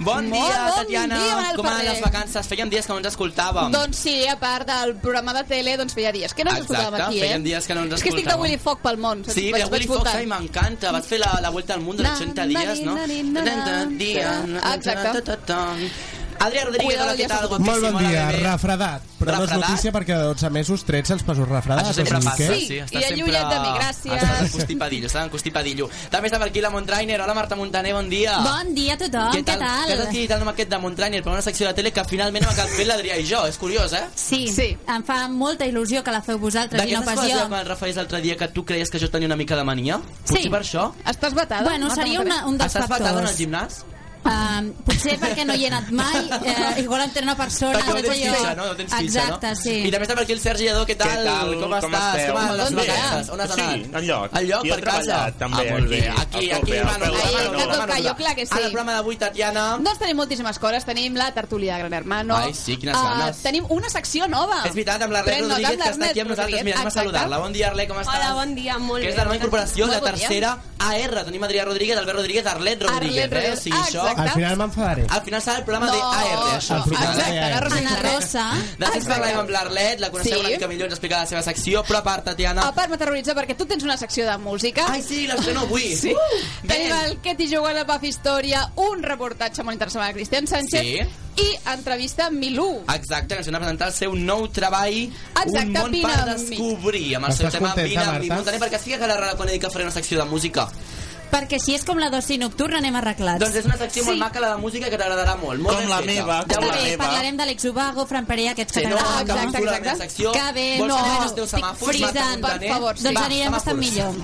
Bon Molt dia, bon Tatiana. dia, Manel Com van Ferrer. les vacances? Feien dies que no ens escoltàvem. Doncs sí, a part del programa de tele, doncs feia dies. Que no ens Exacte, escoltàvem aquí, eh? feien dies que no ens És que estic de escoltàvem. Willy Fox pel món. Sí, de vaig- Willy vaig Fox, voltant. ai, m'encanta. Vas fer la, la vuelta al mundo en Na, 80 na, dies, no? na, na, na, na. Ah, Exacte. Adrià Rodríguez, Cuidado, hola, què ja tal? s'ha Guapíssim, Molt bon hola, dia, bebé. refredat. Però no Refredat? és notícia perquè de 12 mesos 13 els passos refredats. Això sempre o sigui passa, que- sí. Sí, està i el eh? sempre... Ah, Lloret de mi, gràcies. Estàs en constipadillo, estàs en constipadillo. També està per aquí la Montrainer. Hola, Marta Montaner, bon dia. Bon dia a tothom, Què tal? Què tal estigui tant amb aquest de Montrainer per una secció de tele que finalment hem acabat fent l'Adrià i jo? És curiós, eh? Sí, Sí. em fa molta il·lusió que la feu vosaltres i no D'aquestes pas coses jo. que et refeies l'altre dia que tu creies que jo tenia una mica de mania? Potser Sí. per això? Estàs batada? Bueno, Marta seria Montaner? una, un dels Estàs fatada en el factors. gimnàs? Um, potser perquè no hi he anat mai, eh, igual em té una persona... Perquè no saps tens allò? fitxa, no? No tens fitxa, Exacte, no? sí. I també està per aquí el Sergi Lledó, què tal? Què tal? Com, Com estàs? esteu? Com van les Doncs bé. vacances? On has Sí, anat? enlloc. Enlloc, Jo he per casa? treballat, també, ah, molt bé. aquí, Aquí, a aquí, tope, mano, a peu mano, de canó. mano, A tocar, mano. jo, clar que sí. Ara el programa d'avui, Tatiana... Doncs tenim moltíssimes coses. Tenim la tertúlia de Gran Hermano. Ai, sí, quines Eh, ganes. tenim una secció nova. És veritat, amb l'Arlet Pren nota, Rodríguez, que està l'Ernest aquí amb nosaltres. Rodríguez, Mira, anem a exacte. saludar-la. Bon dia, Arlet, com estàs? Hola, bon dia, molt Que bé. és de la nova incorporació, la Molt bon dia. tercera AR. Tenim Adrià Rodríguez, Albert Rodríguez, Arlet Rodríguez. Arlet Rodríguez, Eh? O sigui, això... Ah, exacte. Al final m'enfadaré. Al final serà el programa No, de AR, això. El programa exacte, de AR. la Rosa Ana Isla. Rosa... Després parlarem amb l'Arlet, la coneixeu Sí. una mica millor, ens explicarà la seva secció, però a part, Tatiana... A part, m'aterroritza perquè tu tens una secció de música. Ai, sí, l'estreno avui. Sí. Uh, Tenim ben. el Què t'hi juguen a Paf Història, un reportatge molt interessant de Cristian Sánchez Sí. i entrevista amb Milú. Exacte, que ens van a presentar el seu nou treball Un Exacte, món Vine per amb mi. descobrir Amb el seu Estàs tema contenta, Vine amb mi Marta? Montaner, perquè estic agarrada quan he dit que faré una secció de música Perquè si és com la dosi nocturna anem arreglats. Doncs és una secció molt maca la de música que t'agradarà molt, molt Com ben la feta. meva, ja Està com ho la bé, veuràs. meva. parlarem d'Àlex Ubago, Fran Perea, aquests Sí, que no, Ah, t'agraden. que em exacte, surt la exacte. meva secció. Que bé, Vols no, que anem als teus estic semàfors, Marta frisant, per Montaner? favor, sí. Doncs Va, anirem bastant semàfors. millor.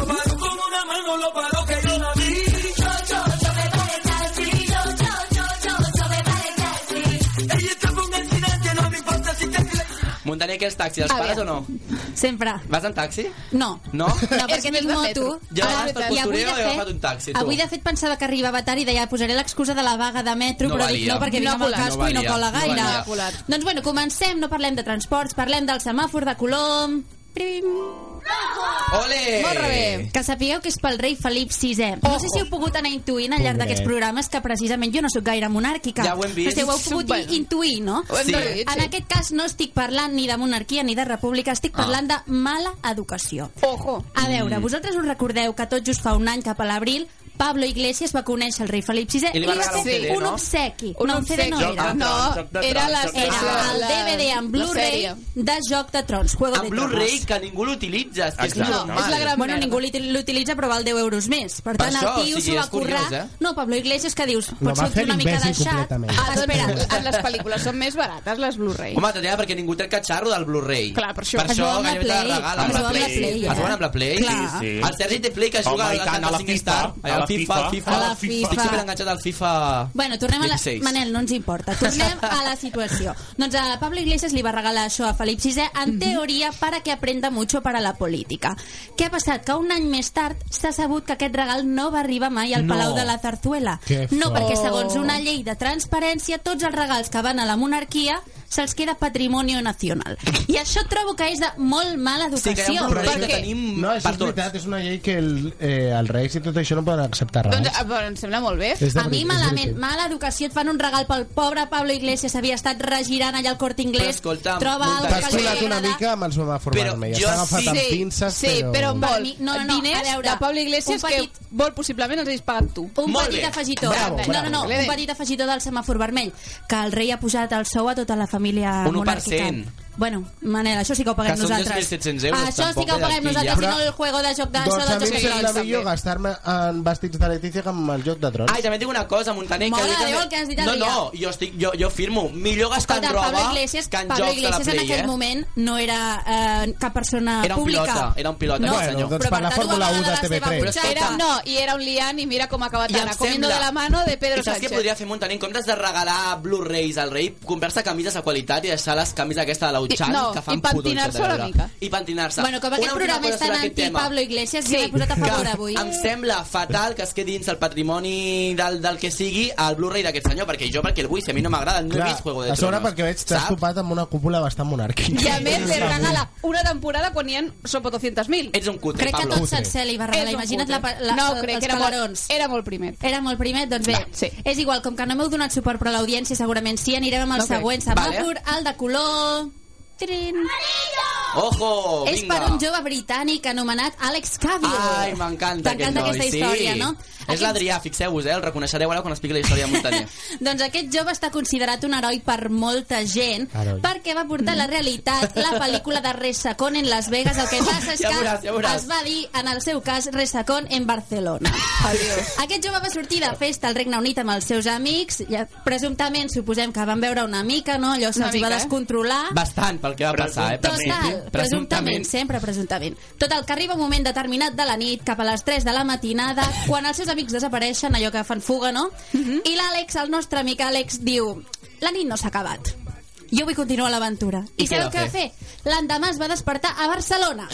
Lo paró con una mano, lo paró que yo la vi. Ella estaba en un accidente, no me importa si te Montaner, què és taxi? Els A pares o veure. no? Sempre. Vas en taxi? No. No? No, És perquè més tinc de moto. metro. Ja Ara- vas per i avui, postureo i de he fet, agafat un taxi, tu. avui, de fet, pensava que arribava tard i deia, posaré l'excusa de la vaga de metro, No però valia. dic no, perquè No vinc amb el cola, no casco i no valia, cola no gaire. valia. No colat. doncs bueno, comencem, no parlem de transports, parlem del semàfor de Colom. Prim. Ole! Molt rebé. Que sapigueu que és pel rei Felip VI. No sé si heu pogut anar intuint al Pobret. llarg d'aquests programes que precisament jo no sóc gaire monàrquica. Ja ho hem vist. Però si ho heu pogut Bueno. intuir, no? Ho hem Sí. reduït, En sí. aquest cas no estic parlant ni de monarquia ni de república, estic Ah. parlant de mala educació. Ojo. A Mm. veure, vosaltres us recordeu que tot just fa un any cap a l'abril Pablo Iglesias va conèixer el rei Felip VI I li va regalar va un fer CD, un no? obsequi. Un no, un CD no obsequi. Ah, era. Joc de No, Trons, Joc de era Trons, la Joc de sèrie. Era el la- DVD en la Blu-ray sèrie. de Joc de Trons, Juego Amb de Tronos. Blu-ray que ningú l'utilitza, és que és Exacte. normal. No, és la gran Bueno, merda. ningú l'uti- l'utilitza, però val 10 euros més. Per tant, això, el tio o sigui, s'ho va és curiós, currar... eh? No, Pablo Iglesias, que dius? va Pot sortir fer una mica l'imbècil deixat. completament. Ah, doncs, espera. en les pel·lícules són més barates, les Blu-ray. Home, Tatiana, perquè ningú treu catxarro del Blu-ray. Clar, per això. Per Es això, veu amb la gairebé te la Play. regala. Es veu amb la Play, eh? Es veuen amb la Play? Clar. Sí, sí. El Sergi té Play que Home, juga i a la tant, a la 5 FIFA, Star. a Al la FIFA, al FIFA. FIFA. A la FIFA. Estic super enganxat al FIFA Bueno, tornem a la... 16. Manel, no ens importa. Tornem a la situació. Doncs a Pablo Iglesias li va regalar això a Felip VI, Mhm. en teoria, para que aprenda mucho para la política. Què ha passat? Que un any més tard s'ha sabut que aquest regal no va arribar mai al No. Palau de la Zarzuela. Que No, fort. perquè segons una llei de transparència, tots els regals que van a la monarquia se'ls queda patrimoni nacional. I això trobo que és de molt mala Sí, que hi ha un educació. problema que perquè- tenim No, això per és tots. veritat, és una llei que el, eh, els reis i tot això no poden acceptar res. Doncs, ah, bueno, em sembla molt bé. És de A mi veritat, és malament, veritat. mala educació, et fan un regal pel pobre Pablo Iglesias, havia estat regirant allà al Corte Però Inglés, escolta'm, troba Montanya, alguna T'has cosa que colat li una agrada. mica amb el soma formal. Però Ja jo s'ha agafat sí- amb pinces, sí, però però... molt. Per mi- no, no, no, Diners a veure, de Pablo Iglesias un petit- que vol possiblement els hagués pagat tu. Un Molt petit bé. afegitó. Bravo, no, no, no, bravo. un petit afegitó del semàfor vermell, que el rei ha posat el sou a tota la família Un 1%. monàrquica. Bueno, Manel, això sí que ho paguem Que són nosaltres. 2.700 euros, això sí tampoc que ho ve paguem d'aquí, ja. nosaltres, i no Però- el juego de joc Doncs de a mi em Sí, sembla també. millor gastar-me en vestits de Letícia que amb el joc de trons. Ai, també et dic una cosa, Montaner. Mare jo de també- Déu, el que has dit, No, Adrià. no, jo, estic, jo, jo firmo. Millor gastar en Escolta, roba Pablo Iglesias, que en Pablo jocs de la Iglesias en Play, aquell eh? moment no era eh, cap persona Era un pública. pilota, era un pilota, no, sí, senyor. Doncs però per la tant, ho Fórmula va 1 de regalar a la seva TV3. butxaca. Però Era, escolta. no, i era un liant i mira com ha acabat I em ara, comiendo sembla- de la mano de I Pedro saps què Sánchez. podria fer Montaner? En comptes de regalar Blu-rays al rei, comprar-se camises de qualitat i deixar les camises aquesta de la putxant I- no, que fan i pentinar-se pudor, això, de una veure. mica. I pentinar-se. Bueno, com aquest Una última programa cosa és tan sobre aquest tema. anti-Pablo Iglesias, Sí. sí. m'he posat a favor avui. em sembla fatal que es quedi dins el patrimoni del, del que sigui el Blu-ray d'aquest senyor, perquè jo perquè el vull, si a mi no m'agrada, no he vist Juego de a sobre Tronos. perquè veig t'has saps? topat amb una cúpula bastant monàrquica. I a més li regala una temporada quan hi ha sobre 200.000. Ets un cutre, Crec que Pablo. tot sencer li va És regalar. un Imagina't la, cutre. la, no, el- crec els que era molt, pelarons. era molt primet. Era molt primet, doncs bé, Va, sí. és igual, com que no m'heu donat suport per l'audiència, segurament sí, anirem amb el Ok. següent semàfor, el de color... Tirin. Ojo, Oh, vinga. és per un jove britànic anomenat Alex Cavill. Ai, m'encanta aquest T'encanta noi, aquesta sí. història, no? És l'Adrià, fixeu-vos, eh? El reconeixereu ara quan expliqui la història de Montaner. doncs aquest jove està considerat un heroi per molta gent Heroi. perquè va portar a la realitat la pel·lícula de Resacón en Las Vegas el que passa és Ja que veuràs, ja veuràs. es va dir en el seu cas Resacón en Barcelona aquest jove va sortir de festa al Regne Unit amb els seus amics ja, presumptament suposem que van veure una mica no? allò Una se'ls va mica, eh? descontrolar Bastant pel que va passar, eh? Total, Doncs presumptament, sempre presumptament. Total, que arriba un moment determinat de la nit, cap a les 3 de la matinada, quan els seus amics desapareixen, allò que fan fuga, no? I l'Àlex, el nostre amic Àlex, diu la nit no s'ha acabat. Jo vull continuar l'aventura. I, I què sabeu va què va fer? L'endemà es va despertar a Barcelona.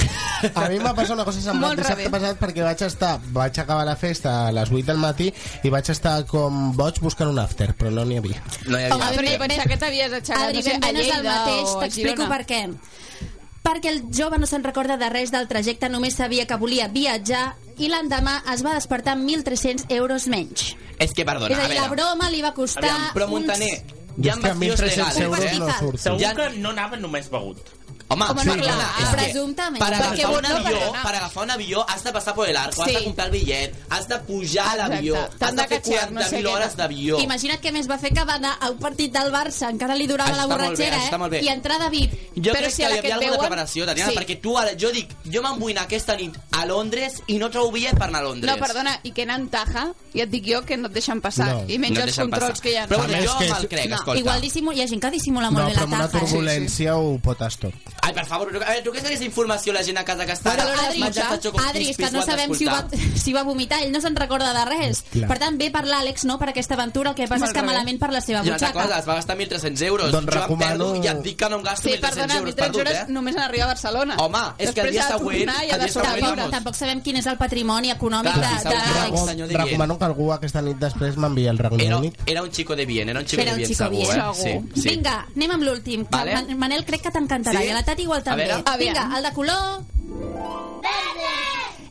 A mi m'ha passat una cosa Molt semblant dissabte rebé. passat perquè vaig estar, vaig acabar la festa a les 8 del matí i vaig estar com boig buscant un after, però no n'hi havia. No hi Home, havia... Adri, ben- pensar que t'havies aixecat Adri, no sé, ben a bé no és el Lleida mateix, o a t'explico Girona. per què. Perquè el jove no se'n recorda de res del trajecte, només sabia que volia viatjar i l'endemà es va despertar amb 1.300 euros menys. És que, perdona, És a dir, a la veure... broma li va costar... Aviam, però Montaner, hi ha Jo és que a vestidors 1.300 legals, Un euros no pastizal. surt. eh? Segur Ja- que no anava només begut. Home, Home, no, clar, Ah, presumptament. Per agafar, Perquè un vol- no, avió, perdona. per agafar un avió has de passar por el arco, Sí. has de comprar el bitllet, has de pujar a l'avió, Exacte. has T'han de de fer catxar, no 40.000 sé què. hores d'avió. Imagina't què més va fer que va anar a un partit del Barça, encara li durava Això la està molt bé, borratxera, això està molt eh? bé. I entrar David. Jo Però crec si que a hi la que havia et alguna veuen- preparació, Tatiana, Sí. perquè tu ara, jo dic, jo me'n vull anar aquesta nit a Londres i no trobo bitllet per anar a Londres. No, perdona, i que anant taja, ja et dic jo que no et deixen passar. No. I menys No et els deixen controls passar. que hi ha. Però A bueno, més jo que- me'l crec, No, escolta. Igual dissimula... Hi ha gent que dissimula molt No, bé però la amb una taja. eh? turbulència ho potes tot. Ai, per favor, a veure, tu creus que aquesta informació la gent a casa que està Però ara... Adri, menjant xocopis, Adri, és que pis, ho no han sabem si ho va, d'escoltar. si va vomitar, ell no se'n recorda de res. Clar. Per tant, bé per l'Àlex, no?, per aquesta aventura, el que passa Molt és que bé. malament per la seva I una altra cosa, butxaca. es va gastar 1.300 euros. Doncs jo em recomano- perdo i et dic que no em gasto Sí, 1.300 perdona, euros 13 perdut, hores eh? només en arribar a Barcelona. Home, és que el dia Després ha de següent- tornar i ha el de dia següent- sortir. Tampoc, vamos. tampoc sabem quin és el patrimoni econòmic Clar, de, si de segur- l'Àlex. senyor de Recomano que algú aquesta nit després m'enviï al Regne Era, Unit. eh? era un chico de bien, era un chico Era de un bien, chico segur, bien. eh? Segur. Sí, sí. Vinga, anem amb l'últim. que Vale. Man- Manel, crec que t'encantarà. Sí? I a la Tati igual A també. veure. Ah, Aviam. Vinga, el de color...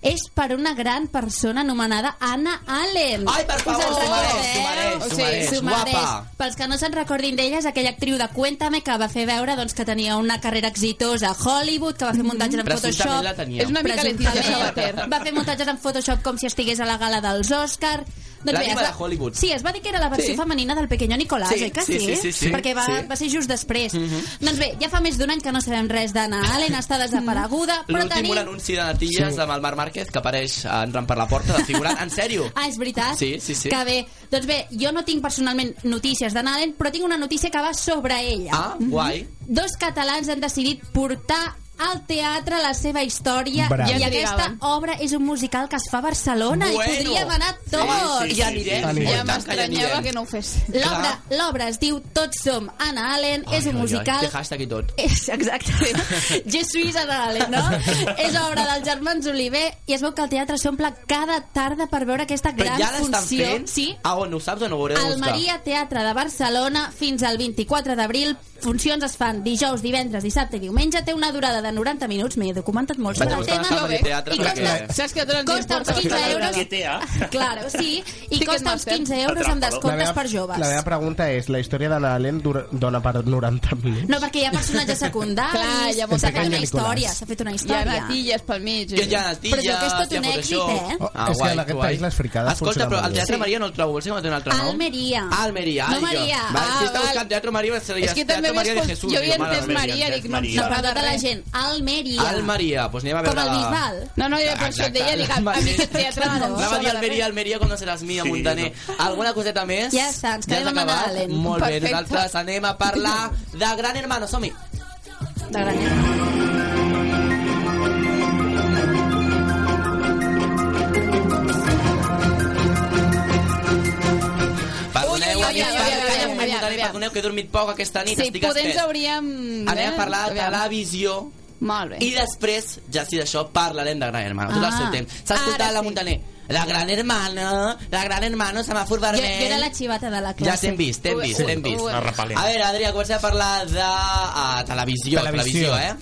És per una gran persona anomenada Anna Allen. Ai, per favor, Us en s'ho mereix, recordeu? s'ho mereix, s'ho mereix, s'ho guapa. mereix. Pels que no se'n recordin d'ella, és aquella actriu de Cuéntame que va fer veure doncs, que tenia una carrera exitosa a Hollywood, que va fer muntatges en Presumptament Photoshop. la tenia. És una mica lentilla Sabater. Va fer muntatges en Photoshop com si estigués a la gala dels Oscar. Doncs La bé, diva es va- de Hollywood. Sí, es va dir que era la versió Sí. femenina del Pequeño Nicolás, Sí, oi que sí, sí? sí, sí, sí. Perquè va, Sí. Mhm. va ser just després. Doncs bé, ja fa més d'un any que no sabem res d'Anna Allen, està desapareguda, Ah, però L'últim tenim... un anunci de Natilles amb el Marc Márquez que apareix eh, entrant per la porta de figurant. En sèrio? Ah, és veritat? Sí, sí, sí. Que bé. Doncs bé, jo no tinc personalment notícies d'Anna Allen, però tinc una notícia que va sobre ella. Ah, guai. Dos catalans han decidit portar al teatre la seva història Bravo. i Ja aquesta trigaven. obra és un musical que es fa a Barcelona i podríem anar tots. Sí, sí, sí, I anirem. sí, sí. i Ja tant que hi m'estranyava anirem. que no ho fes. L'obra l'obra es diu Tots som Anna Allen, és un Ai, ai, ai, musical... Té hashtag i tot. És, exacte. Je suis Anna Allen, no? és obra dels germans Oliver i es veu que el teatre s'omple cada tarda per veure aquesta Però gran ja l'estan funció. fent? Sí, Ah, on ho saps o no ho hauré de al buscar? Maria Teatre de Barcelona fins al 24 d'abril. Funcions es fan dijous, divendres, dissabte i diumenge. Té una durada de 90 minuts. M'he documentat molt Vaig a sobre el buscar tema. l'estat de teatre I perquè... costa, Saps que a tu no ens costa uns importa 15 bastant. euros. Que té, eh? Claro, sí. I costa uns Ticketmaster. 15 euros amb descomptes per joves. la meva pregunta és, la història d'Anna Allen dura- dona per 90 minuts? No, perquè hi ha personatges Clar, secundaris, llavors s'ha El fet una Pequeño història, Nicolás. s'ha fet una Hi ha història. natilles pel mig. Que hi ha natilles, Però jo que és tot hi ha un Photoshop. èxit, eh? Oh, és que en aquest país les fricades Escolta, funcionen però molt el bé. Teatre Sí. Maria Ah, no el trobo, vols que té un altre nom? Almeria. Almeria, No ai, jo. Maria. Va, Ah, si està val. buscant Teatre Maria, seria És que també Teatre Maria m'he de escol- Jesús. jo havia diu, mare entès de Déu, Maria, entès dic, no em Maria. No, sap però tota la res. gent, Almeria. Almeria, doncs anem a Com veure... el Bisbal. No, no, jo per això et Exacte. deia, dic, a a mi aquest teatre no em Anava a dir sona de res. Almeria, Almeria, com no seràs mi, a Sí, Montaner. Alguna coseta més? Ja està, ens quedem has amb Anna acabat? Allen. Molt bé, Perfecte. nosaltres anem a parlar de Gran Hermano, som-hi. De Granada. Perdoneu, Ui, ui, ui, ui, ui, ui, ui, ui, Anem Aviam, mutant i aviam. perdoneu que he dormit poc aquesta nit. Sí, estic poder ens espès. hauríem... Anem a parlar de Aviam. televisió Molt bé. i després, ja sí d'això, parlarem de Gran Hermano. Tot el Ah. seu temps. S'ha escoltat Ara la sí. Montaner. La Gran Hermano, la Gran Hermano, semàfor Jo, vermell... jo era la xivata de la Ja classe. t'hem vist, t'hem Ho- vist, ho- t'hem vist. ho- Una repel·lent. A veure, Adrià, comencem a parlar de ah, televisió, televisió, eh? eh?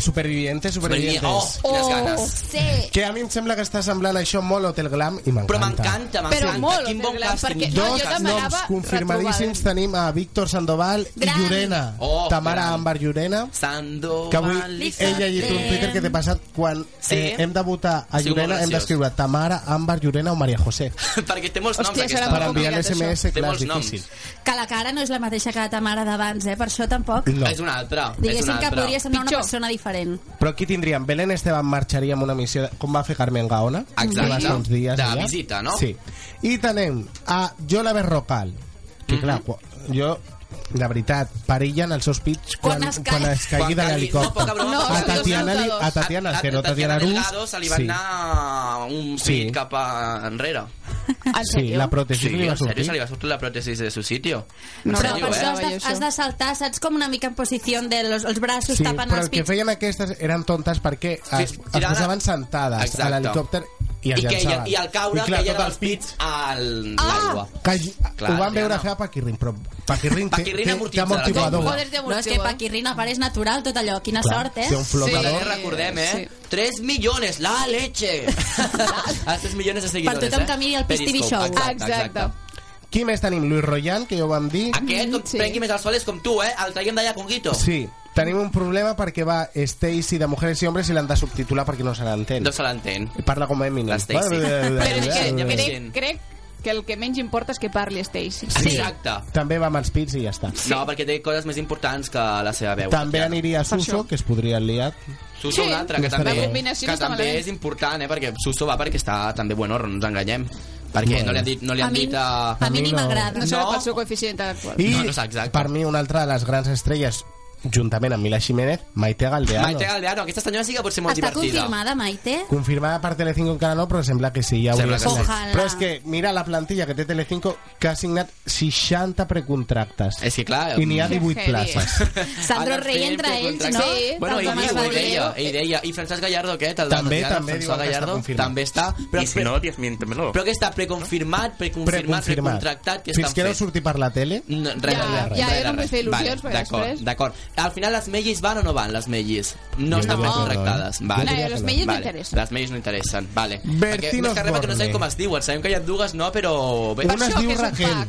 Supervivientes, supervivientes. Oh, quines Oh, ganes. sí. Que a mi em sembla que està semblant això molt Hotel Glam i m'encanta. Però m'encanta, m'encanta. Però molt, Quin bon Hotel Glam, càsting. perquè- No, Dos jo noms demanava confirmadíssims retrobades. tenim a Víctor Sandoval Gran. i Llorena. Oh, Tamara gran. Ambar Llorena. Sandoval. Que avui Lisa ella ha llegit un Lam. Twitter que t'he passat quan Sí. eh, hem de votar a Sí, molt Llorena, hem graciós. d'escriure Tamara, Ambar Llorena o Maria José. perquè té molts noms, Hòstia, aquesta. serà Per molt enviar complicat, l'SMS, Té clar, molts és noms. difícil. Que la cara no és la mateixa que la ta mare d'abans, eh? Per això tampoc. No. És una altra. és Diguéssim una que altra. podria semblar una Pitjor. persona diferent. Però aquí tindríem Belén Esteban marxaria amb una missió de- com va fer Carmen Gaona Exacte. que va estar uns dies De allà. visita, no? sí. i tenem a Yola Berrocal Mhm. que clar, quan- jo la veritat, perillen els seus pits quan, Quan es cae- es caigui de l'helicòptero. No, a Tatiana, li, a Tatiana, que no Tatiana Rus, Delgado se li va sí. anar un Sí. pit cap a enrere. En Sí, sèrio? la pròtesi li va en serio, sortir. se li va sortir la pròtesis de su sitio. En No, Però serio, per eh? això has Veia de, això. has de saltar, saps? Com una mica en posició de los, els braços Sí, tapen però els el que pits. feien aquestes eren tontes perquè es, es tirada- posaven sentades Exacte. a l'helicòpter i I, es que, llançaven. i al caure, clar, que hi tot els pits a Ah! l'aigua. l'aigua. Que, clar, Clar, ho van veure Adriana. fer a Paquirrin, però Paquirrin té, Paquirrin té, té amortitza, amortiguador. Com Poders de No, és que Paquirrin apareix natural tot allò. Quina Clar, sort, eh? té un flotador. Montaner, recordem, eh? 3 millones, la leche! a 3 millones de seguidores, Per tothom eh? que miri el Pis TV Periscope, Show. Exacte. Qui més tenim? Luis Royan, que ja ho vam dir. Mm-hmm, Aquest, com Sí. prengui més els soles com tu, eh? El traiem d'allà, Conguito. Sí, tenim un problema perquè va Stacy de Mujeres i Hombres i l'han de subtitular perquè no se l'entén. No se l'entén. Parla com Eminem. La Stacy. Però és Ja que veig crec, gent. crec que el que menys importa és que parli Stacy. Exacte. També va amb els pits i ja està. No, perquè té coses més importants que la seva veu. També Ja. aniria Suso, això. que es podria liar. Suso, Sí. un altre, que La també, combinació no que està també malament. és important, eh? Perquè Suso va perquè està també, bueno, no ens enganyem. Perquè Bueno. no li han dit... No li han a, mi, dit a... a mi ni No. m'agrada. No, sé No. pel seu coeficient intel·lectual. I No, no és exacte. per mi una altra de les grans estrelles, juntament amb Mila Jiménez, Maite Galdeano. Maite Galdeano, aquesta senyora sí que pot ser molt Està divertida. confirmada, Maite? Confirmada per Telecinco encara no, però sembla que sí. Ja Sembla hauria que de sí. ser. Ojalà. Però és que mira la plantilla que té Telecinco que ha signat 60 precontractes. És que Eh, clar... I n'hi ha Que 18 heavy. places. Sandro Ara Rey fem entre ells, precontracte. no? Sí, pues, bueno, ell Sandro diu, Mas ell deia, Valero. ell deia. I Francesc Gallardo, què? El També, Gallardo, també Francesc diuen que està Gallardo, confirmat. també està... Però, I si no, desmiéntemelo. però que està preconfirmat, preconfirmat, Preconfirmat. precontractat, que Fins estan que no fent. surti per la tele... No, res, Ja, res, res, ja, res, jo no res. em vull fer il·lusions, vale, perquè D'acord, després- d'acord. Al final les mellis van o no van, les mellis? No Jo estan diria que no, contractades. eh? Vale. Jo diria No, que les no. mellis no Vale, interessen. Les mellis no interessen, vale. Bertín Perquè més que res, perquè no sabem Osborne. com es diuen. Sabem que hi ha dues, no, però... Bé, Una es això diu que és un Raquel. pack.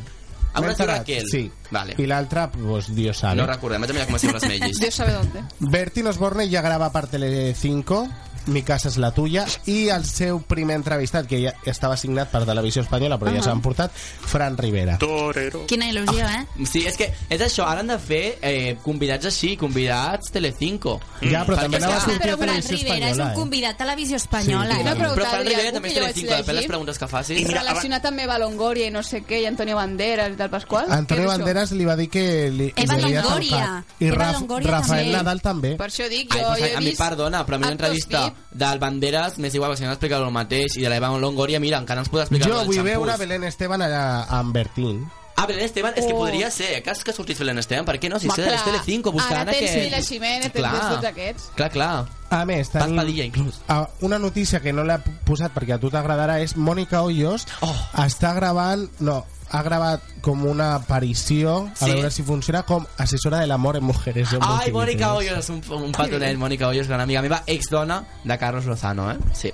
Ah, una es diu M'he enterat, Raquel. Sí. Vale. I l'altra, pues, Dios sabe. No recordem, vaig a mirar com es diuen les mellis. Déu sabe d'on. Bertín Osborne ja grava per Telecinco, Mi casa és la tuya, i el seu primer entrevistat, que ja estava signat per Televisió Espanyola, però ja Ahà. s'han portat, Fran Rivera. Torero. Quina il·lusió, eh? Ah, Sí, és que és això, ara han de fer eh, convidats així, convidats Telecinco. Ja, però Perquè també anava a clar, sortir a Però Fran Televisió Rivera és Espanyola, un eh? convidat a televisió espanyola. Sí, eh? Una Però Però pregunta, Fran Adrià, Rivera algú també que és jo vaig Telecinco, depèn les llegir preguntes que facis. I mira, relacionat també amb Longoria i no sé què, i Antonio Banderas i tal Pasqual. Antonio Què dius? Banderas li va dir que li, Eva li havia Longoria. tancat. I Eva Raf, Longoria Rafael també. Nadal també. Per això dic, Ai, jo, pues, jo he a, a mi vist... perdona, però a mi una actors entrevista VIP. del Banderas m'és igual, perquè si no explicar el mateix i de l'Eva Longoria, mira, encara ens pot explicar Jo el vull veure Belén Esteban allà amb Bertín. Ah, Belén Esteban, és que Oh. podria ser, eh? cas que sortís Belén Esteban, per què no? Si Ma, ser de les clar, Telecinco, buscant ara tens aquest... Mila Jiménez, tens tots aquests. Clar, clar. A més, Ah, Paz tenim... Padilla, inclús. Ah, una notícia que no l'he posat perquè a tu t'agradarà és Mònica Hoyos Oh. està gravant, no, ha gravat com una aparició, a Sí. veure si funciona, com assessora de l'amor en mujeres. em en Ai, multiniveles. Mònica Hoyos, és un, un patonet, Mònica Hoyos, gran amiga meva, exdona de Carlos Lozano, eh? Sí.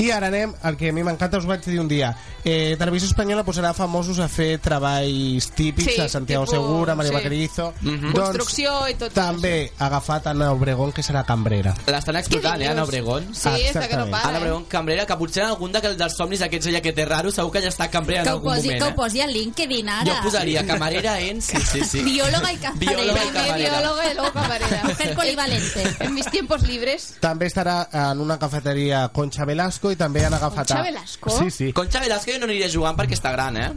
I ara anem al que a mi m'encanta, us vaig dir un dia. Eh, Televisió Espanyola posarà famosos a fer treballs típics Sí, a Santiago tipus- Segura, Mario sí. Vaquerizo... Mhm. Doncs Construcció i tot també ha agafat Ana Obregón, que serà cambrera. L'estan explotant, eh, Ana Obregón? Sí, està que no Exactament. para. eh. Ana Obregón, cambrera, que potser en algun d'aquells dels somnis aquests allà que té raro, segur que ja està cambrera Que en ho algun posi, moment, que ho eh? posi al LinkedIn, ara. Jo posaria camarera en... Sí, sí, sí. Biòloga i camarera. Biòloga i Primer camarera. biòloga i luego camarera. Mujer polivalente. En mis tiempos libres... També estarà en una cafeteria Concha Velasco i també han agafat... Concha a- Velasco? Sí, sí. Concha Velasco jo no aniria jugant perquè està gran, eh?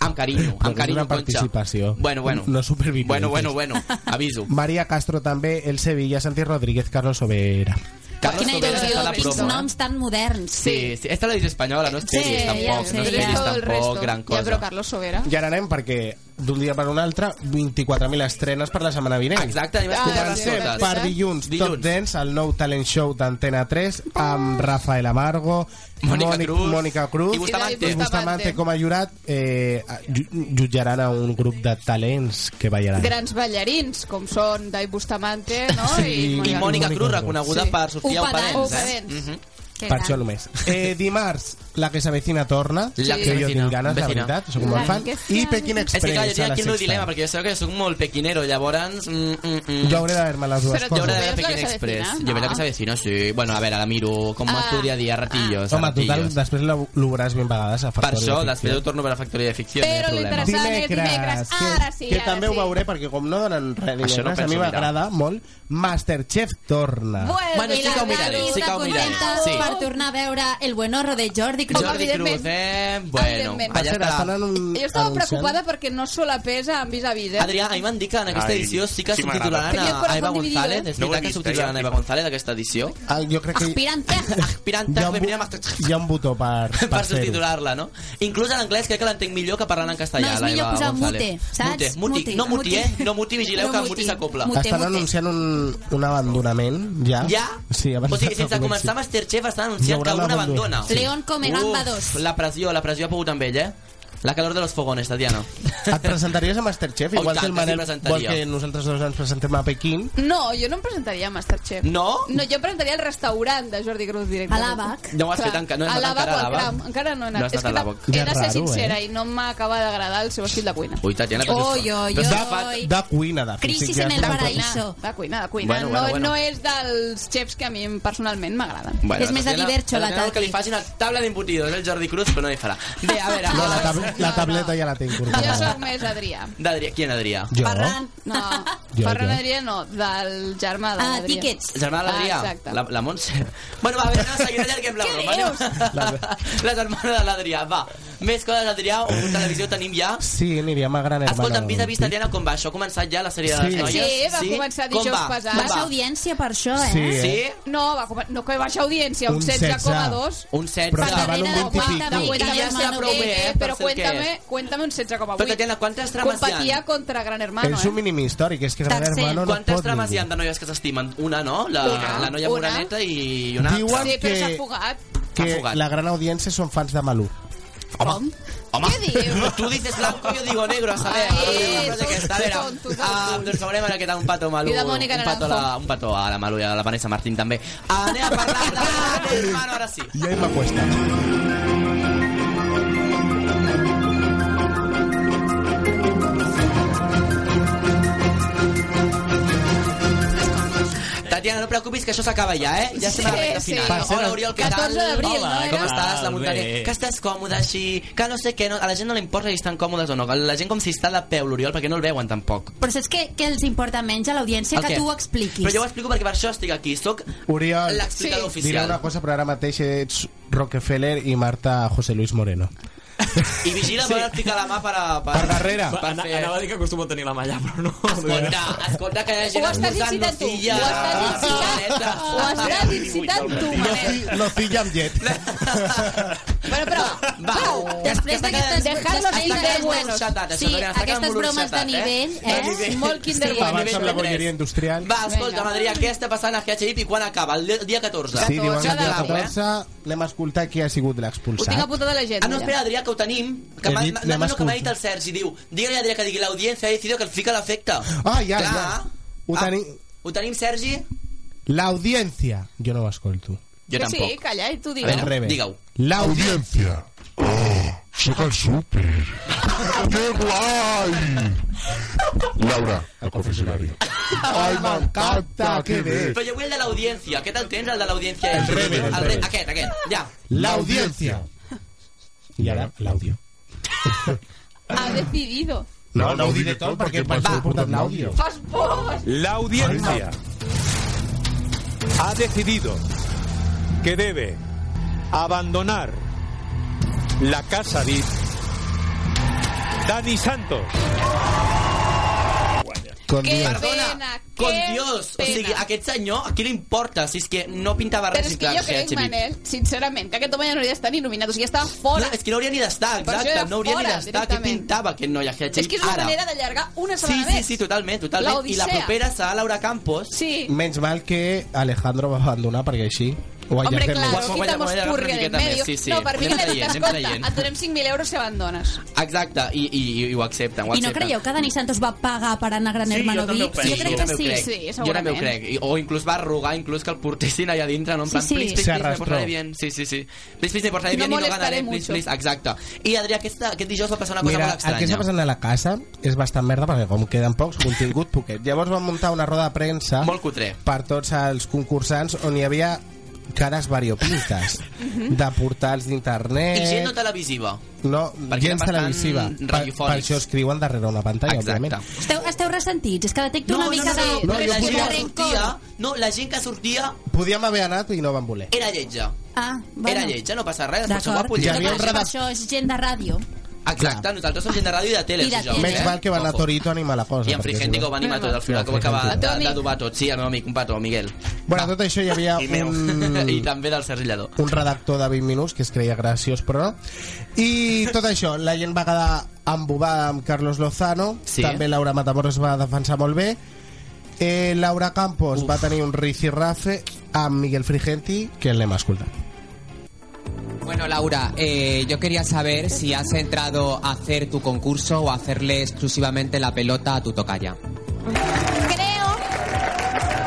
Amb carinyo, Perquè amb és carinyo, una participació. Concha. Bueno, bueno. No supervivientes. Bueno, bueno, bueno. Aviso. María Castro també, el Sevilla, Santi Rodríguez, Carlos Overa. Carlos Quina Sobera il·lusió, està a la quins promo, eh? noms tan moderns. Sí, sí. És televisió espanyola, no és Sí, tenis, ja tampoc. sé, no és ja. tenis, Todo el tampoc, resto. Oh, gran cosa. Ja, però Carlos Sobera... I ara anem perquè d'un dia per un altre, 24.000 estrenes per la setmana vinent. Exacte, anem a Ah, explicar sí, totes. sí. Per dilluns, dilluns, Top eh? Dilluns. Dance, el nou talent show d'Antena 3, Oh! amb Rafael Amargo, Mònica Mònic- Cruz. Mònica Cruz I Bustamante. i Bustamante com a jurat eh, ju- jutjaran a un grup de talents que ballaran. Grans ballarins, com són Dai Bustamante, no? Sí, I Mònica Mònica Cruz, Cruz. reconeguda Sí. per Sofia Opadens. Opadens. Eh? Opadens. Mhm. Que Per gran. això només. Eh, dimarts, la que s'avecina La torna. que que jo s'avecina, tinc ganes, la vecina. veritat, sóc molt La fan. que I s'avecina. Pekin És Express que clar, jo a tinc la aquí un sexta. dilema, perquè jo sé que soc molt pequinero, llavors... Mm, mm, mm. Jo hauré de veure-me les dues Però tu Jo hauré de coses. ver ¿Ves la que Pekín se Express. avecina? Yo veré Ah. que se avecina, sí. Bueno, a ver, a la miro com Ah. ah. estudia dia a ratillos. Home, a total, ratillos. després la- lo veuràs ben vegades a Per Factoria això, de després Ficció. ho torno a veure a Factoria de Ficció, Però no hi ha problema. l'interessant- Passant és dimecres, ara sí, que ara també ho sí. veuré perquè com no donen res Això no dimecres, a penso mi mirar. m'agrada molt Masterchef torna Vuelve Bueno, I sí la que ho gran miraré, sí que llista ho miraré. contenta Sí. per tornar a veure El buen horro de Jordi Cruz. Jordi Cruz, evidentment. eh? Bueno, Evidentment. allà Espera, estarà. estan en un... Jo estava anunciant. preocupada perquè no sola pesa amb vis a vis, eh? Adrià, a mi m'han dit que en aquesta Ai, edició sí que sí subtitularan m'agrada. Tenia el a corazón Eva dividido, González. eh? És No ho he veritat que vist, subtitularan eh? a Eva González aquesta edició. Ah, jo crec que... Aspirante. Aspiranta, hi ha que un, venia a bu- hi ha un botó per, per, per fer-ho. subtitular-la, no? Inclús en anglès crec que l'entenc millor que parlant en castellà, No, és la millor Eva posar González. mute, saps? Muti. Mute, No muti, mute. eh? No muti, vigileu No que el muti. muti s'acopla. Mute, Estan mute. anunciant un, un abandonament, ja. Ja? Sí, abans o sigui, de que sense comenci. començar Masterchef estan anunciant Hi que haurà algun l'abandó. abandona. Sí. León come gamba dos. La pressió, la pressió ha pogut amb ell, eh? La calor de los fogones, Tatiana. Et presentaries a Masterchef, Oh, i igual tant, que el que sí, Manel, presentaria. vol que nosaltres dos ens presentem a Pequín. No, jo no em presentaria a Masterchef. No? No, jo em presentaria al restaurant de Jordi Cruz directament. A l'Àbac? No ho has fet enca- no has a anat l'Àbac encara a o al l'Àbac? Cram. Encara no he anat. No has anat És a que l'Àbac. tam- he de Ja ser raro, sincera eh? i no m'acaba d'agradar el seu estil de cuina. Ui, Tatiana, però... Oi, oi, Però oi. està fat. Oi. De cuina, de Crisis física. en el de de cuina. paraíso. cuina, de cuina, de cuina. Bueno, bueno, no, bueno. no és dels xefs que a mi em personalment m'agraden. Bueno, És més Tatiana- alibercho, la Tatiana vol que Tati. li faci una taula d'embutidos, el Jordi Cruz, però no hi farà. Bé, a veure... No, la, ara- tab la tableta ja la té Jo incorporada. sóc més Adrià. D'Adrià, qui en Adrià? Jo? Ferran. No, Jo, Ferran jo. Adrià no, del germà de Ah, l'Adrià. tiquets. El germà de l'Adrià? Ah, exacte. la, la Montse? Bueno, va, a veure, anem a seguir, allarguem la Què broma. anem. La germana de l'Adrià, va. Més coses, Adrià, o televisió tenim ja. Sí, aniríem a Gran Hermano. Escolta, hem vist, a vist, Tatiana, com va això? Ha començat ja la sèrie de les Sí. noies? Sí, va començar Com dijous va? passat. Com Baixa va? audiència per això, Sí, eh? eh? Sí? No, va, com- no que baixa audiència, un Un 16,2. Un 16. Però Per estava en un darrere de 20 i Guanta, pico. Guanta, I ja Guanta, està prou bé, eh, per però ser el que cuéntame, és. cuéntame un 16,8. Però, Tatiana, quantes trames hi Competia ha? contra Gran Hermano, És un eh? mínim històric, és que Gran Tercer. Hermano no Quantes pot trames hi ha ningú. de noies que s'estimen? Una, no? La, Una. la noia Una. moreneta i una Diuen- altra. Sí, però que- s'ha fugat. S'ha Que fugat. la gran audiència són fans de Malú. Home, home. Què dius? Tu dices blanco, yo digo negro, a saber. Ai, Una cosa que està, a veure, tonto, tonto. ah, doncs veurem ara què tal un pato malu. I de Mònica un pato, a la, Naranjo. un pato a la Malu i a la Vanessa Martín també. Anem a parlar de Gran Hermano, ara sí. I ahí va cuesta. Ah, Tatiana, no preocupis que això s'acaba ja, eh? Ja estem a la Sí, recta final. sí. Per cert, Hola, Oriol, què 14 tal? d'abril, Hola, no, era? Com estàs? La Molt muntanya. bé. Que estàs còmode així? Que no sé què. No... A la gent no li importa si estan còmodes o no. La gent com si està de peu, l'Oriol, perquè no el veuen tampoc. Però saps què, què els importa menys a l'audiència? El Que què? tu ho expliquis. Però jo ho explico perquè per això estic aquí. Soc Oriol, l'explicador Sí. diré oficial. una cosa, però ara mateix ets Rockefeller i Marta José Luis Moreno. I vigila per sí. ficar la mà per... a- Per darrere. Va, Per ana- fer... Anava a dir que acostumo a tenir la malla, però no. Escolta, escolta que hi ha gent Ho estàs escoltant incitant tu. Nocilla. Ho estàs incitant. Neta. Ho estàs incitant tu, Manel. Locilla amb llet. Bueno, però... Va, Pau, Després d'aquestes Dejadnos després ir de d'aquestes- buenos. Xatat, això, sí, Adrià, està aquestes quedant molt bromes de xatat, eh? nivell, De eh? nivell. Molt Kinder Sí. Bueno. Abans amb la bolleria industrial. Va, escolta, Vinga. Madrid, què està passant a GHIP i quan acaba? El dia- dia 14. Sí, diuen que el dia Cada 14 anem a escoltar qui ha sigut Ho tinc l'expulsat. apuntat a l'agenda. Ah, no, espera, Adrià, que ho tenim. Que He m'ha dit, no, anem a no, que m'ha dit escoltar. el Sergi, diu... Digue-li a Adrià que digui l'audiència ha decidit que el fica l'efecte. Ah, ja, Clar. ja. Ho Ah, tenim- Ho tenim, Sergi? L'audiència. Jo no ho escolto. Jo que sí, tampoc. calla i tu A veure, Al digues. revés. digue-ho. Audiencia. L'audiència. Oh, sóc al súper. ¡Qué guai! Laura, al confessionari. Ai, m'encanta, que bé. Però jo vull el de l'audiència. Què tal tens, el de l'audiència? El Rebe, el re- Rebe. Aquest, aquest, ja. L'audiència. I ara, l'àudio. Ha decidido. No, no ho diré tot perquè per això he portat l'àudio. Fas por! La audiencia ha decidido que debe abandonar la casa VIP Dani Santos. Con Qué Dios. Perdona, pena, con qué Dios. O pena. sigui, aquest senyor, a qui li importa? Si és que no pintava Però res. és en que clar, jo o sigui, crec, Xavi. Manel, sincerament, aquest home ja no hauria d'estar ni nominat, o sigui, ja estava No, fora. és que no hauria ni d'estar, Per això exacte. era No hauria ni fora, d'estar. Què directament. pintava aquest noi a Hitchcock? És que és una Ara. manera d'allargar una Sí, setmana sí, més. sí, totalment, totalment. La I la Odissea. propera serà Laura Campos. Sí. Menys mal que Alejandro va abandonar perquè així ho Hombre, allarguem claro, més. Guapo, quitamos guapo, purgue una del miqueta medio. més, sí, sí. No, per mi que Anem l'he dit, traient, anem escolta, traient. et donem 5.000 euros si abandones. Exacte, i, i, i ho accepten, ho I no accepten. creieu que Dani Santos va pagar per anar a Gran Hermano també ho VIP? penso. Jo crec que també ho sí. crec. Sí, Jo també ho segurament. crec. I- O inclús va rogar inclús que el portessin allà dintre, no? En Sí, plan, sí. please, please, please, Se me arrastró. portaré bien. Sí, sí, sí. Please, please, me portaré No bien y no molestaré ganaré, please, mucho. please. Exacte. I, Adrià, aquesta, aquest dijous va passar una cosa Mira, molt el que està estranya. passant a la casa és bastant merda perquè com queden pocs, contingut poquet. Llavors van muntar una roda de premsa Molt cutre. per tots els concursants on hi havia cares variopintes de Eh. portals I gent no d'internet televisiva. no, perquè gens bastant televisiva per, radiofònics. per això escriuen darrere una pantalla òbviament. Exacte. Esteu, esteu ressentits, és que detecto una mica de... no, de- la de gent que rencor. sortia, no, la gent que sortia podíem haver anat i no van voler era lletja. Ah, bueno. Eh, Era lletja, no passa res, després s'ho va D'acord. Hi pujar. havia Però un per redac- Això és gent de ràdio. Ah. Exacte, nosaltres som gent de ràdio i de tele. I de els dijous, tele. menys eh? val que van a Ojo. Torito a animar la cosa I en perquè Frigenti si que no- ho va animar tot al final, que ho acaba El teu de, amic. de dobar tot. Sí, el meu amic, un petó, Miguel. bueno, tot això hi havia I meu. un, mm. I també del Sergi Lladó. un redactor de 20 minuts que es creia graciós però no i tot això, la gent va quedar embobada amb Carlos Lozano Sí. també Laura Matamoros va defensar molt bé eh, Laura Campos Uf. va tenir un rifirrafe amb Miguel Frigenti que l'hem escoltat Bueno, Laura, eh, yo quería saber si has entrado a hacer tu concurso o a hacerle exclusivamente la pelota a tu tocaya. Creo,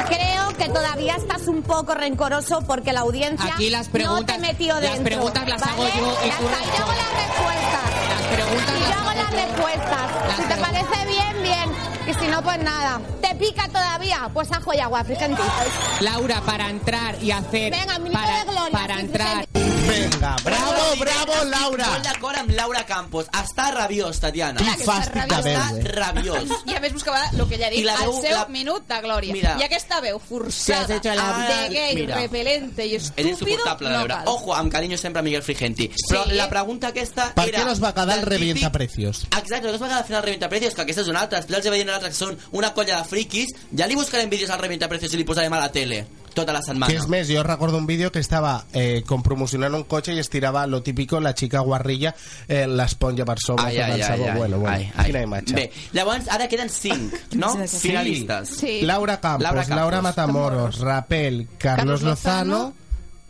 creo que todavía estás un poco rencoroso porque la audiencia Aquí las no te preguntas- metió las dentro. preguntas las hago yo y Las- tú las- yo hago las respuestas. Las preguntas Y yo las hago hago las yo. respuestas. Las Si te preguntas. parece bien, bien. Y si no, pues nada. ¿Te pica todavía? Pues ajo y agua, fíjate. Laura, para entrar y hacer... Venga, minuto para, de gloria, para sí, entrar... Venga, bravo, bravo, Molt Laura d'acord amb Laura Campos. Està rabiós, Tatiana. Quin està fàstic de rabiós. Està veus, eh? rabiós. I a més buscava el que ja I dic, la el veu- seu la- minut de glòria. Mira. I aquesta veu Te forçada, has hecho la- Ah, de gay, Mira. repelente i És estúpido, insuportable de no veure. cal. Ojo, amb carinyo sempre a Miguel Frigenti. Però la pregunta aquesta Per era... què no es va quedar el del revienta típic- precios? Exacte, el que es va quedar al final revienta precios, que aquesta és una altra. Després els veient l'altra, que són una colla de friquis. Ja li buscarem vídeos al revienta precios i li posarem a la tele tota la Que és setmana. més, jo recordo un vídeo que estava eh, com promocionant un cotxe i estirava lo típico, la xica guarrilla, eh, l'esponja per sobre. Ai, que ai, pensava, ai, ai, bueno, bueno, ai, ai. Quina imatge. Bé, llavors ara queden 5, no? Sí. Finalistes. Sí. Laura Campos, Laura Laura, Campos. Matamoros, Rapel, Carlos, Carlos Lozano... Lozano,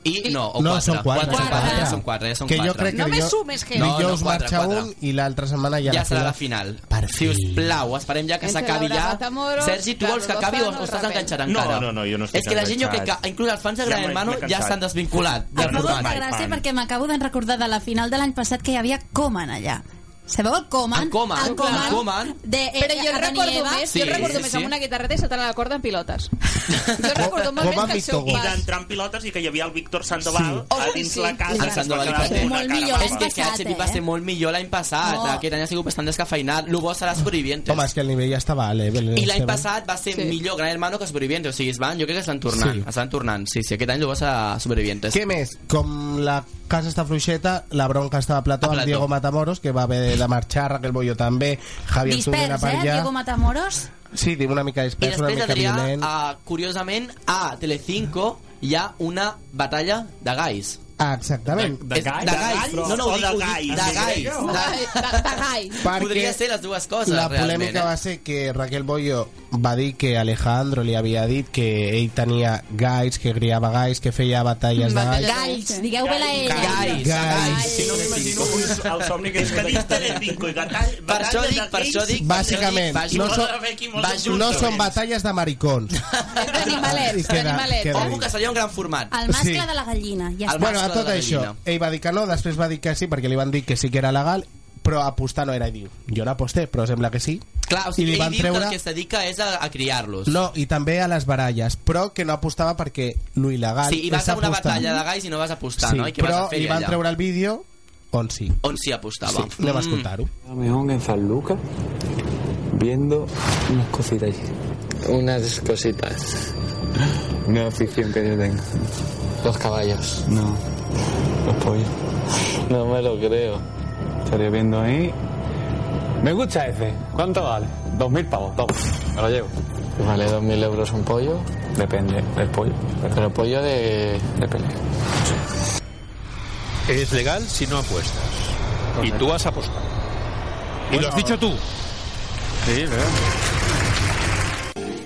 I no, o no, quatre. són quatre. Quatre, Quatre. Ja són quatre, ja són que quatre. jo crec que No me dillo- sumes, jefe. No, Dijous no, quatre, marxa quatre. un i l'altra setmana ja, ja serà la final. Per si us plau, esperem ja que Entre s'acabi Laura ja. Matamoros, Sergi, tu vols que Carlos acabi o, Lozano, o estàs Rafael. enganxat No, encara? no, no, jo no estic És que la gent jo crec que, enganxat. inclús els fans de Ja Gran m'he- Hermano m'he cansat. ja s'han desvinculat. Em del fa molta programa. gràcia fan. perquè m'acabo de recordar de la final de l'any passat que hi havia Coman allà. Sabeu el Coman? El Coman, el clar. Coman, El Coman. De, eh, Però jo Adán i recordo Eva. més, Sí, jo recordo sí, més sí. amb una guitarreta i saltant a la corda en pilotes. Jo recordo molt com més a que el seu Victor I pas. d'entrar en pilotes i que hi havia el Víctor Sandoval Sí. a dins Sí. la casa. El que es va Sandoval quedar i Pepe. amb una Molt cara millor, mafa. És que passat, HTV eh? va ser molt millor l'any passat. No. Aquest any ha sigut bastant descafeinat. Lo bo serà Supervivientes. Home, és que el nivell ja estava a l'Evel. I l'any passat va ser Sí. millor Gran Hermano que Supervivientes. O sigui, es van, jo crec que estan tornant. Sí. Estan tornant. Sí, sí, aquest any lo bo serà Supervivientes. Què més? Com la casa està fluixeta, la bronca està a plató, A plató. a plató. Diego Matamoros, que va haver de marxar, Raquel Bollo també, Javier Zúñiga Dispers, per eh? allà. Diego Matamoros. Sí, tinc una mica I dispers, una després, mica Adrià, violent. uh, curiosament, a Telecinco hi ha una batalla de gais. Ah, exactament. De És- gais? De De gais? gais, No, no, o ho dic, de ho dic, gais? de gais. Ai, De- de- de gai. Perquè Podria ser les dues coses, La realment, polèmica eh? va ser que Raquel Bollo va dir que Alejandro li havia dit que ell tenia gais, que criava gais, que feia batalles de Batalles. gais. Galls, digueu-ho a ella. Gais, Gais. gais. Si no m'imagino el somni que És que dins Telecinco i batall... Per això dic, per això dic... Bàsicament, per això dic, no va són- junta, va junta. No són batalles de maricons. Animalets, I queda- animalets. queda Ojo, que seria un gran format. El mascle Sí. de la gallina. Ja El està. Bueno, mascle a de tot la això, gallina. ell va dir que no, després va dir que sí, perquè li van dir que sí que era legal, però apostar no era, i diu, jo no aposté, però sembla que sí. Clar, o sigui, I li ell van diu que treure... el que es dedica és a, a criar-los. No, i també a les baralles, però que no apostava perquè lo il·legal Sí, i vas és a una apostar. batalla de gais i no vas apostar, sí, no? I què vas però a fer li van allà? treure el vídeo on sí. On s'hi apostava. Mm. Sí, anem a escoltar-ho. Me hongo en San Lucas viendo unas cositas allí. Unas cositas. Una afición que yo tengo. Los caballos. No. Los pollos. No me lo creo. Estaría viendo ahí Me gusta ese. ¿Cuánto vale? Dos mil pavos, dos. Me lo llevo. Vale dos mil euros un pollo. Depende del pollo. Pero pollo de, de pelea. Es legal si no apuestas. Y tú has apostado. Y lo has dicho tú. Sí,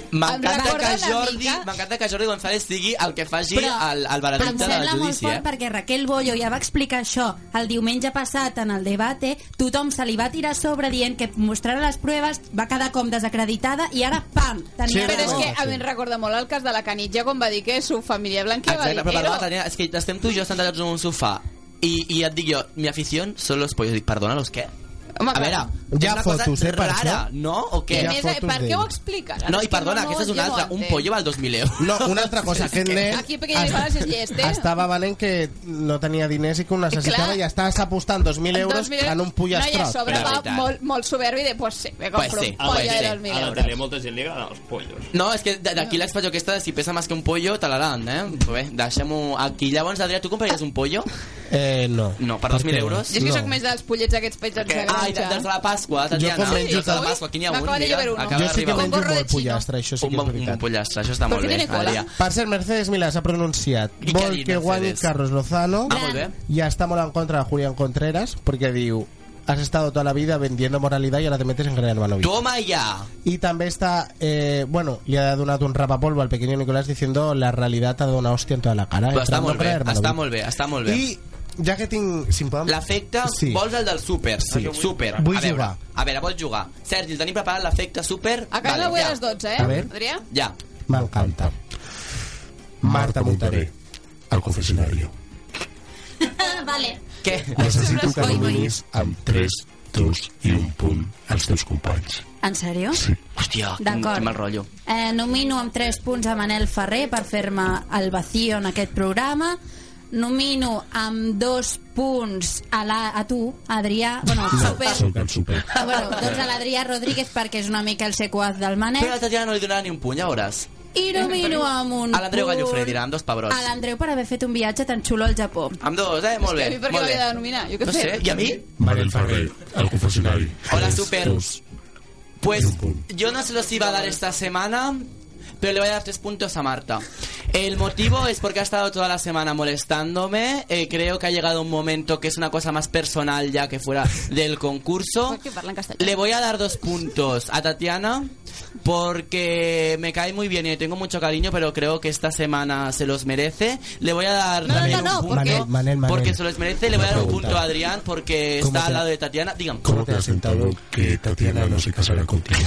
Em M'encanta recorda que, una Jordi, mica- m'encanta que Jordi González sigui el que faci Però el, el Em veredicte del sembla molt judici, fort eh? perquè Raquel Bollo ja va explicar això el diumenge passat en el debate, tothom se li va tirar a sobre dient que mostrarà les proves, va quedar com desacreditada i ara, pam, tenia Però és raó. que a mi em recorda molt el cas de la Canitja quan va dir que su família blanquia va Exacte, dir però "Ero". perdona, Tania, és que estem tu i jo sentats en un sofà i, i et dic jo, mi afición són los pollos. Dic, perdona, los què? Home, a clar. veure, Ja és una cosa fotos, eh, per rara, això. no? O què? I a més, eh, per què ho expliques? No, i perdona, aquesta és una altra. Un pollo val 2.000 euros. No, una altra cosa, aquest nen eh. Aquí Pequeñas Balas es llest, eh? estava valent que no tenia diners i que ho necessitava Clar. i estaves apostant 2.000 euros en un No, i a pollastroc. sobre va molt, molt soberbi de, pues sí, me compro un pollo de 2.000 A la euros. tele molta gent li agraden els pollos. No, és que d- d'aquí l'expressió aquesta de si pesa més que un pollo, te la dan, eh? Bé, deixem-ho aquí. Llavors, Adrià, tu compraries un pollo? Eh, no. No, per Per 2.000 què? euros? Jo és que sóc més dels pollets aquests pets eh? en Ah, i dels de la Pasqua, Tatiana. com menjo dels de la tant- Pasqua, aquí n'hi ha un. M'acaba de mira. llevar uno. Acaba Jo sí que d'arribar un. menjo molt pollastre, això sí que és veritat. Un pollastre, això està Però molt que bé, tiene cola. Adrià. Per cert, Mercedes Milà s'ha pronunciat. I què ha Vol dit que guanyi Mercedes? Carlos Lozano. Ah, molt bé. I està molt en contra de Julián Contreras perquè diu has estado toda la vida vendiendo moralidad y ahora te metes en Gran Hermano VIP". Toma ya. Y también está, eh, bueno, le ha donado un rapapolvo al pequeño Nicolás diciendo la realidad te ha dado una hostia en toda la cara. Em Però està entrando molt en Gran bé, Hermano està VIP. molt bé, està molt bé. I ja que tinc... Si em poden... L'efecte, Sí. vols el del súper? Sí. Súper. Vull a veure, jugar. A veure, vols jugar. Sergi, el tenim preparat l'efecte súper? Acabem avui a les 12, eh? A ver. Adrià? Ja. M'encanta. Marta Montaré. al confessionario. vale. Què? Necessito que Oi, oi. dominis amb 3, 2 i un punt als teus companys. En sèrio? Sí. Hòstia, quin- D'acord. quin mal rotllo. Eh, nomino amb 3 punts a Manel Ferrer per fer-me el vacío en aquest programa. Nomino amb dos punts a, la, a tu, Adrià, bueno, super, Soc el super. Ah, bueno, doncs a l'Adrià Rodríguez perquè és una mica el sequaz del Manel Però a la Tatiana no li donarà ni un puny, ja veuràs. i nomino amb un A l'Andreu Gallofré diran dos pebrots. a l'Andreu per haver fet un viatge tan xulo al Japó Amb dos, eh? Molt És bé. que a mi per què molt m'havia bé. de denominar? Jo què no sé. sé, i a mi? Manel Ferrer, al confessionari. Hola, Super. Pues yo no se los iba a dar esta semana, pero le voy a dar tres puntos a Marta. El motivo es porque ha estado toda la semana molestándome. eh, creo que ha llegado un momento que es una cosa más personal ya que fuera del concurso. Que parla en castellà. Le voy a dar dos puntos a Tatiana porque me cae muy bien y le tengo mucho cariño, pero creo que esta semana se los merece. Le voy a dar No, no, también no, no, un punto porque- Manel, Manel, Manel. porque se los merece. Le voy a dar un pregunta. punto a Adrián porque ¿Cómo está te- al lado de Tatiana. Digan. ¿Cómo te has sentado que Tatiana no se casará contigo?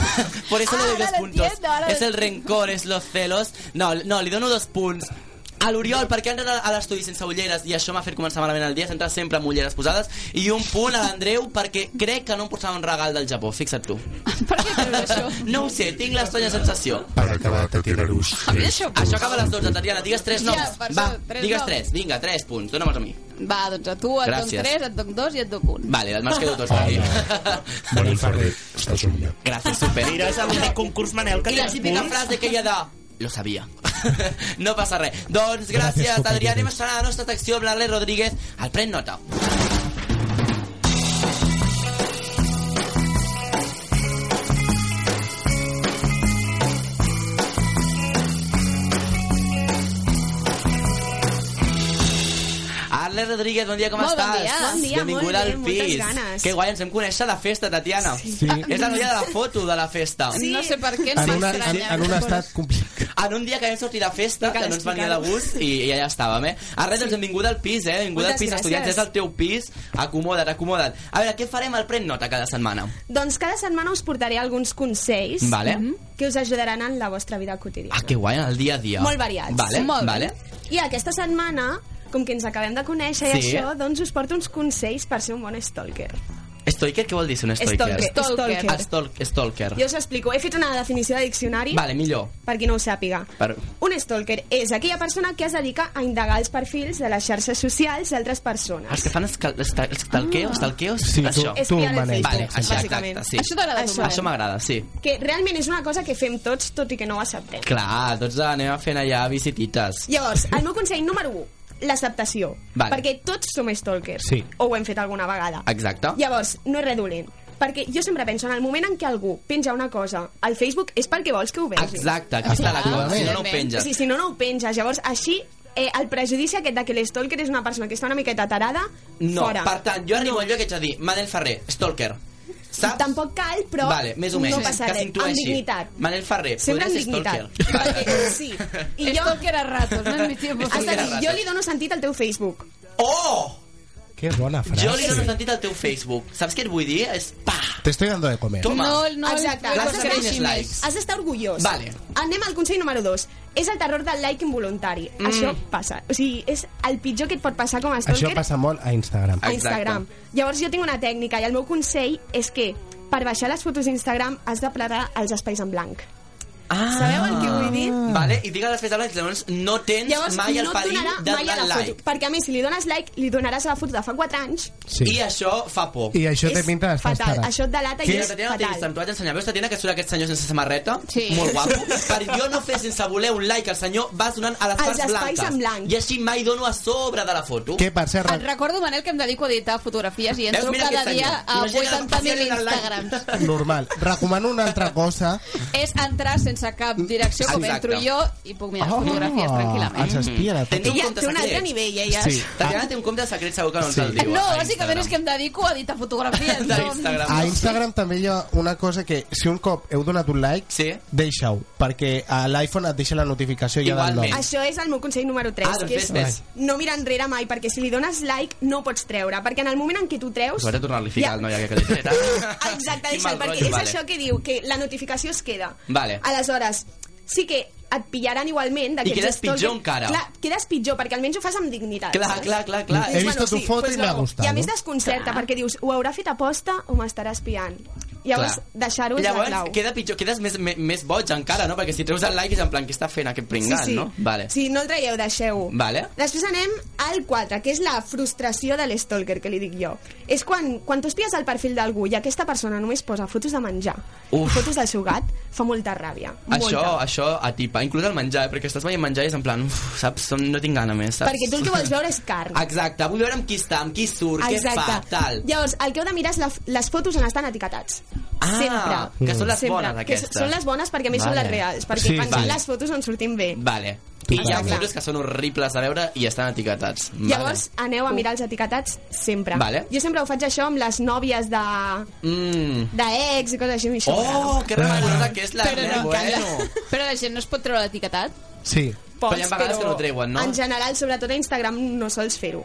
Por eso le doy dos lo puntos. entiendo, ahora lo es el rencor, es los celos. No, no, li dono dos punts. A l'Oriol, perquè ha entrat a l'estudi sense ulleres i això m'ha fet començar malament el dia, s'entra sempre amb ulleres posades, i un punt a l'Andreu perquè crec que no em portava un regal del Japó, fixa't tu. Per què creus això? No ho sé, tinc l'estranya sensació. Para acabar, Tatiana Rus. tres, Deixa-ho. Això acaba a les 12, Tatiana, digues 3 Ja, noms. per Va, això, tres digues noms. 3, vinga, 3 punts, dona'm a mi. Va, doncs a tu et dono Gràcies. 3, et dono 2 i et dono 1. Vale, me'ls quedo tots per aquí. Manel Ferrer, estàs somiat. Gràcies, super. Mira, és l'únic concurs, Manel, que I la tens típica punts. frase que ella da Lo sabia. no passa res. Doncs gràcies, Gràcies, gràcies Adrià. compañeros. Anem a estrenar la nostra secció Blanle Rodríguez al Pren Nota. Arle Rodríguez, bon dia, com Molt bon estàs? dia. Bon dia, molt Benvinguda bé, al moltes pis. ganes. Que guai, ens vam conèixer a la festa, Tatiana. Sí. És la noia de la foto de la festa. No sé per què ens En, una, en, m'estranya. en un estat complicat. En un dia que vam sortir de festa, Cal que no ens venia de explicar-ho. gust, i, i allà estàvem, eh? Ara, res, doncs, benvinguda al pis, eh? Benvinguda al Moltes pis, gràcies. estudiants, és el teu pis. Acomoda't, acomoda't. A veure, què farem al Pren Nota cada setmana? Doncs cada setmana us portaré alguns consells Vale. Mhm. que us ajudaran en la vostra vida quotidiana. Ah, que guai, el dia a dia. Molt variats. Vale, Molt bé. vale. I aquesta setmana, com que ens acabem de conèixer Sí. i això, doncs us porto uns consells per ser un bon stalker. Stalker, què vol dir ser un stalker? Stalker, stalker. Ah, stalk, stalker. Jo us explico. He fet una definició de diccionari Vale, millor. per qui no ho sàpiga. Per... Un stalker és aquella persona que es dedica a indagar els perfils de les xarxes socials d'altres persones. Els que fan escal- estal- estalqueo, estalqueos? Sí, tu- això. tu, Espiar el Manel, Vale, per això, Ah. bàsicament. exacte, sí. Això t'agrada, tu, Manel? Això m'agrada, sí. Que realment és una cosa que fem tots, tot i que no ho acceptem. Clar, tots anem fent allà visitites. Llavors, el meu consell número 1, l'acceptació. Vale. Perquè tots som stalkers. Sí. O ho hem fet alguna vegada. Exacte. Llavors, no és res dolent. Perquè jo sempre penso, en el moment en què algú penja una cosa al Facebook és perquè vols que ho vegi. Exacte, aquí està la clau, si no, no ho penges. Sí, si no, no ho penges. Llavors, així, eh, el prejudici aquest de que l'estalker és una persona que està una miqueta tarada, No, fora. per tant, jo arribo al lloc que ets a dir Manel Ferrer, stalker. Saps? Tampoc cal, però vale, més o menys, no passa que res. s'intueixi. Amb dignitat. Manel Ferrer, Sempre amb podria ser dignitat. stalker. Sí. I jo... Stalker a ratos, no en mi tiempo. Stalker a ratos. Jo li dono sentit al teu Facebook. Oh! Qué bona frase. Jo li dono sentit al teu Facebook. Saps què et vull dir? És pa! Te estoy dando de comer. Toma. no, Exacte. no Has tens d'estar- likes. Has d'estar orgullós. Vale. Anem al consell número 2. És el terror del like involuntari. Mm. Això passa. O sigui, és el pitjor que et pot passar com a stalker. Això passa molt a Instagram. Ah, a Instagram. Llavors jo tinc una tècnica i el meu consell és que per baixar les fotos d'Instagram has de plegar els espais en blanc. Ah. Sabeu el que vull dir? Vale, i digue després de like, llavors no tens Llavors mai el no et perill donarà de mai a la donar like. foto, perquè a més si li dones like li donaràs a la foto de fa 4 anys. Sí. I això fa por. I això té pinta d'estar fatal. estarà. Això et delata i Sí, és la Tatiana fatal. Ortiz, em tu vaig ensenyar. Veus, Tatiana, que surt aquest senyor sense samarreta? Sí. Molt guapo. Per jo no fer sense voler un like al senyor, vas donant a les Als parts espais blanques. en blanc. I així mai dono a sobre de la foto. Què per ser... Et recordo, Manel, que em dedico a editar fotografies i Veus, entro mira cada aquest dia senyor. a Imagina't el 80.000 parcial en el Instagrams. Normal. Recomano una altra cosa. És entrar sense cap direcció, com Exacte. entro jo, i puc mirar Ah, oh. fotografies tranquil·lament. Ens espia la Tens un Ella compte té un altre secret. nivell, ella. Ah. Sí. Tatiana té un compte secret, segur que no ens el diu. No, a bàsicament és que em dedico a editar fotografies. Instagram. no? Instagram. A Instagram també hi ha una cosa que si un cop heu donat un like, sí. deixa-ho, perquè a l'iPhone et deixa la notificació ja del nom. Això és el meu consell número 3, Ah, doncs que ves, és ves. no mirar enrere mai, perquè si li dones like no pots treure, perquè en el moment en què tu treus... S'ho ha de tornar-li a ficar el noi aquest que l'he tret. Exacte, Quin deixa'l, mal perquè rotllo, és vale. això que diu, que la notificació es queda. Vale. Aleshores, sí que et pillaran igualment d'aquests I quedes gestos pitjor que- encara. Clar, quedes pitjor, perquè almenys ho fas amb dignitat. Clar, saps? clar, clar, clar. Dius, He visto tu foto pues i m'ha luego. gustat, I a més no? desconcerta, perquè dius, ho haurà fet aposta o m'estarà espiant? Llavors, Clar. deixar-ho és la Llavors, clau. queda pitjor, quedes més, més, més boig encara, no? Perquè si treus el like és en plan, què està fent aquest pringat, Sí, sí. no? Vale. Si no el traieu, deixeu-ho. Vale. Després anem al 4, que és la frustració de l'estalker, que li dic jo. És quan, quan tu espies el perfil d'algú i aquesta persona només posa fotos de menjar Uf. i fotos del seu gat, fa molta ràbia. Això, Molta. això atipa, inclús el menjar, eh? perquè estàs veient menjar i és en plan, uf, saps, som- no tinc gana més, saps? Perquè tu el que vols veure és carn. Exacte, vull veure amb qui està, amb qui surt, què fa, tal. Llavors, el que heu de mirar és la, les fotos on estan etiquetats. Ah, Sempre. que són les Sempre. bones, Que s- aquestes. són les bones perquè a més Vale. són les reals, perquè Sí, sí, pensem vale. les fotos on sortim bé. Vale. I hi ha fotos que són horribles de veure i estan etiquetats. Vale. Llavors, aneu a mirar els etiquetats sempre. Vale. Jo sempre ho faig això amb les nòvies de... Mm. d'ex i coses així. Això Oh, Ah. que remalosa que és la eh? Però, Ner no, Bueno. però la gent no es pot treure l'etiquetat? Sí. Però hi ha vegades que no treuen, no? En general, sobretot a Instagram, no sols fer-ho.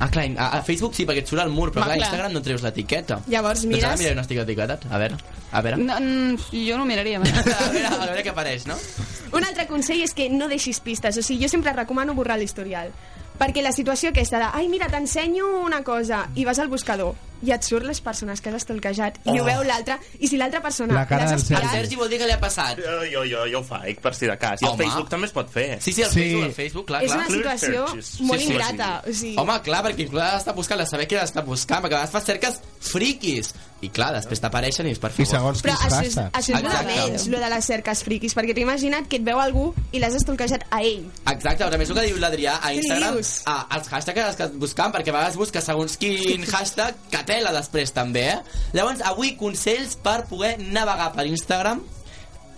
Ah, clar, a, a Facebook sí, perquè et surt al mur, però Va, clar, a clar. Instagram no treus l'etiqueta. Llavors Doncs ara mires- miraré on estic etiquetat. A veure, a veure. No, mm, jo no ho miraria. eh? mai. A veure, a veure què apareix, no? Un altre consell és que no deixis pistes. O sigui, jo sempre recomano borrar l'historial. Perquè la situació aquesta de ai, mira, t'ensenyo una cosa i vas al buscador i et surt les persones que has estolquejat i Oh. ho veu l'altra i si l'altra persona La cara l'has del espiat, Sergi. Sergi vol dir que li ha passat. Jo, jo, jo, jo ho faig, per si de cas. I el Home. Facebook també es pot fer. Sí, sí, el Sí. Facebook, el Facebook, clar, és una situació molt ingrata. O sigui, Home, clar, perquè inclús has de buscar, de saber què has de buscar, perquè a vegades fas cerques friquis. I clar, després t'apareixen i és per favor. I segons Però això és, això és lo de menys, lo de les cerques friquis, perquè t'he imaginat que et veu algú i l'has estolquejat a ell. Exacte, però a més el que diu l'Adrià a Què Instagram, dius? a, els hashtags que estàs buscant, perquè a vegades busques segons quin hashtag, que tela després també, eh? Llavors, avui consells per poder navegar per Instagram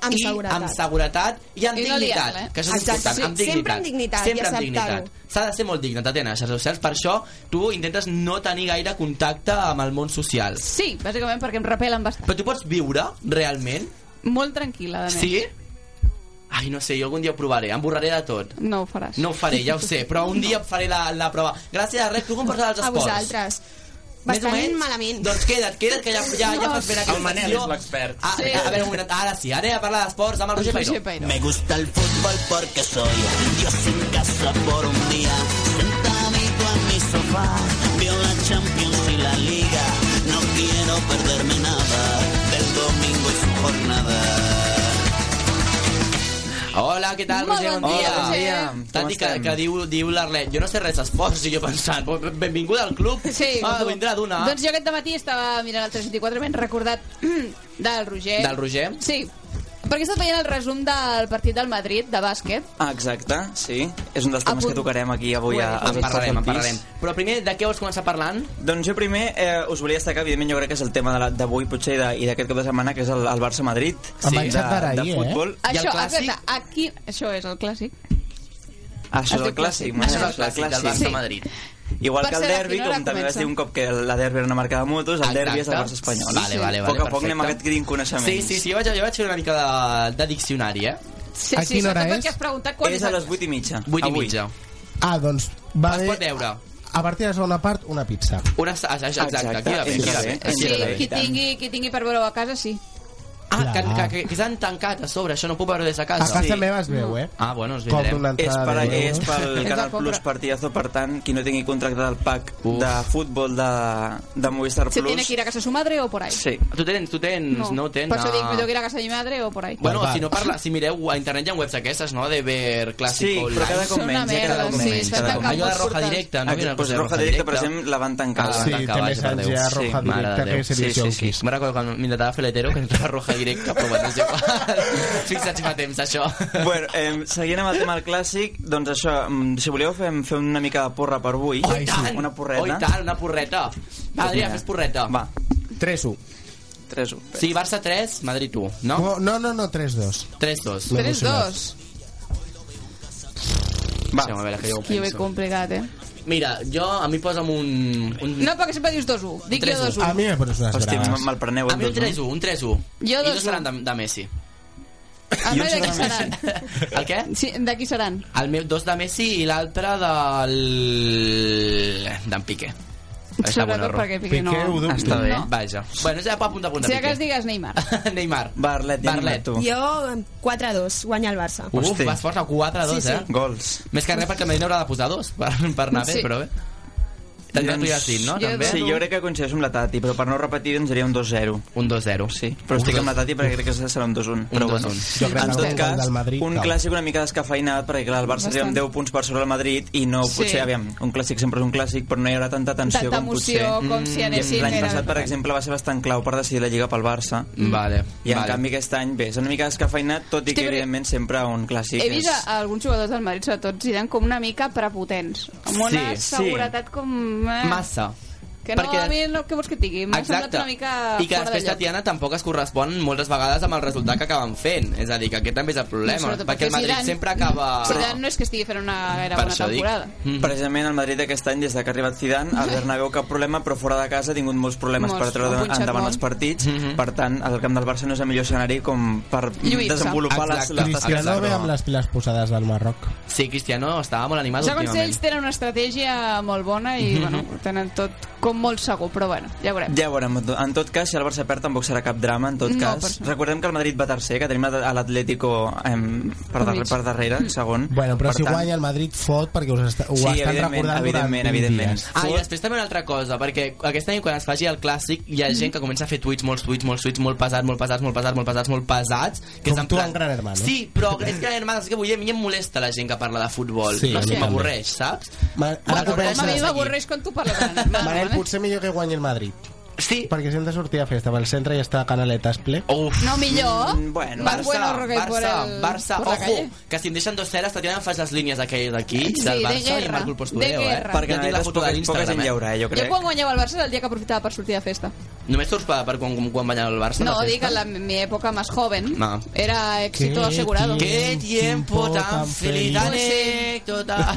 Amb i seguretat. amb seguretat i amb I no dignitat, liar-la, eh? que això és Exacte, important, sí, amb dignitat. sempre amb dignitat i Sempre amb acceptar-ho. dignitat. S'ha de ser molt digne, Tatiana, a les redes socials, per això tu intentes no tenir gaire contacte amb el món social. Sí, bàsicament perquè em repelen bastant. Però tu pots viure, realment? Molt tranquil·la, de més. Sí? Ai, no sé, jo algun dia ho provaré, em borraré de tot. No ho faràs. No ho faré, ja ho sé, però un dia faré la, la prova. Gràcies, Rec, tu com pots els A esports? vosaltres. Més o Bastant menys? malament. Doncs queda't, queda't, que ja, ja, ja pots fer aquesta El Manel secció. és l'expert. Ah, sí. a veure, un moment, ara sí, ara ja parla d'esports amb el Roger Pairó. Me gusta el fútbol porque soy un dios en casa por un día. Sentadito en mi sofá, veo la Champions y la Liga. No quiero perderme nada del domingo y su jornada. Hola, què tal, Molt Roger? bon dia, Hola, Roger. Tati, que, estem? que diu, diu l'Arlet, jo no sé res d'esports, i jo pensant, "Bon- benvinguda al club. Sí, ah, tu. vindrà d'una. Doncs jo aquest matí estava mirant el 324 i m'he recordat del Roger. Del Roger? Sí. Perquè he estat veient el resum del partit del Madrid de bàsquet. Ah, Exacte, sí. És un dels temes Apunt. que tocarem aquí avui a, a eh, doncs, En parlarem, en Pis. parlarem. Però primer, de què vols començar parlant? Doncs jo primer eh, us volia destacar, evidentment jo crec que és el tema de la- d'avui potser i de- i d'aquest cap de setmana, que és el, el Barça-Madrid. Em va de, enxatar de ahir, eh? futbol. I el Això, ah, clàssic, exacte, aquí... Això és el clàssic. Ah, Això és diu el clàssic, clàssic. Manel, Això és el clàssic del Barça-Madrid. Igual Per que el ser la derbi, quina hora com també vas comença? dir un cop que la derbi era una marca de motos, el derbi és el Exacte. Barça-Espanyol. Vale, A vale, vale, poc a poc anem perfecte. aquest adquirint Sí, coneixements. sí, sí, jo vaig, jo vaig fer una mica de, de diccionari, eh? Sí, sí, sobretot perquè has preguntat quan és, a les 8 i mitja. 8 i mitja. Ah, doncs va Es pot bé. veure. A partir de la segona part, una pizza. Una, exacte, exacte, exacte, aquí la ve, aquí la ve. Aquí la Qui ve. tingui, qui tingui per veure-ho a casa, sí. Ah, que, que, que, que s'han tancat a sobre, això no ho puc veure des de casa. A casa meva es veu, eh? Ah, bueno, es Cobro una vindrem. És, per, entrada és pel Ens la Canal compra. Plus partidazo, per tant, qui no tingui contracte del pack de futbol de, de Movistar Se tiene Plus... que ir a casa su madre o por ahí. Sí. Tu tens, tu tens, no, ho tens. Per això dic, ah. millor que ir a casa de mi madre o por ahí. Bueno, si no parla, si mireu a internet hi ha webs aquestes, no? De ver clàssic Sí, online. però cada cop Són una menys, eh, merda, cada cop sí, menys. s'han Cada cop. tancat Allò de Roja portals. Directa, no? Hi ha Aquest, una cosa pues, de Roja Ah, Roja Directa, per Directa. exemple, la van tancar. Ah, la la van van tancar, tancar, vaja, vaja, per Déu. Déu. Sí, mare de Déu. sí, sí, sí, sí. Me'n recordo quan m'intentava fer l'hetero que entrava roja directa, però bueno, és igual. Fixats fa temps, això. Bueno, eh, seguint amb el tema del clàssic, doncs això, mm, si voleu fem, fem una mica de porra per avui. Oh, i tant! Una porreta. Oh, i tant, una porreta. Va, Adrià, fes porreta. Va. 3-1. 3-1. Sí, Barça 3, Madrid 1, no? No, Oh, no, no, no 3-2. 3-2. M'he emocionat. Va. Sí, a veure, que jo ho Que jo he penso. complicat, eh? Mira, jo, a mi posa'm un... un No, perquè sempre dius 2-1. Dic jo 2-1. mi me pones unes Hòstia, braves. me- me'l preneu. A mi un 3-1, un 3-1. Jo I dos dos, Ah, seran de, de Messi. El meu d'aquí seran. El què? Sí, d'aquí seran. El meu dos de Messi i l'altre del... d'en Piqué. Està bon Sobretot error. perquè Piqué no... Està bé, No. vaja. Bueno, ja pot apuntar a punt de Si de cas Piqué. digues Neymar. Neymar. Barlet, Barlet. Jo, 4-2, guanya el Barça. Uf, vas fort a 4 2, Sí, sí. eh? Gols. Més que res perquè el Medina haurà de posar dos per, per anar bé, Sí. però bé. Doncs Tindrà tu i el Cid, no? També? Sí, Doncs jo crec que coincideixo amb la Tati, però per no repetir doncs seria un 2-0. Un 2-0. Sí, però estic amb la Tati perquè crec que serà un 2-1. Però bueno, 2-1. Jo crec que en el tot gol cas, del Madrid un cau. clàssic una mica descafeinat, perquè clar, el Barça seria amb Bastant. 10 punts per sobre el Madrid i no, Sí. potser, aviam, un clàssic sempre és un clàssic, però no hi haurà tanta tensió Tanta com potser. Mm. emoció com si anessin L'any era- passat, per exemple, va ser bastant clau per decidir la Lliga pel Barça. Vale. I en vale. canvi aquest any, bé, és una mica descafeinat, tot i que evidentment sempre un clàssic He vist és... a alguns jugadors del Madrid, sobretot Zidane, com una mica prepotents. Amb una Sí, sí. seguretat com... Eh, Massa. Que no, perquè- a mi no, què vols que et digui? M'ha semblat Exacte. una mica I que fora de després lloc. Tatiana tampoc es correspon moltes vegades amb el resultat que acaben fent. És a dir, que aquest també és el No, problema. sobretot perquè el Madrid Zidane- sempre acaba... Zidane no és que estigui fent una gaire Per bona això dic. Mhm. temporada. Precisament el Madrid aquest any, des de que ha arribat Zidane, el Bernabéu cap problema, però fora de casa ha tingut molts problemes Molts. per treure Ha punxat endavant molt. els partits. Mhm. Per tant, el camp del Barça no és el millor escenari com per Lluir-se. desenvolupar les, les tasques. Cristiano ve però- amb les piles posades del Marroc. Sí, Cristiano estava molt animat Segons últimament. ells tenen una estratègia molt bona i bueno, ho tenen tot com molt segur, però bueno, ja veurem. Ja ho veurem. En tot cas, si el Barça perd, tampoc serà cap drama, en tot No, per cas. sort. Recordem que el Madrid va tercer, que tenim a l'Atlético em, per, darrere, per darrere, segon. Bueno, però per si tant, guanya el Madrid, fot, perquè us està, ho Sí, estan evidentment, recordant evidentment, durant 20 evidentment. dies. Ah, i després també una altra cosa, perquè aquest any quan es faci el clàssic hi ha Mhm. gent que comença a fer tuits, molts tuits, molts tuits, molt pesats, molt pesats, molt pesats, molt pesats, molt pesats... Que Com tu en Gran Hermano. Sí, però és Gran Hermano, és que avui a mi em molesta la gent que parla de futbol. Sí, no a sé, mi m'avorreix, saps? Ma- Ara Home, comença a mi la m'avorreix quan tu parles de Manel, eh? potser millor que guanyi el Madrid. Sí. Perquè si hem de sortir a festa pel centre i està Canaletes ple. Uf. No, millor. bueno, Más bueno, Roque, Mm, Barça, por el- Barça, por la ojo, calle. que si em deixen dos ceres, Tatiana em fas les línies aquelles d'aquí, Sí, del de Barça, i em guerra, marco el de postureo, eh? Perquè guerra. Jo tinc la Canaletes foto poca- de poca gent l'Instagram, hi haurà, eh, jo Jo crec. quan guanyava el Barça era el dia que aprofitava per sortir de festa. Només surts per, per quan, quan guanyar el Barça? No, la dic, festa? en la, mi època más joven No. era éxito asegurado. Qué tiempo tan feliz, anècdota.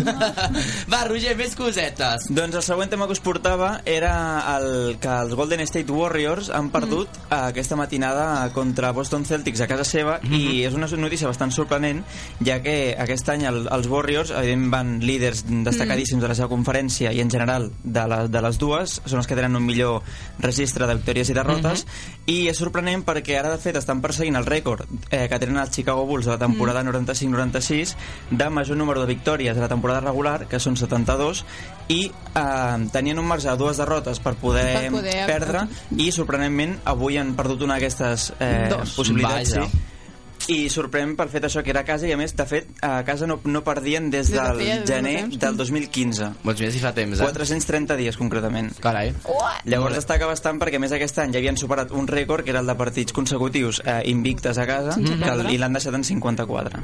Va, Roger, més cosetes. Doncs el següent tema que us portava era el que els Golden State Warriors han perdut mm. aquesta matinada contra Boston Celtics a casa seva mm -hmm. i Mm-hmm. és una notícia bastant sorprenent ja que aquest any el, els Warriors evidentment van líders destacadíssims de la seva conferència i en general de, la, de les dues són els que tenen un millor registre de victòries i derrotes mm -hmm. i és sorprenent perquè ara de fet estan perseguint el rècord eh, que tenen els Chicago Bulls de la temporada Mm. 95-96 de major número de victòries de la temporada regular que són 72 i eh, tenien un marge de dues derrotes per poder, Per poder- perdre i sorprenentment avui han perdut una d'aquestes eh, Dos. possibilitats Vaja. sí. i sorprèn per fet això que era a casa i a més, de fet, a casa no, no perdien des Des de del feia gener molt del temps. 2015 Doncs mira si fa temps, eh? 430 dies concretament Carai. Llavors destaca bastant perquè a més aquest any ja havien superat un rècord que era el de partits consecutius eh, invictes a casa Sense que el- perdre. i l'han deixat en 54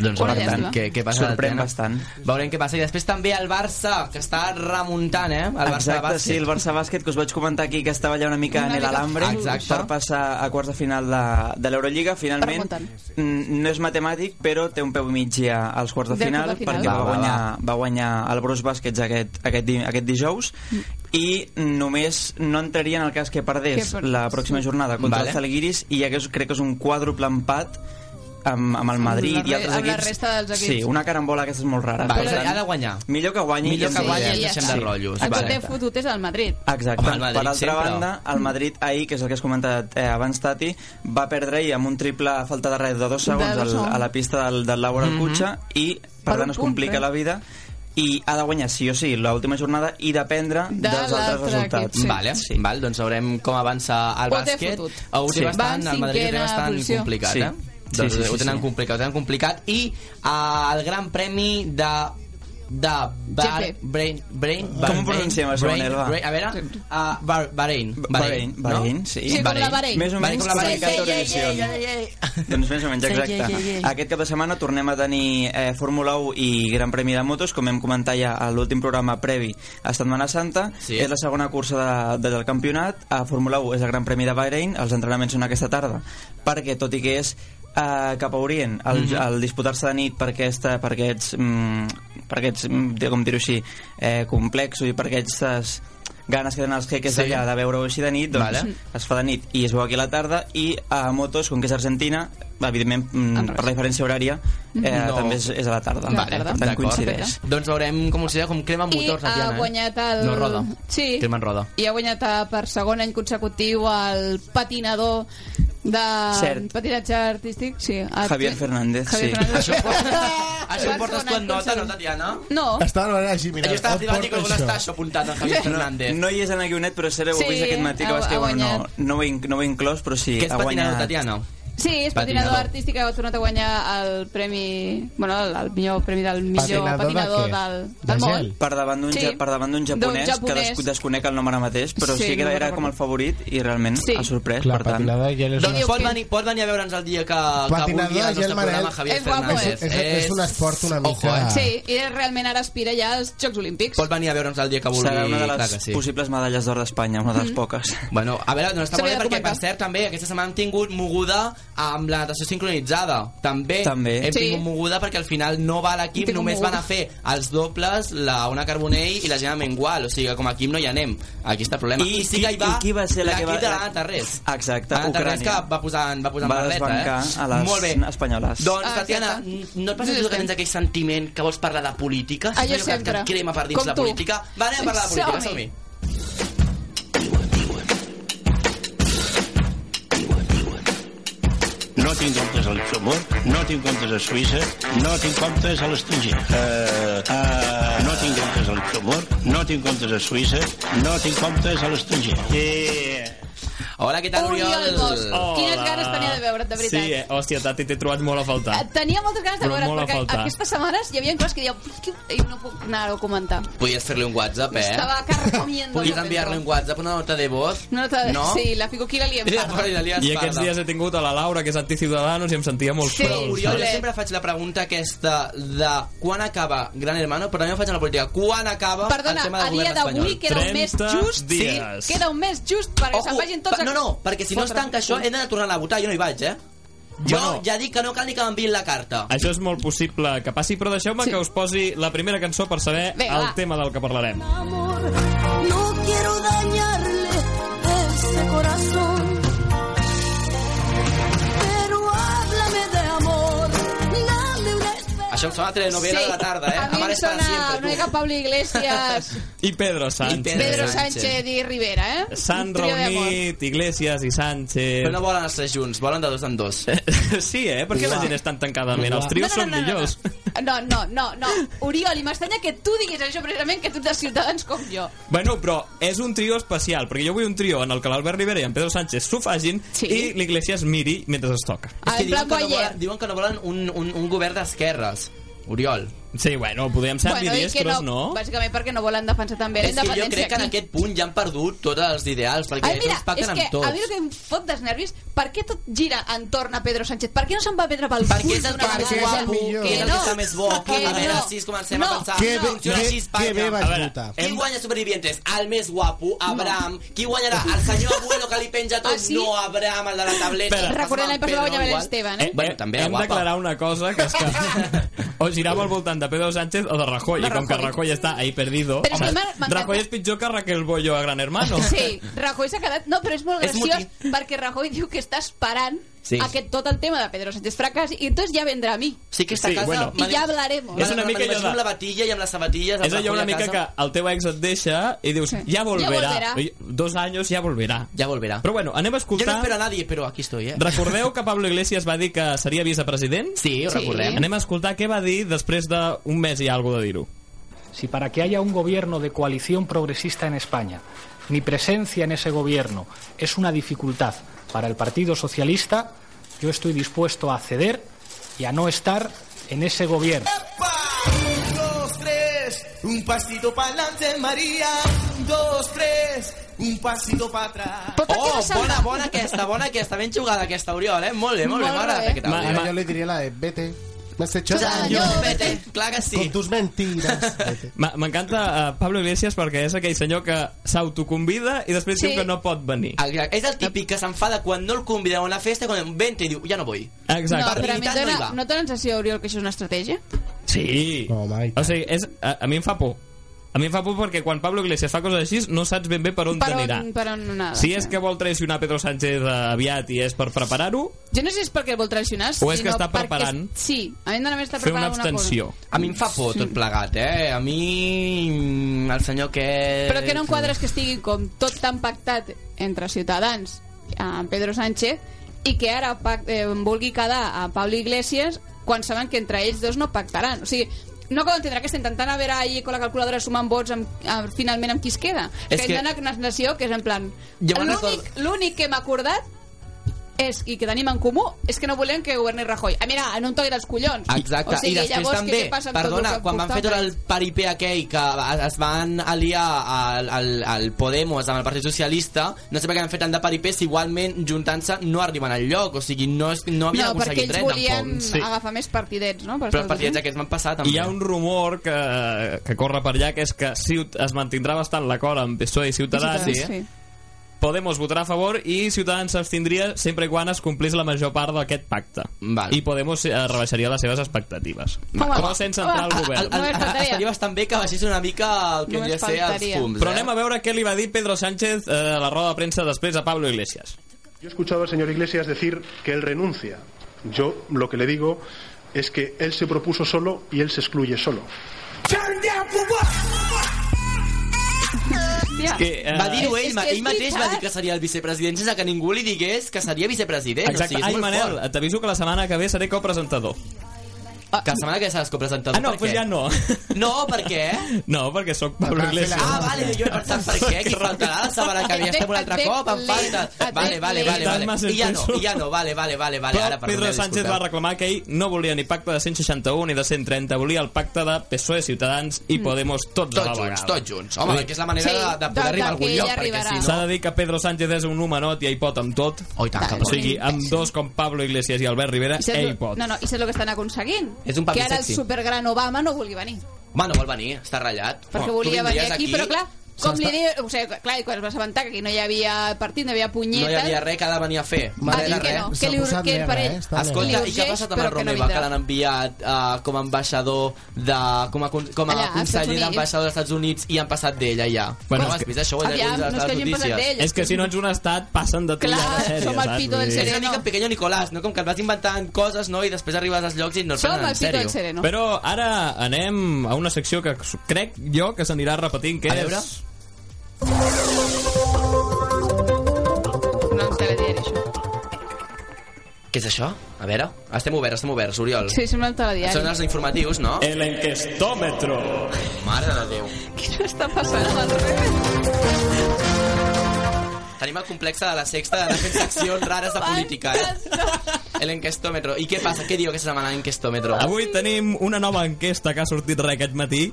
Doncs per veurem tant, què, què passa. sorprèn Tena. bastant Veurem què passa. I després també el Barça, que està remuntant, eh? El Barça Exacte, sí, el Barça Bàsquet, que us vaig comentar aquí que estava allà una mica Una en mica- Ah, l'Alambre Exacte. per passar a quarts de final de, de l'Eurolliga. Finalment, mm, no és matemàtic, però té un peu i mig ja als quarts de Del final, quart de final. perquè va, Va, va, guanyar, va, guanyar el Bros Bàsquets aquest, aquest, di, aquest dijous Mm. i només no entraria en el cas que perdés Que per- la pròxima jornada contra Vale. el Zalgiris i ja que és, crec que és un quadruple empat amb, amb el Madrid Amb i la re- altres amb la equips. resta dels equips. Sí, una carambola aquesta és molt rara. Vale. Per Però tant, ha de guanyar. Millor que guanyi. Millor i que ens- guanyi i ens ja deixem està. de rotllos. Ah, El que Vale. té fotut és el Madrid. Exacte. Home, el Madrid per altra sempre. banda, el Madrid ahir, que és el que has comentat eh, abans, Tati, va perdre ahir amb un triple a falta de res de dos segons dos al, segons. a la pista del, del Laura Mhm. mm Cutxa i, per, Per un tant, es punt, complica eh? la vida i ha de guanyar sí o sí l'última jornada i dependre De dels altres l'altre resultats. equip, sí. Vale, sí. Val, doncs veurem com avança el Ho té bàsquet. fotut. Ho té Sí. bastant, Va en el Madrid ho té cinquena bastant posició. complicat, Sí. eh? Sí, Doncs sí, sí, ho tenen sí. complicat, ho tenen complicat. I eh, el gran premi de de Bar, Jefe. Brain, Brain, Com ho Bahrain, pronunciem, això, Brain, Manel, va? Brain, a veure, uh, Bar, Bahrain, Bahrain, Bahrain, sí. Sí, com la Bahrain. Més o menys com la Bahrain, com la Bahrain, sí, sí, sí, Doncs més o menys, Sí, exacte. sí, sí, sí. Aquest cap de setmana tornem a tenir eh, Fórmula 1 i Gran Premi de Motos, com hem comentat ja a l'últim programa previ a Setmana Santa. Sí. És la segona cursa de, de, del campionat. A Fórmula 1 és el Gran Premi de Bahrein, els entrenaments són aquesta tarda, perquè tot i que és eh, cap a Orient, el, Mhm. el disputar-se de nit per, aquesta, per aquests, mm, per aquests mm, de- com dir-ho així, eh, complexos i per aquestes ganes que tenen els jeques Sí. sí. allà de veure-ho així de nit, doncs Vale. vale. es fa de nit i es veu aquí a la tarda i a motos, com que és Argentina evidentment, mm, per la diferència horària eh, Mm-hmm. No. també és, és a la tarda Vale, per tant d'acord. coincideix Doncs veurem com considera com crema I motors, la ha Tiana. eh? guanyat el... No roda. Sí. Crema en roda. I ha guanyat eh, per segon any consecutiu el patinador de Cert. patinatge artístic. Sí, a- Javier Fernández, Javier sí. Fernández. Això Això ho portes tu en nota, no, Tatiana? No. Estava mirant així, mira. Jo estava on arribant i porto com això? està això apuntat en Javier Fernández. No, no hi és en el guionet, però seré, ho Sí, he vist aquest matí que ha- vas que ha bueno, no, no, ho he, inc- no ho he inclòs, però sí, Que és ha patinador, guanyat. Tatiana. Sí, és patinador, Patinador. artístic que ha tornat a guanyar el premi... Bueno, el, el millor premi del millor Patinador de patinador, què? del, del món. Per davant d'un Sí. sí. per davant d'un japonès, D'un japonès. que des, desconec el nom ara mateix, però Sí, sí, que no era, me'n era com el favorit i realment Sí. ha sorprès, Clar, per tant. patinador ja és Doncs pot venir, pot venir a veure'ns el dia que, que Patinador vulgui i al el nostre Manel. programa Javier És guapo, Fernández. eh? És, és, és un esport una mica... Ojo, eh? Sí, i realment ara aspira ja als Jocs Olímpics. Pot venir a veure'ns el dia que vulgui. Serà una de clar les que sí. possibles medalles d'or d'Espanya, una de les Mhm. poques. Bueno, a veure, no està molt bé S'havia de perquè, per comentar. cert, també aquesta setmana hem tingut moguda amb la natació sincronitzada. També, També. hem Sí. tingut moguda perquè al final no va l'equip, Hem tingut només moguda. van a fer els dobles la Una Carbonell i la Gemma Mengual. O sigui que com a equip no hi anem. Aquí està el problema. I sí que hi qui- va i qui va ser la que va- l'equip de l'Anna Tarrés. Exacte, Anna Tarrés que Ucrània. va posar, en- va posar en Va barreta, eh? desbancar a les Molt bé. espanyoles. Doncs, Ah, Tatiana, no et passa Sí, tu que sí. tens aquell sentiment que vols parlar de política? Ah, jo Saps allò que- sempre. Que et crema per dins Com la tu. política? Va, anem a parlar de política, Som-hi. som-hi. No tinc comptes a Luxemburg, no tinc comptes a Suïssa, no tinc comptes a l'estranger. Eh, Uh, uh, no tinc comptes a Luxemburg, no tinc comptes a Suïssa, no tinc comptes a l'estranger. Eh, Yeah. Hola, què tal, Oriol Oriol? Bosch. Quines ganes tenia de veure't, de Eh, veritat. Sí, eh? hòstia, Tati, t'he trobat molt a faltar. Tenia moltes ganes de Però veure't, molt a perquè faltar. aquestes setmanes hi havia coses que deia "Pues que i no puc anar-ho a comentar. Podies fer-li un WhatsApp, eh? Estava carcomiendo. Podies enviar-li un WhatsApp, una nota de voz. No, te... No? Sí, la fico aquí i la liem. I aquests dies he tingut a la Laura, que és anti-Ciudadanos, i em sentia molt Sí, prou. però, Oriol, jo sempre faig la pregunta aquesta de quan acaba Gran Hermano, però també ho faig a la política. Quan acaba Perdona, el tema a del dia govern d'avui espanyol? queda un mes just. Sí, queda un mes just perquè Ojo, se'n vagin tots... pa- no, no, perquè si no es tanca això, he d'anar tornant a votar, jo no hi vaig, eh? Jo ja dic que no cal ni que m'enviïn la carta. Això és molt possible que passi, però deixeu-me que us posi la primera cançó per saber Vinga, el va. tema del que parlarem. No quiero dañarle ese corazón. Pero háblame de amor. Dame una Això em sona a telenovela de la tarda, eh? A mi em Amares para sona siempre, tu. una mica Pablo Iglesias, I Pedro Sánchez. Pedro Sánchez i Rivera, eh? S'han Un trio d'amor. reunit Iglesias i Sánchez... Però no volen estar junts, volen de dos en dos. Sí, eh? Per què la gent és tan tancada? Mira, els trios són millors. No, no, no, no. Oriol, i m'estranya que tu diguis això precisament, que tu ets de Ciutadans com jo. Bueno, però és un trio especial, perquè jo vull un trio en el que l'Albert Rivera i en Pedro Sánchez s'ho facin Sí. Ah, i l'Iglésia es miri mentre es toca. És que diuen plan que, no Boyer. volen, diuen que no volen un, un, un govern d'esquerres. Oriol. Sí, bueno, podríem ser Bueno, i que ambidiestros, no, bàsicament perquè no volen defensar també la És que jo independència crec que en aquí. aquest punt ja han perdut tots els ideals, perquè Ai, mira, ells és pacten que amb tots. a mi el que em fot dels nervis, per què tot gira entorn a Pedro Sánchez? Per què no se'n va Pedro pel Perquè és el que més guapo, millor. que és el que està més bo. que A veure, no. si comencem No, a pensar... Que bé- funciona que- així Espanya. que bé vaig A veure, votar. Qui guanya Supervivientes? El més guapo, Abraham. Qui guanyarà? El senyor abuelo que li penja tot? Ah, sí? No, Abraham, el de la tableta. Espera. Recordem l'any passat va guanyar l'Esteban, eh? Bueno, també hem guapa. d'aclarar una cosa, que és que o girava al voltant de Pedro Sánchez o de Rajoy, i com que Rajoy està ahí perdido... Però és que home, m'ha- m'encanta. Rajoy és pitjor que Raquel Bollo a Gran Hermano. Sí, Rajoy s'ha quedat... No, però és molt És graciós perquè Rajoy diu que està esperant Sí. a que tot el tema de Pedro Sánchez fracassi i entonces ja vendrà a mi. Sí que esta Sí, casa... bueno. I ja hablaremos. És una mica allò M'imagino de- amb la batilla i amb les sabatilles... el És allò Rajoy una a mica casa. que el teu ex et deixa i dius, ja Ja volverà. volverà. Oi, Dos anys ja volverà. Ja volverà. Però bueno, anem Jo a no escoltar... espero a nadie, però aquí estoy, eh? Recordeu que Pablo Iglesias va dir que seria vicepresident? Sí, ho Sí. recordem. Anem a escoltar què va dir després d'un mes i algo de dir-ho. Si para que haya un gobierno de coalición progresista en España, mi presencia en ese gobierno es una dificultad para el Partido Socialista, yo estoy dispuesto a ceder y a no estar en ese gobierno. Un, dos, tres, un pasito para adelante, María. Un, dos, tres, un pasito para atrás. Oh, bona, bona aquesta, bona aquesta, ben jugada aquesta, Oriol, eh? Molt bé, molt, bé, Molt m'agrada eh? bé. aquesta. Ma, ma... Jo li diria la de vete. M'has hecho Ah, Daño, daño. vete. Clar que sí. Con tus mentiras. Ma- M'encanta eh, Pablo Iglesias perquè és aquell senyor que s'autoconvida i després Sí. diu que no pot venir. Exacte. És el típic que s'enfada quan no el conviden a una festa, quan vente i diu, ja no vull. Exacte. No, però a mi em Participat no hi dóna, va. no té la sensació, Oriol, que això és una estratègia? Sí. o sigui, és, a, a mi em fa por. A mi em fa por perquè quan Pablo Iglesias fa coses així no saps ben bé per on per t'anirà. on, per on anada. Si és que vol traicionar Pedro Sánchez eh, aviat i és per preparar-ho, Jo no sé si és perquè el vol traicionar, O és que sinó està perquè- preparant Sí, a mi em dóna més està Fer una preparant una abstenció. cosa. A mi em fa por tot plegat, eh? A mi... mm, El senyor que... Però que no enquadres que estigui com tot tan pactat entre Ciutadans amb Pedro Sánchez i que ara pac, eh, vulgui quedar a Pablo Iglesias quan saben que entre ells dos no pactaran. O sigui, no acabo d'entendre que estem intentant a veure ahir amb la calculadora sumant vots amb, amb, finalment amb qui es queda. És És que- que, que... Hi ha una nació que és en plan... Jo me'n L'únic l'únic que hem acordat és, i que tenim en comú és que no volem que governi Rajoy. Ah, mira, en un toc dels collons. Exacte, o sigui, i després llavors, també, què passa amb tot el perdona, que quan van fer tot portaven? el paripé aquell que es van aliar al, al, al Podemos amb el Partit Socialista, no sé per què han fet tant de paripé si igualment juntant-se no arriben al lloc, o sigui, no, és- no havien No, perquè aconseguit ells res volien tampoc. agafar més partidets, no? Però Per estar-los els partits així. aquests van passar també. També. Hi ha un rumor que, que corre per allà, que és que Ciut es mantindrà bastant l'acord amb PSOE E i eh? Ciutadans, Ciutadans, sí. sí. Podemos votarà a favor i Ciutadans s'abstindria sempre i quan es complís la major part d'aquest pacte. Val. I Podemos eh, rebaixaria les seves expectatives. Home, Però sense entrar al govern. El, el, el, estaria bastant bé que baixés una mica el que hauria Només de ser els faltaria. fums. Però eh? anem a veure què li va dir Pedro Sánchez eh, a la roda de premsa després a Pablo Iglesias. Yo he escuchado al señor Iglesias decir que él renuncia. Yo lo que le digo es que él se propuso solo y él se excluye solo. Hòstia. Que, eh, va dir-ho És- ell, és ma- que és ell mateix va veritat. dir que seria el vicepresident sense que ningú li digués que seria vicepresident. Exacte. O sigui, Eh, és Ai, molt Manel, fort. Ah, t'aviso que la setmana que ve seré copresentador. Que la setmana que ve seràs copresentador. Ah, no, per doncs què? ja no. No, per què? No, perquè sóc Pablo Iglesias. Ah, vale, jo he pensat per què, qui faltarà la setmana que ve estem un altre cop, em falta. Vale, vale, vale, vale. Estàs I ja no, massa i ja no, vale, vale, vale, vale. Però Ara, perdoneu, Pedro Sánchez disculpeu. va reclamar que ell no volia ni pacte de 161 ni de 130, volia el pacte de PSOE, E, Ciutadans i Mm. Podemos tots, Tots a la junts, vegada. tots junts. Home, perquè és la manera Sí, de- de poder doncs arribar a algun que lloc, ell perquè arribarà. si no- S'ha de dir que Pedro Sánchez és un humanot i ell pot amb tot. Oh, tant, o sigui, amb dos com Pablo Iglesias i Albert Rivera, I saps ell lo- pot. No, no, i saps el que estan aconseguint? És un paper que ara sexy. el supergran Obama no vulgui venir, Home, no vol venir, està ratllat. perquè Oh, Tu volia venir vindries aquí, però clar, com s'està- li diu... O sigui, clar, i quan es va assabentar que aquí no hi havia partit, no hi havia No punyetes... hi havia res que ha de venir a fer. Va dir que no, que li S'ha eh? ur- que per ell... Escolta, i què ha passat amb el Romeva, que l'han enviat eh, com a ambaixador de... com a, con- com a Allà, als conseller Estats Units. d'ambaixador dels Estats Units i han passat d'ell allà. Bueno, no has vist això? Ho has Aviam, llegit a no és les que hagin passat notícies. d'ell, És que si no ets un estat, passen de tu Clar, ja la sèrie, som el saps? pito Vull del dir- sereno. És una mica en Pequeño Nicolás, no? Com que et vas inventant coses, no? I després arribes als llocs i no et prenen en sèrio. Però ara anem a una secció que crec jo que s'anirà repetint, que A veure. és... No ens agradaria això. Què és això? A veure, estem oberts, estem oberts, Oriol. Sí, sembla el telediari. Són els informatius, no? El enquestòmetro. Mare de Déu. Què està passant amb el Tenim el complexe de la sexta de fent seccions rares de política, eh? El enquestòmetro. I què passa? Què diu aquesta setmana l'enquestòmetro? Avui tenim una nova enquesta que ha sortit re aquest matí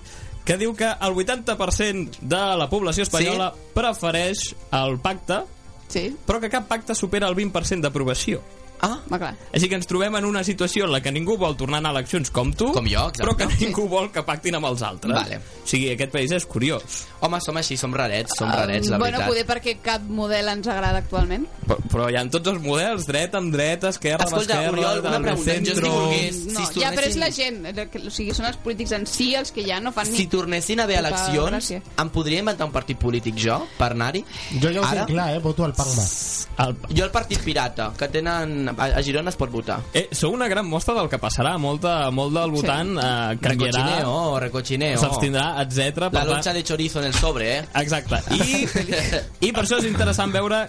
que diu que el 80% de la població espanyola sí? prefereix el pacte sí? però que cap pacte supera el 20% d'aprovació. Ah, va, clar. Així que ens trobem en una situació en la que ningú vol tornar a anar a eleccions com tu, com jo, exacte. però que ningú vol que pactin amb els altres. Vale. O sigui, aquest país és curiós. Home, som així, som rarets, som rarets, la bueno, veritat. poder perquè cap model ens agrada actualment. Però, però hi ha tots els models, dreta amb dreta, esquerra amb Escolta, esquerra, Oriol, una del pregunta, jo si centro... volgués, No, es ja, però és tornessin- la gent. O sigui, són els polítics en si els que ja no fan Si ni... tornessin a haver Puta eleccions, gràcia. em podria inventar un partit polític jo, per anar-hi? Jo ja ho Ara? tinc clar, eh? Voto al Palma. El... Jo el partit pirata, que tenen... A, a Girona es pot votar. Eh, sou una gran mostra del que passarà. Molta, molt del votant eh, canviarà... Recochineo, recochineo. S'abstindrà, etc. oh, Eh, La lonxa de chorizo en el sobre, eh? Exacte. I, I per això és interessant veure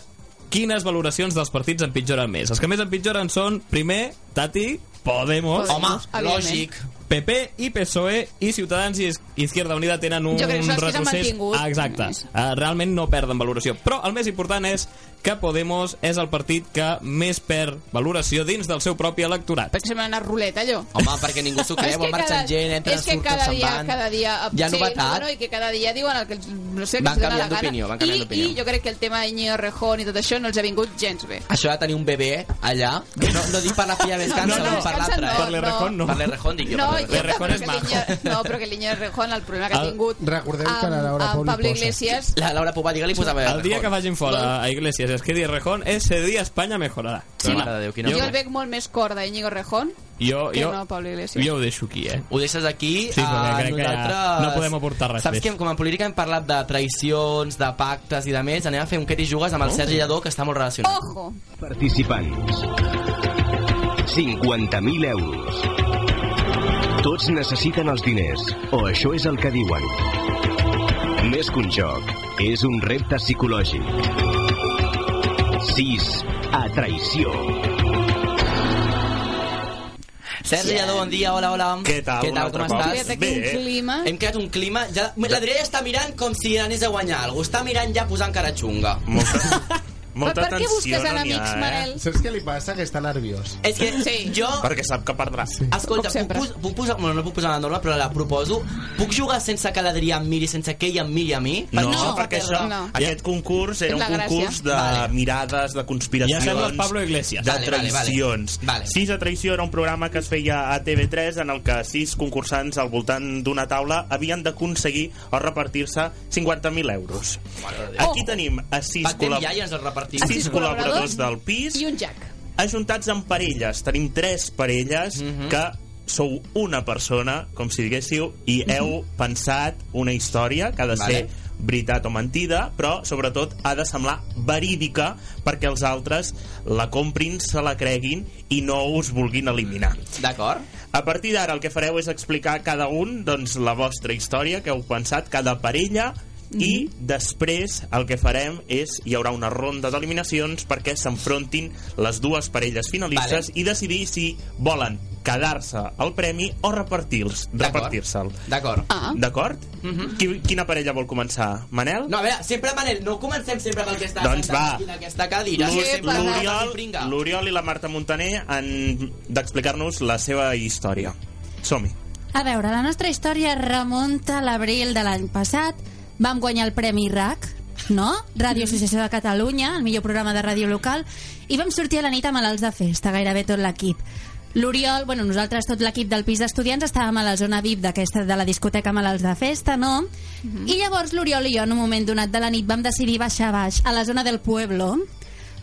quines valoracions dels partits empitjoren més. Els que més empitjoren són, primer, Tati, Podemos... Podemos, Home, evidentment. lògic. PP i PSOE E i Ciutadans i Izquierda Unida tenen un Jo crec que són els que s'han retrocés... mantingut. Ah, exacte. Eh, realment no perden valoració. Però el més important és que Podemos és el partit que més perd valoració dins del seu propi electorat. Perquè sembla una ruleta, allò. Home, perquè ningú s'ho creu, van marxant gent, entren, és que surten, cada se'n dia, van. cada dia... Hi ha sí, novetat. No, no, I que cada dia diuen el que els, no sé, el Van que els dona la canviant gana. d'opinió, van canviant I, d'opinió. I jo crec que el tema d'Iñigo Rejón i tot això no els ha vingut gens bé. Això de tenir un bebè allà... No, no dic per la filla descansa, No, no, no, no, per descansa l'altra. no, Per l'Errejón, no. Per l'Errejón, dic jo. No, per jo l'Errejón. L'Errejón és No, però que l'Iñigo Rejón, el problema que ha El- tingut... recordeu que la amb- Laura amb Pou li Pablo posa. Iglesias... La Laura Pobá, digue-li posava El dia que vagin fora a Iglesias i es quedi Rejón, ese dia Espanya mejorarà. Sí. Mare de Déu, quina Jo el merda. veig molt més cor d'Iñigo Rejón Jo, que jo, no Pablo Iglesias. jo ho deixo aquí, eh? Ho deixes aquí, Sí, perquè eh, crec que ja nosaltres- no podem aportar res Saps més. que com en política hem parlat de traicions, de pactes i de més, anem a fer un que t'hi jugues amb el Oh. Sergi Lladó, que està molt relacionat. Ojo! Participants. 50.000 euros. Tots necessiten els diners, o això és el que diuen. Més que un joc, és un repte psicològic. 6. A traïció. Sergi Lladó, bon dia, hola, hola. Què tal? Què tal, Un com altre cop. estàs? Fíjate que un Bé. clima. Hem creat un clima... Ja, la Mireia està mirant com si anés a guanyar alguna cosa. Està mirant ja posant cara xunga. Molta Per què busques tensió no n'hi ha, enemics, eh? Manel? Saps què li passa? Que està nerviós. És que jo... Perquè sap que perdrà. Escolta, puc, pos- puc posar... Bueno, no puc posar la norma, però la proposo. Puc jugar sense que l'Adrià em miri, sense que ell em miri a mi? No, perquè això, aquest concurs És era un la gràcia. concurs de Vale. mirades, de conspiracions... Ja sembles Pablo Iglesias. De Vale, vale, vale. traïcions. Vale. Sis a traïció era un programa que es feia a TV3 en el que sis concursants al voltant d'una taula havien d'aconseguir o repartir-se 50.000 euros. Aquí tenim a sis, Pactem col·lab- Oh. ja i ens el repartim. sis col·laboradors del pis I un Jack. ajuntats en parelles. Tenim tres parelles Mhm. que sou una persona, com si diguéssiu, i heu pensat una història que ha de Mhm. Vale. ser veritat o mentida, però sobretot ha de semblar verídica perquè els altres la comprin, se la creguin i no us vulguin eliminar. Mm. D'acord. A partir d'ara el que fareu és explicar a cada un doncs, la vostra història que heu pensat, cada parella, Mhm. i després el que farem és hi haurà una ronda d'eliminacions perquè s'enfrontin les dues parelles finalistes i decidir si volen quedar-se el premi o repartir-s- repartir-se'l. D'acord. Ah. D'acord? Qui- Quina parella vol començar? Manel? No, a veure, sempre, Manel, no comencem sempre pel que està Doncs sentat va. aquí en aquesta cadira. L'U- Sempre L'Oriol pringa. l'Oriol i la Marta Montaner han d'explicar-nos la seva història. Som-hi. A veure, la nostra història remunta a l'abril de l'any passat. Vam guanyar el Premi RAC, no? Ràdio Associació de Catalunya, el millor programa de ràdio local, i vam sortir a la nit a malalts de festa, gairebé tot l'equip. L'Oriol, bueno, nosaltres, tot l'equip del pis d'estudiants, estàvem a la zona VIP d'aquesta de la discoteca Malalts de Festa, no? I llavors l'Oriol i jo, en un moment donat de la nit, vam decidir baixar a baix, a la zona del Pueblo,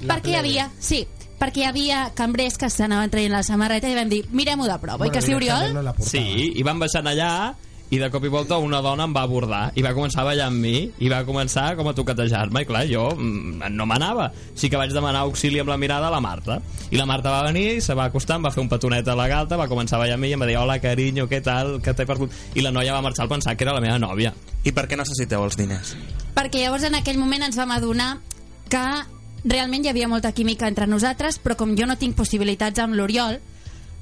La perquè plebe. hi havia... Sí, perquè hi havia cambrers que s'anaven traient la samarreta i vam dir, mirem-ho de prova. Bueno, I que sí, Oriol? Sí, i van baixant allà i de cop i volta una dona em va abordar i va començar a ballar amb mi i va començar com a toquetejar-me i clar, jo mm, no m'anava sí que vaig demanar auxili amb la mirada a la Marta i la Marta va venir, se va acostar em va fer un petonet a la galta, va començar a ballar amb mi i em va dir hola carinyo, què tal, que t'he perdut i la noia va marxar al pensar que era la meva nòvia I per què necessiteu els diners? perquè llavors en aquell moment ens vam adonar que realment hi havia molta química entre nosaltres, però com jo no tinc possibilitats amb l'Oriol,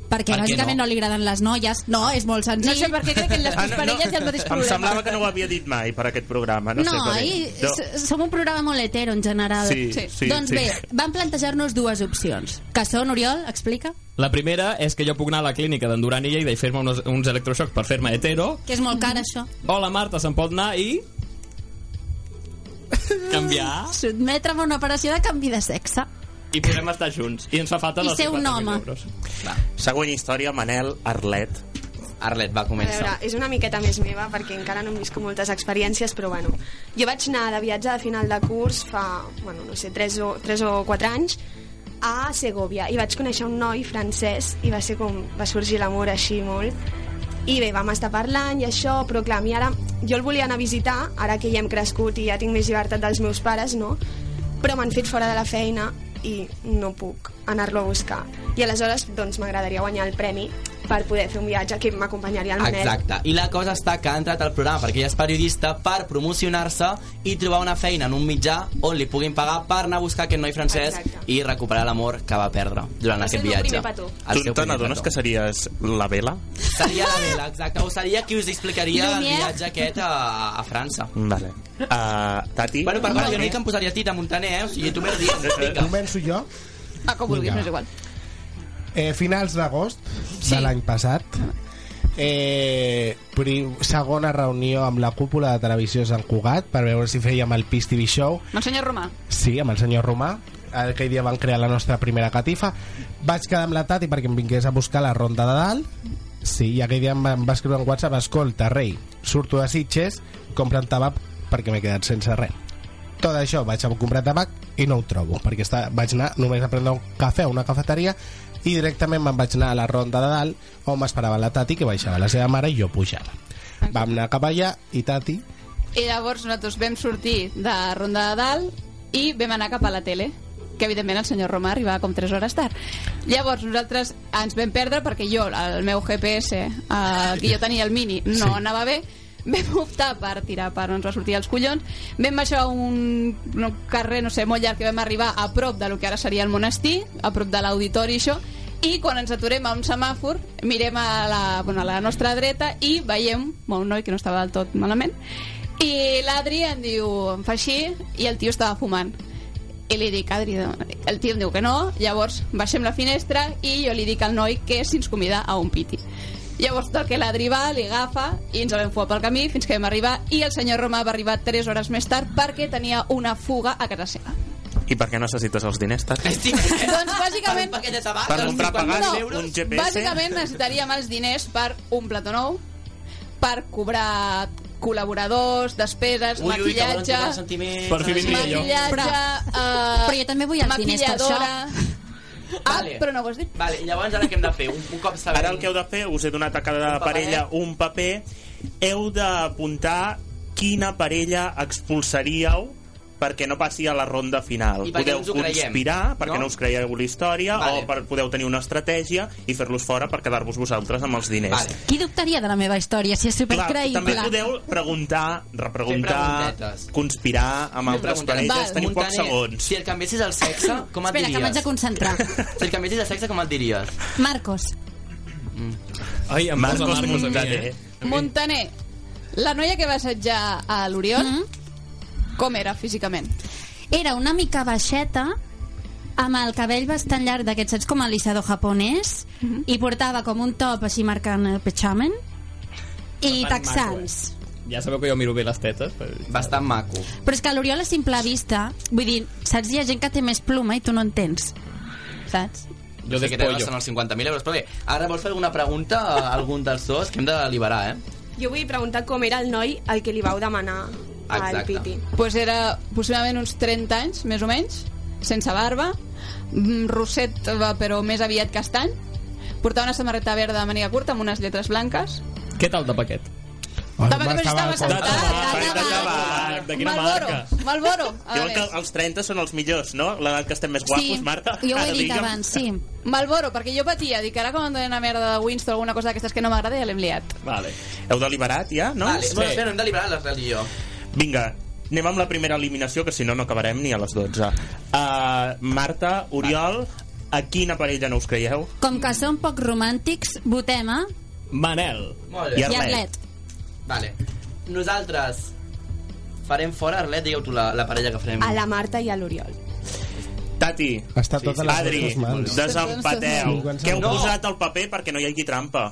perquè Per què bàsicament no? no? li agraden les noies. No, és molt senzill. No sé per què crec que en les Ah, no, no. Em semblava que no ho havia dit mai per aquest programa. No, No, sé per què. i No. s- som un programa molt hetero en general. Sí, Sí. sí, doncs sí. bé, van plantejar-nos dues opcions. Que són, Oriol, explica? La primera és que jo puc anar a la clínica d'Endurant i Lleida i fer-me uns, uns electroxocs per fer-me hetero. Que és molt car, això. O la Marta se'n pot anar i... canviar. Sotmetre'm a una operació de canvi de sexe. I podem estar junts. I ens fa falta I ser un home. Següent història, Manel Arlet. Arlet va A veure, és una miqueta més meva perquè encara no em visco moltes experiències, però bueno, jo vaig anar de viatge de final de curs fa, bueno, no sé, 3 o, 3 o 4 anys a Segovia i vaig conèixer un noi francès i va ser com, va sorgir l'amor així molt i bé, vam estar parlant i això, però clar, a mi ara, jo el volia anar a visitar, ara que ja hem crescut i ja tinc més llibertat dels meus pares, no? Però m'han fet fora de la feina i no puc anar-lo a buscar. I aleshores, doncs, m'agradaria guanyar el premi per poder fer un viatge que m'acompanyaria al Manel. Exacte. I la cosa està que ha entrat al programa perquè ella és periodista per promocionar-se i trobar una feina en un mitjà on li puguin pagar per anar a buscar aquest noi francès i recuperar l'amor que va perdre durant Va aquest ser el meu viatge. primer petó. El Tu seu te primer n'adones que series la vela? Seria la vela, exacte. O seria qui us explicaria el Lumière. viatge aquest a, a França. Vale. Uh, tati? Bueno, per part, jo no dic que em posaria Tita Montaner, eh? O sigui, tu m'ho dius, vinga. Començo jo. Ah, com vulguis, no és igual. Eh, finals d'agost de l'any passat. Eh, pri, segona reunió amb la cúpula de televisió Sant Cugat per veure si fèiem el PIS TV Show. Amb el senyor Romà. Sí, amb el senyor Romà. Aquell dia van crear la nostra primera catifa. Vaig quedar amb la Tati perquè em vingués a buscar la ronda de dalt. Sí, i aquell dia em va, em va escriure en WhatsApp Escolta, rei, surto de Sitges, comprant tabac perquè m'he quedat sense res. Tot això vaig a comprar tabac i no ho trobo, perquè està, vaig anar només a prendre un cafè a una cafeteria i directament me'n vaig anar a la ronda de dalt on m'esperava la Tati, que baixava la seva mare i jo pujava. Vam anar cap allà i Tati I llavors nosaltres vam sortir de Ronda de Dalt i vam anar cap a la tele que evidentment el senyor Romà arribava com 3 hores tard. Llavors nosaltres ens vam perdre perquè jo, el meu GPS, el eh, que jo tenia el mini, no Sí. anava bé, vam optar per tirar per on ens va sortir els collons, vam baixar un, un carrer, no sé, molt llarg, que vam arribar a prop de lo que ara seria el monestir, a prop de l'auditori i això, i quan ens aturem a un semàfor, mirem a la, bueno, a la nostra dreta i veiem bueno, un noi que no estava del tot malament, i l'Adri em diu, em fa així, i el tio estava fumant. I li dic, Adri, dona-li". el tio em diu que no, llavors baixem la finestra i jo li dic al noi que si ens convida a un piti. Llavors tot que l'Adri va, li agafa i ens el vam fumar pel camí fins que vam arribar i el senyor Romà va arribar 3 hores més tard perquè tenia una fuga a casa seva. I per què necessites els diners, Tati? doncs bàsicament... Per un paquet de tabac, Per comprar pagant un GPS? Bàsicament necessitaríem els diners per un plató nou, per cobrar col·laboradors, despeses, Ui, ui, que volen maquillatge... tocar sentiments. Per fi vindria jo. Maquillatge, Però- eh, però jo també vull els diners per això. maquilladora. Ah, Vale. però no ho has dit. Vale, llavors ara què hem de fer? Un, un cop sabem... Ara el que heu de fer, us he donat a cada parella un paper, heu d'apuntar quina parella expulsaríeu perquè no passi a la ronda final. I perquè podeu no ens ho creiem, conspirar perquè no? no? us creieu la història Vale. o per podeu tenir una estratègia i fer-los fora per quedar-vos vosaltres amb els diners. Vale. Qui dubtaria de la meva història si és Clar, també supercreïble? podeu preguntar, repreguntar, conspirar amb altres parelles. Teniu pocs segons. Si el canviessis el sexe, com et Espera, que m'haig de diries? concentrar. Si el canviessis el sexe, com et diries? Marcos. Ai, em Marcos posa Marcos a mi, Montaner. eh? Montaner, la noia que va assetjar a l'Oriol, Mm. com era físicament? Era una mica baixeta, amb el cabell bastant llarg d'aquests, saps, com a lissador japonès, i portava com un top així marcant el petxamen, i Bastant texans. Ja sabeu que jo miro bé les tetes. Però... Bastant maco. Però és que l'Oriol a simple vista, vull dir, saps, hi ha gent que té més pluma i tu no en tens, saps? Jo sé que despollo. t'agraden els 50.000 euros, però bé, ara vols fer alguna pregunta a algun dels dos que hem de deliberar, eh? Jo vull preguntar com era el noi al que li vau demanar al Exacte. Piti. Pues era possiblement uns 30 anys, més o menys, sense barba, mm, rosset eh, però més aviat castany, portava una samarreta verda de màniga curta amb unes lletres blanques. Què tal de paquet? També només estava sentat. De Malboro, Malboro. A Diuen que veure. els 30 són els millors, no? L'edat que estem més guapos, Marta. Ara digue'm. sí. Malboro, perquè jo patia, dic, ara quan em donen una merda de Winston o alguna cosa d'aquestes que no m'agrada, ja l'hem liat. Vale. Heu deliberat ja, no? Vale, bueno, espera, hem deliberat la religió. Vinga, anem amb la primera eliminació, que si no, no acabarem ni a les 12. Uh, Marta, Oriol, a quina parella no us creieu? Com que som poc romàntics, votem eh? a... Manel. Molt bé. I Arlet. Vale. Nosaltres farem fora, Arlet, digueu tu la, la parella que farem. A la Marta i a l'Oriol. Tati, Està totes les Adri, nostres mans. desempateu. Sí, quan Que heu no. posat el paper perquè no hi hagi trampa.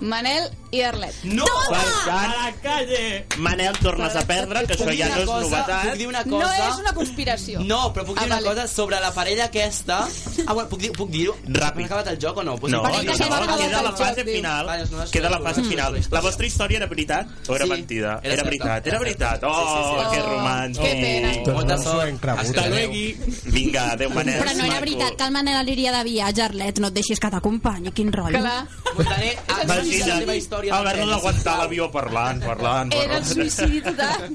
Manel i Arlet. No! Per tant, a la calle! Manel, tornes a perdre, que això Puc dir ja una no és cosa? novetat. Puc dir una No cosa? és una conspiració. No, però puc dir Ah, una vale. cosa sobre la parella aquesta... Ah, bueno, puc dir- puc dir-ho? Puc dir Ràpid. acabat el joc o no? Pues No, sí, no, sí, no, s'ha queda acabat la el fase joc, diu. final. Vale, és una història, Queda la fase és una final. història. La vostra història era veritat o era Sí, mentida? era Era certa, veritat, era era veritat. certa. Sí, sí, Oh, sí. que Oh, romàntic. que pena. Doncs Molta no sort. s'ho hem cregut. Hasta eh? Adéu. luego. Vinga, adéu, Manel. Però no Maco. era veritat que el Manel aniria de viatge, Arlet. No et deixis que t'acompanyi, quin rotllo. Clar. Montaner, Ah, has vist la meva història. Haver-lo d'aguantar l'avió parlant, parlant, Era el suïcidi total.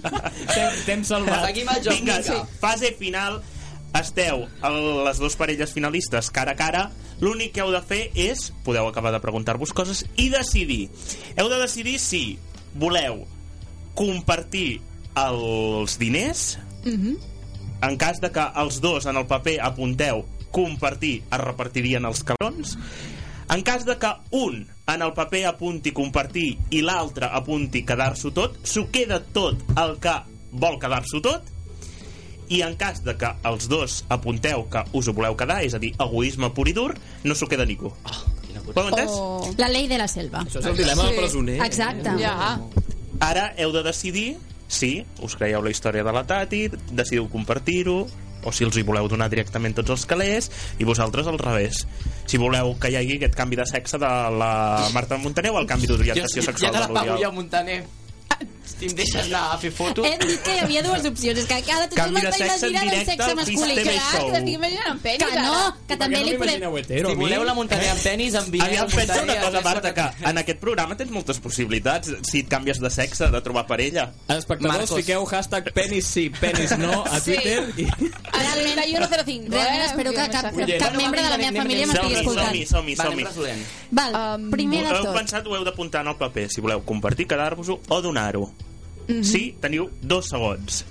T'hem salvat. Seguim el joc, Vinga, vinga. fase final. Esteu a les dues parelles finalistes cara a cara. L'únic que heu de fer és... Podeu acabar de preguntar-vos coses i decidir. Heu de decidir si voleu compartir els diners en cas de que els dos en el paper apunteu compartir, es repartirien els cabrons. En cas de que un en el paper apunti compartir i l'altre apunti quedar-s'ho tot, s'ho queda tot el que vol quedar-s'ho tot i en cas de que els dos apunteu que us ho voleu quedar, és a dir, egoisme pur i dur, no s'ho queda ningú. Oh, Ho heu entès? O la llei de la selva. Això és el dilema del Sí. presoner. Exacte. Ja. Ara heu de decidir si us creieu la història de la Tati, decidiu compartir-ho, o si els hi voleu donar directament tots els calés, i vosaltres al revés. Si voleu que hi hagi aquest canvi de sexe de la Marta Montaner o el canvi d'orientació Ja- sexual Ja de te la pago jo, l'Oriol. Montaner. Si em deixes anar a fer fotos... Hem dit que hi havia dues opcions. És que ara tothom Canvi de està sexe en imaginant el directe, sexe masculí. Pisteme Clar, Show. que t'estic imaginant en penis, Que no, ara. que també li podem... hetero, si a mi? voleu la Montaner amb penis, envieu Aviam, pensa una Montaner cosa, a Marta, que en aquest programa tens moltes possibilitats si et canvies de sexe, de trobar parella. Espectadors, fiqueu hashtag penis sí, penis no a Sí. Twitter i... Realment, Realment eh? espero que cap, cap membre de la meva família m'estigui escoltant. Som-hi, Vale, som-hi, som-hi. anem resolent. Val, Um, primer de Ho heu tot. pensat, ho heu d'apuntar en el paper, si voleu compartir, quedar-vos-ho o donar-ho. Mhm. Sí, teniu dos segons.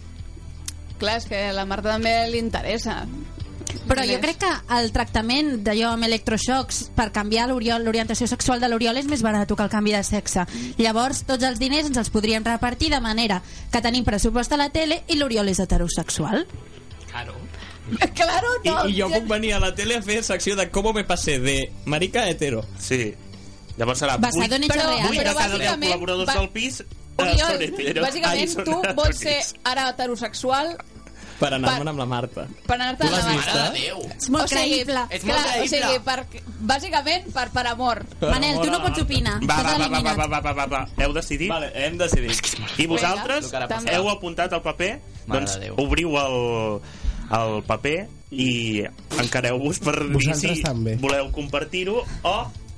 Clar, és que a la Marta també li interessa. Però jo crec que el tractament d'allò amb electroxocs per canviar l'Oriol, l'orientació sexual de l'Oriol és més barat que el canvi de sexe. Llavors, tots els diners ens els podríem repartir de manera que tenim pressupost a la tele i l'Oriol és heterosexual. Claro. Claro, I, I jo puc venir a la tele a fer secció de com me passé de marica a hetero. Sí. Llavors serà Basado en hechos reales. vuit de Però cada deu bàsicament, col·laboradors va- del pis eh, Oriol, són heteros. Ai, bàsicament, són tu vols ser heteros. ara heterosexual Per anar-me'n amb la Marta. per anar-te Tu a l'has la vist, Marta. eh? És molt creïble. Ets molt Clar, o creïble. sigui, per, bàsicament per, per amor. Manel, tu no pots opinar. Va, T'has va, va, va, eliminat. va, va, va, va, va. Heu decidit? Vale, hem decidit. I vosaltres Vinga, també. heu apuntat el paper? Mare doncs de Déu. obriu el, el paper i encareu-vos per dir Vosaltres si també. voleu compartir-ho o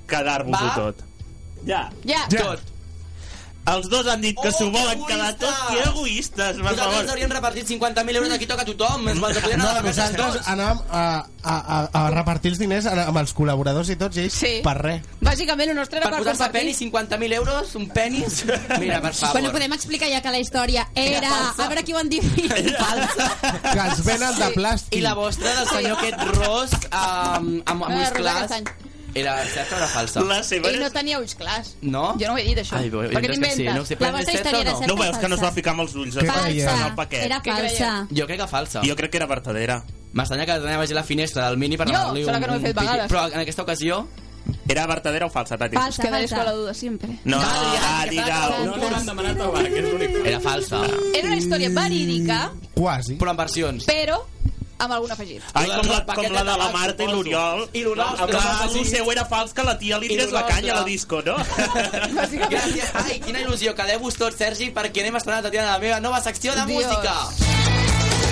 quedar-vos-ho Va. tot. Ja. Ja. Tot. Els dos han Oh, dit que s'ho volen quedar tot. Que egoistes, per Vosaltres favor. hauríem repartit 50.000 euros, aquí toca a tothom. Ens vols No, plena de meses nosaltres tots. anàvem a, a, a, a repartir els diners a- amb els col·laboradors i tots, i ells Sí. per res. Bàsicament, el nostre Per era per, posar-se compartir. penis, 50.000 euros, un penis... Mira, per favor. Bueno, podem explicar ja que la història era... A veure qui ho endevina. Que ens venen de plàstic. I la vostra del senyor aquest ros amb, amb, amb ulls clars era certa o era falsa? La seva Ell no tenia ulls clars. No? Jo no ho he dit, això. Ai, veu, Perquè entres que t'inventes. sí, no ho sé, però és certa o no? No ho veus que no es va ficar amb els ulls en el paquet? Era Què creieu? falsa. Jo crec que falsa. Jo crec que era verdadera. M'estranya que tenia vagi a la finestra del mini per Jo, demanar-li un... serà que no ho he fet un piqui. vegades. Però en aquesta ocasió... Era verdadera o falsa, Tati? Us quedaréis con la duda sempre. No, Ah, dirà-ho. no, no, demanat el bar, que és l'únic. Era falsa. Era una història verídica, Quasi. Però en versions. però amb algun afegit. Ai, com la, com la de la Marta i l'Oriol. I l'Oriol. Clar, el seu era fals que la tia li I tires la l'Oriol, canya a la clar. disco, no? Gràcies. Ai, quina il·lusió. Quedeu-vos tots, Sergi, perquè anem a estrenar a Tatiana la meva nova secció de Dios. música.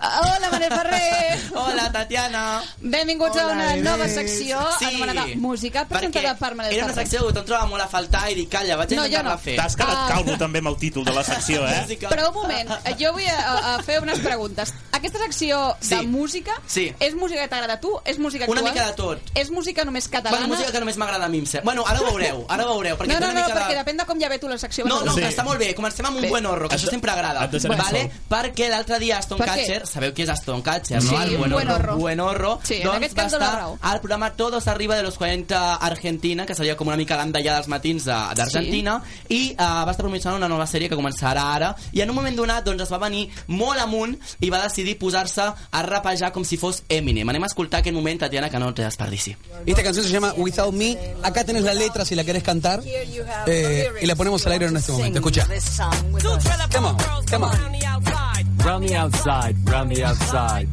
Hola, Manel Ferrer! Hola, Tatiana. Benvinguts a una nova secció Sí. anomenada Música, presentada per Manel Era una Ferrer. secció que em trobava molt a faltar i dic, calla, vaig No, a intentar-la jo no. Ah. fer. T'has quedat calvo també amb el títol de la secció, eh? Però un moment, jo vull a, a fer unes preguntes. Aquesta secció de Sí. música Sí. és música que t'agrada a tu? És música Una actual? mica de tot. És música només catalana? Bueno, música que només m'agrada a mi, em sembla. Bueno, ara ho veureu, ara ho veureu. Perquè no, té no, una no, mica de- perquè depèn de com ja ve tu la secció. No, no, Sí. que està molt bé. Comencem amb un Bé. buen horror, que Et això de- sempre agrada. et deixarem Vale? sol. Perquè l'altre dia Aston Per què? Catcher, sabeu qui és Aston Catcher, Pues Sí, no? El un buen horror. Buen horror. Sí, en doncs aquest va cas dona estar raó. al programa Todos arriba de los 40 Argentina, que seria com una mica l'andallà dels matins de- d'Argentina, i eh, va estar promocionant una nova sèrie que començarà ara, i en un moment donat doncs, es va venir molt amunt i va decidir posar-se a rapejar com si fos Eminem. Anem a escoltar aquest moment, Tatiana, que no te desperdici. Esta canción se llama Without Me. Acá tenés la letra si la querés cantar. Eh, y la ponemos al aire en este momento. Escucha. Come on, come on. Round the outside, round the outside.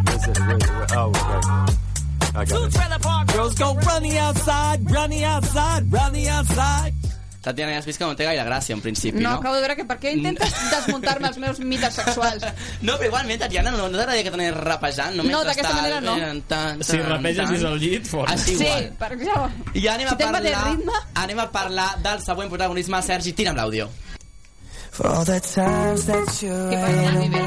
Where's it? Where- where- oh, okay. I got it. Girls go run the outside, run the outside, run the outside. Tatiana, ja has vist que no té gaire gràcia, en principi, No, no? acabo de veure que per què intentes desmuntar-me els meus mites sexuals. No, però igualment, Tatiana, no, no t'agradaria que t'anés rapejant? Només No, d'aquesta estar- manera no. Tan, tan, Si rapeges tan. des del llit, fora. Així Sí, igual. per això. I anem a, Si te'n va de parlar, ritme. anem a parlar del següent protagonisme. Sergi, tira'm l'àudio. For all the times that you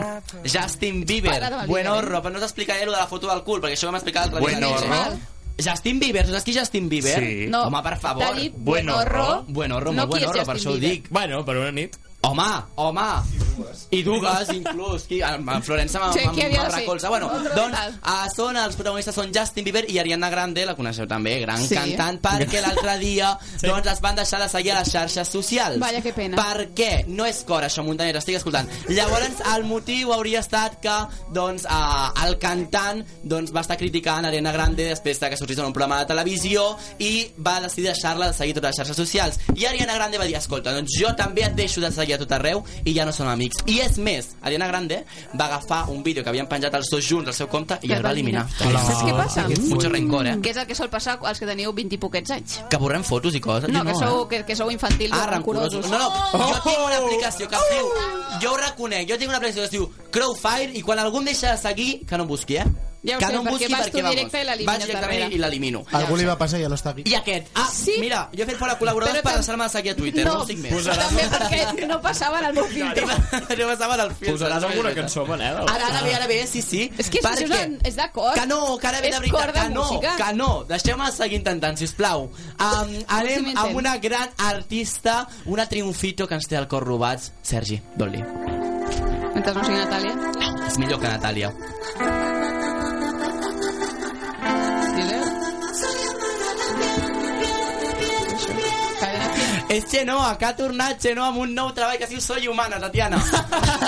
Justin Bieber. Parla del Buen Bieber, eh? horror, però no us explicaré lo de la foto del cul, perquè això ho vam explicar l'altre Buen dia. horror. Justin Bieber, saps qui és Justin Bieber? Sí. No, Home, per favor. t'ha dit Buen buen horror. horror. Buen horror, No, molt buen qui és horror, per Justin això ho Bieber? dic. Oh. Bueno, per una nit. Home, home. I dugues, inclús. Qui, en en Florença m'ha Sí, qui sí, havia de ser? recolza. Bueno, Otro doncs, tal. ah, són, els protagonistes són Justin Bieber i Ariana Grande, la coneixeu també, gran Sí. cantant, perquè l'altre dia doncs, es van deixar de seguir a les xarxes socials. Vaya, que pena. Per què? No és cor, això, Montaner, estic escoltant. Llavors, el motiu hauria estat que doncs, eh, el cantant doncs, va estar criticant Ariana Grande després de que sortís en un programa de televisió i va decidir deixar-la de seguir totes les xarxes socials. I Ariana Grande va dir, escolta, doncs jo també et deixo de seguir a tot arreu i ja no som amics. I és més, Ariana Grande va agafar un vídeo que havien penjat els dos junts al seu compte i el va eliminar. Saps què passa? Mucho rencor, eh? Que és el que sol passar als que teniu 20 i poquets anys. Que borrem fotos i coses. No, Jo que eh? sou, que, que sou infantils Ah, i rancorosos. Oh, rancorosos. No, no, jo tinc una aplicació que es diu... Jo ho reconec, jo tinc una aplicació que es diu Crowfire i quan algú em deixa de seguir, que no em busqui, eh? Ja ho que sé, no em perquè busqui vas tu vamos, directe i l'elimines Vaig directament darrere. i l'elimino. Algú li va passar i ja no està aquí. I aquest. Ah, sí? mira, jo he fet fora col·laboradors per deixar-me de seguir a Twitter, no, ho estic més. també perquè no passava en el meu filtre. No passava del filtre. Posaràs alguna cançó, Manel? Ara, ara ve, ara ve, sí, sí. És que això Perquè- és, un- és de cor. Que no, que ara ve És de cor veritat, de que no, música. que no. Deixeu-me seguir intentant, sisplau. Um, anem m'entens. amb una gran artista, una triomfito que ens té el cor robat. Sergi, dol-li. Mentre no sigui Natàlia. És millor que Natàlia. És Xenoa, que ha tornat Xenoa amb un nou treball que es diu Soy Humana, Tatiana.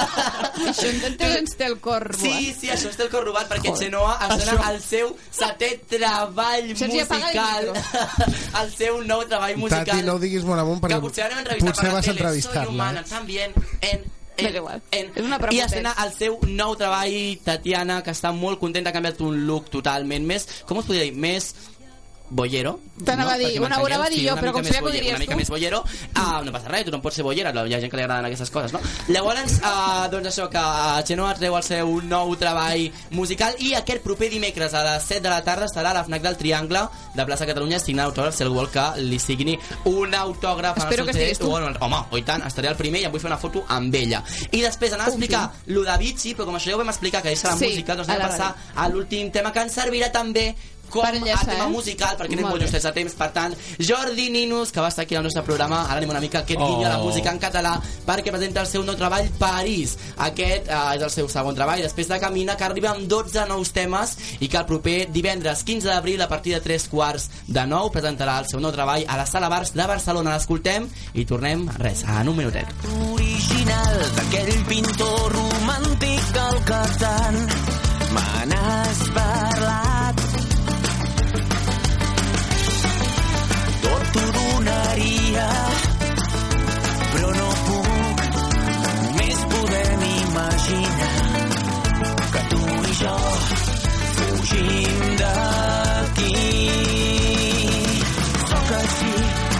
Això entonces ens té el cor. Sí, sí, això és del cor robat, perquè Xenoa estona el seu setè treball Sergi, apaga el musical. el seu nou treball musical. Tati, no ho diguis molt amunt perquè que potser anem a entrevistar potser per la tele. vas Soy entrevistar-la. humana, eh? también en... en en, És una i pregunta. escena el seu nou treball Tatiana, que està molt contenta ha canviat un look totalment més, com us podria dir més bollero T'anava a dir, Perquè una hora va dir m'entengueu, jo, una però mica com més sabia que ho bollero, diries una mica tu. més bollero, ah, no passa res tothom pot ser bollera, hi ha gent que li agraden aquestes coses no? llavors, ah, doncs això que Xenoa treu el seu nou treball musical i aquest proper dimecres a les 7 de la tarda estarà a la FNAC del Triangle de plaça Catalunya signant autògrafs si algú vol que li signi un autògraf en el Espero seu que CD, estiguis tu. o en el- home, oi tant, estaré el primer i em vull fer una foto amb ella i després anava a explicar lo de Vichy però com això ja ho vam explicar que deixa la Sí, música doncs a anem a la passar a l'últim tema que ens servirà també com Per enllaçar, a tema eh? musical perquè anem Molt molt bé. justets a temps per tant Jordi Ninus que va estar aquí al nostre programa ara anem una mica a aquest Oh. oh. guinya de la música en català perquè presenta el seu nou treball París aquest eh, és el seu segon treball després de Camina que arriba amb 12 nous temes i que el proper divendres 15 d'abril a partir de 3 quarts de 9 presentarà el seu nou treball a la Sala Bars de Barcelona l'escoltem i tornem res en un minutet original d'aquell pintor romàntic del que tant me n'has parlat. Tot ho donaria, però no puc, només podem imaginar que tu i jo fugim d'aquí. Sóc així,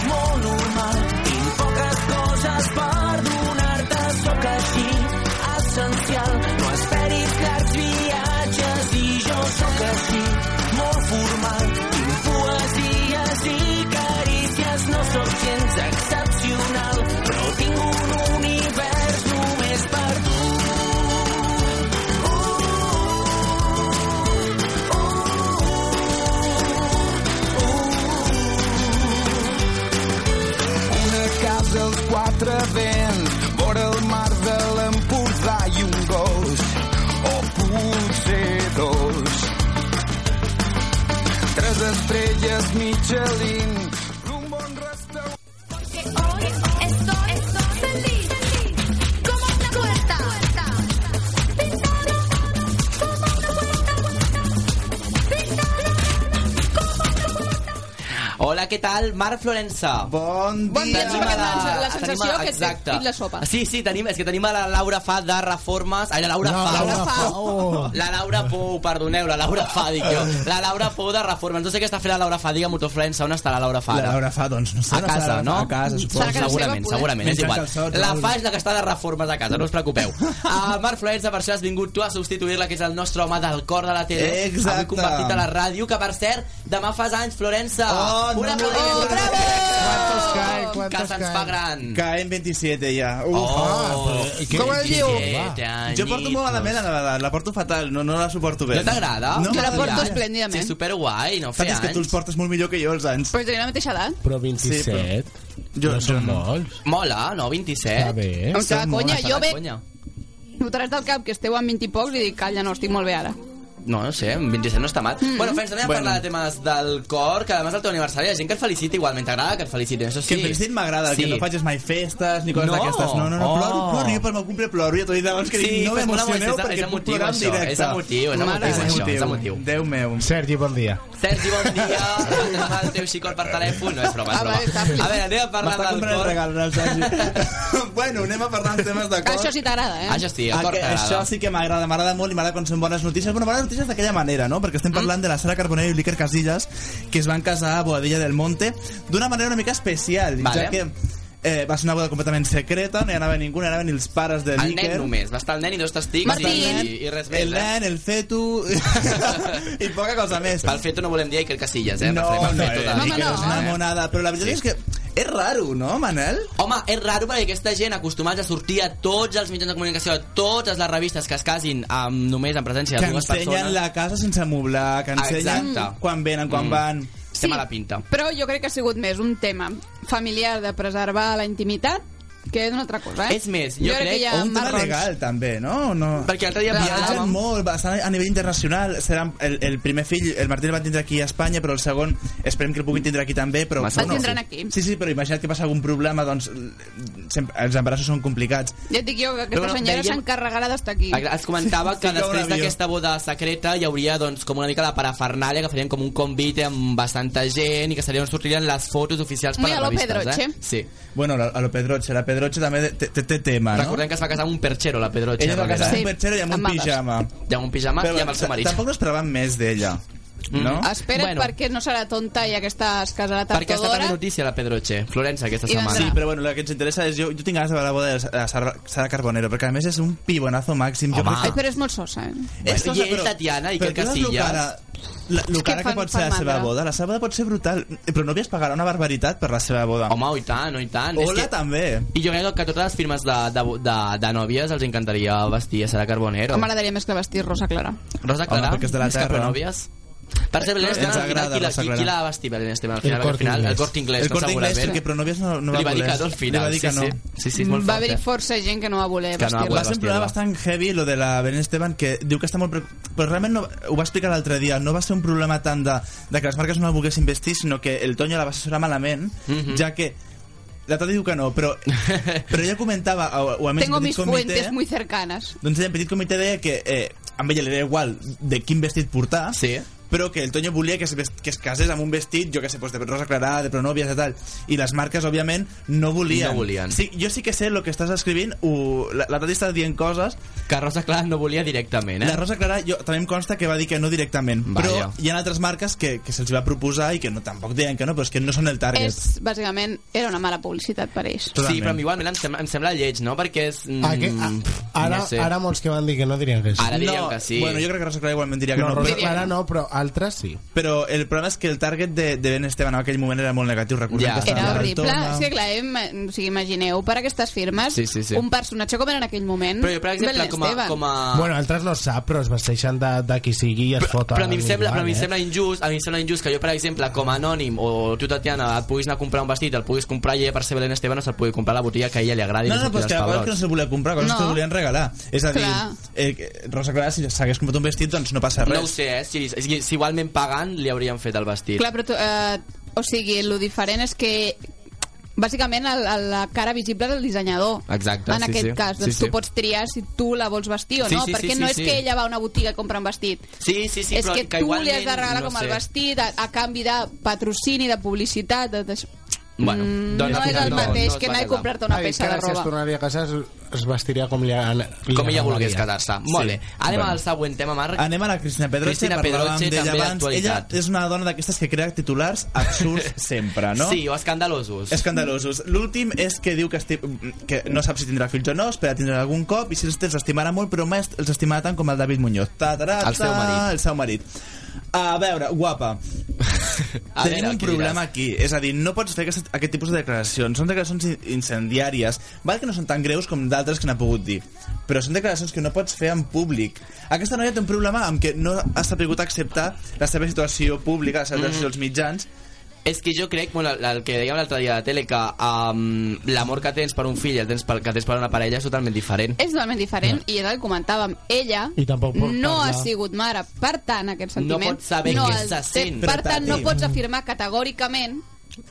molt normal, tinc poques coses per donar-te. Sóc així, essencial, no esperis llargs viatges. els quatre vents, vora el mar de l'Empordà i un gos, o potser dos. Tres estrelles Michelin, un bon restaurant... Hoy estoy feliz, como una puerta. Pintada como una puerta. Hola, què tal? Mar Florença. Bon Bon dia, Tenim a la- Joan. La sensació tenim a- que et- exacte. et la sopa. Sí, sí, tenim, és que tenim a la Laura Fa de Reformes... Ai, la Laura La Fa. Laura Fa. Oh. La Laura Pou, perdoneu, la Laura Fa, dic jo. La Laura Pou de Reformes. No sé què està fent la Laura Fa, digue-m'ho tu, Florença, on està la Laura Fa? La Laura Fa, doncs, no sé, a no casa, serà no? a casa, suposo. Serà a casa Segurament, seva, segurament, és Menjant igual. calçots, La Laura. Fa és la que està de reformes a casa, no us preocupeu. A Marc Florença, per això has vingut tu a substituir-la, que és el nostre home del cor de la tele. Exacte. Avui convertit a la ràdio, que per cert, demà fas anys, Florença. Oh, no Un me aplaudiment. digas. Quantos cae, que se'ns fa gran. Caen 27 ja. Uf. Oh, Ah, què com el diu? 27 Jo porto molt malament a Nadal, la porto fatal, no, no la suporto bé. No t'agrada? No Te la m'agrada. porto esplèndidament. Sí, superguai, no fer Saps que tu els portes molt millor que jo, els anys. Però tenim la mateixa edat. Però 27? Jo, no són molts. Mola, no? 27? Està bé. Em fa Són conya, molt, jo està de ve- Notaràs del cap que esteu amb 20 i pocs i dic, calla, no, estic molt bé ara. No, no sé, amb 27 no està mal. Mm. Bueno, Fens, anem a Bueno. parlar de temes del cor, que además del teu aniversari hi ha gent que et felicita igualment, t'agrada que et felicitin, això sí. Que em felicitin m'agrada, que no facis mai festes ni coses No. d'aquestes. No, no, no, Oh. ploro, ploro, jo pel meu cumple ploro, ja t'ho he dit abans que Sí, dic, no pues mola molt, m'emocioneu és- és perquè puc emotiu, plorar en això, directe. és emotiu, és Mare emotiu, de això, Déu. és emotiu. Déu meu. Sergi, bon dia. Sergi, bon Eh, dia, vas agafar el teu xicot per telèfon, no és broma, és broma. A veure, anem a parlar M'està del comprant el cor. regal, el Sergi. bueno, anem a parlar de temes de cor. Això sí t'agrada, eh? Això sí, a cor Aqu- t'agrada. Això sí Ah, que m'agrada, m'agrada molt i m'agrada quan són bones notícies. Bueno, bones notícies d'aquella manera, no? Mm. Perquè estem parlant de la Sara Carbonell i l'Iker Casillas, que es van casar a Boadella del Monte d'una manera una mica especial, Vale. ja que eh, va ser una boda completament secreta, no hi anava ningú, no hi anaven ni els pares de El l'Iker. nen només, va estar el nen i dos testics i, i, i res més, eh? El nen, el fetu... I poca cosa més. Pel feto no volem dir Iker Casillas, eh? No, Referim al no, feto de no, l'Iker, no, és una eh? monada. Però la veritat és que és raro, no, Manel? Home, és raro perquè aquesta gent acostumats a sortir a tots els mitjans de comunicació, a totes les revistes que es casin amb, només en presència Que de dues ensenyen persones. Ah, la casa sense moblar, que ensenyen Exacte. quan venen, quan Mm. van... Té mala pinta. Però jo crec que ha sigut més un tema familiar de preservar la intimitat que és una altra cosa, eh? És més, jo crec- que hi ha o un tema marrons. legal, també, no? O no? Perquè l'altre dia Viatgen parlàvem- molt, bastant a nivell internacional. Seran el, el primer fill, el Martí el van tindre aquí a Espanya, però el segon esperem que el puguin tindre aquí també. Però, Massa El tindran aquí. Sí, sí, però imagina't que passa algun problema, doncs sempre, els embarassos són complicats. Ja et dic jo que Però aquesta bueno, senyora veiem- s'encarregarà d'estar aquí. Ah, Es comentava Fica que un després avió. d'aquesta boda secreta hi hauria doncs, com una mica la parafernàlia que farien com un convite amb bastanta gent i que serien sortirien les fotos oficials per Muy a a lo revistes, eh? Pedroche. Sí. Bueno, la- a lo Pedroche, la Pedroche també té, té- té tema, no? Recordem que es va casar amb un perchero, la Pedroche. Ella es va Herrera, casar amb eh? un perchero i amb un amb mapes. pijama. I amb un pijama i amb el seu marit. Tampoc no esperaven més d'ella, no? Espera't bueno. perquè no serà tonta ja que està, es casarà tard Mm. Perquè ha o estat d'hora. també notícia la Pedroche, Florença, aquesta I vendrà. setmana. Sí, però bueno, el que ens interessa és... Jo, jo tinc ganes de veure la boda de la Sara, Sara Carbonero, perquè a més és un pibonazo màxim. Jo Ai, crec que... però és molt sosa, eh? És cosa, I ell, Tatiana, i però Iker tu saps lo Casillas. cara- La, lo És que cara que fan- pot ser fan la seva mandra. boda. La seva boda pot ser brutal, però no havies pagarà una barbaritat per la seva boda. Home, i tant, i tant. Hola, també. I jo crec que a totes les firmes de, de, de, de nòvies els encantaria vestir a Sara Carbonero. Però... M'agradaria més que vestir Rosa Clara. Rosa Clara, Home, perquè és de la Ah, més que terra. pronòvies. Per ser Belén Ens Esteban, al final, agrada qui, la, Rosa qui, Clara. qui la va vestir Belén Esteban? Al final, El al Corte final, Inglés. el Corte Inglés, El no, Corte Inglés, segurament. perquè Pronovias no- no va Li va voler. dir que no al Li va final, dir sí, que no. sí. Sí, sí, és molt va fort, haver-hi eh? força gent que no va voler Que no va vestir-la. Va ser un problema bastant heavy, lo de la Belén Esteban, que diu que està molt... preocup- Però realment no, ho va explicar l'altre dia, no va ser un problema tant de, de que les marques no la volguessin vestir, sinó que el Toño la va assessorar malament, Mhm. ja que la Tati diu que no, però, però ella comentava, o, o a més, Tengo un eh? petit comitè, mis fuentes muy cercanas. doncs ella, en petit comitè, deia que eh, amb ella li era igual de quin vestit portar, sí. però que el Toño volia que es, vest- que es casés amb un vestit, jo que sé, pues, de rosa clarà, de pronòvies, de tal, i les marques, òbviament, no volien. No volien. Sí, jo sí que sé el que estàs escrivint, ho, la, la Tati està dient coses... Que Rosa Clara no volia directament, eh? La Rosa Clara jo, també em consta que va dir que no directament, Vaja. però hi ha altres marques que, que se'ls va proposar i que no, tampoc deien que no, però és que no són el target. És, bàsicament, era una mala publicitat per ells. Sí, però a mi igualment em sembla, em sembla lleig, no? Perquè és... Mm, Ah, que- ah, Ara, no sé. ara molts que van dir que no dirien que sí. Ara diríem que sí. Bueno, jo crec que Rosa Clara igualment diria que No, no, Rosa però... Clara no, però a altres sí. Però el problema és que el target de, de Ben Esteban en aquell moment era molt negatiu. Recordem que estava Era a horrible. Daytona. És que, clar, em, o sigui, imagineu per aquestes firmes Sí, sí, sí. un personatge com era en aquell moment. Però jo, per exemple, Belén com a- Esteban. com a- Ah. Bueno, altres no sap, però es vesteixen de, de qui sigui i es foten. Però a mi em sembla, però a mi em igual, eh? sembla injust, a mi em sembla injust que jo, per exemple, com a anònim o tu, Tatiana, et puguis anar a comprar un vestit, el puguis comprar i ella per ser Belén Esteban no se'l pugui comprar a la botiga que a ella li agradi. No, no, però és que la cosa és que no se'l volia comprar, coses no. que No. li volien regalar. És a dir, Clar. eh, Rosa Clara, si s'hagués comprat un vestit, doncs no passa res. No ho sé, eh? Si, si, si igualment pagant li haurien fet el vestit. Clar, però tu, eh, o sigui, el diferent és que bàsicament el, el, la cara visible és el dissenyador. Exacte, en sí, aquest sí. cas, Sí, doncs sí. tu pots triar si tu la vols vestir o Sí, no, sí, sí, perquè sí, no és sí. que ella va a una botiga i compra un vestit. Sí, sí, sí, és però que, que tu li igualment, has de regalar no com el sé. vestit a, a canvi de patrocini, de publicitat, de, de... Bueno, Mm, no és el mateix que anar a comprar-te una Ha dit peça que de ara Si es roba. tornaria a casa es, es vestiria com li, li Com ella agradaria. volgués quedar-se. Molt bé. Anem al següent tema, Marc. Anem a la Cristina Pedroche, Cristina parlàvem Pedroche, d'ella també abans. d'actualitat. Ella és una dona d'aquestes que crea titulars absurds sempre, no? Sí, o escandalosos. Escandalosos. L'últim és que diu que, esti... que no sap si tindrà fills o no, espera tindrà algun cop, i si els té els estimarà molt, però mai els estimarà tant com el David Muñoz. Ta, ta, ta, El seu marit. El seu marit. A veure, guapa, A tenim veure, un què problema diràs? aquí. És a dir, no pots fer aquest, aquest tipus de declaracions. Són declaracions in- incendiàries. Val que no són tan greus com d'altres que n'ha pogut dir. Però són declaracions que no pots fer en públic. Aquesta noia té un problema amb que no ha sabut acceptar la seva situació pública, Mm-hmm. la seva situació als mitjans, És que jo crec, bueno, el- el que dèiem l'altre dia a la tele, que um, l'amor que tens per un fill i el tens pel, que tens per una parella és totalment diferent. És totalment diferent, i era el que comentàvem. Ella I tampoc pot no parlar. ha sigut mare. Per tant, aquest No sentiment... pot saber què el se té. sent. Per tant, no Exacte. pots afirmar categòricament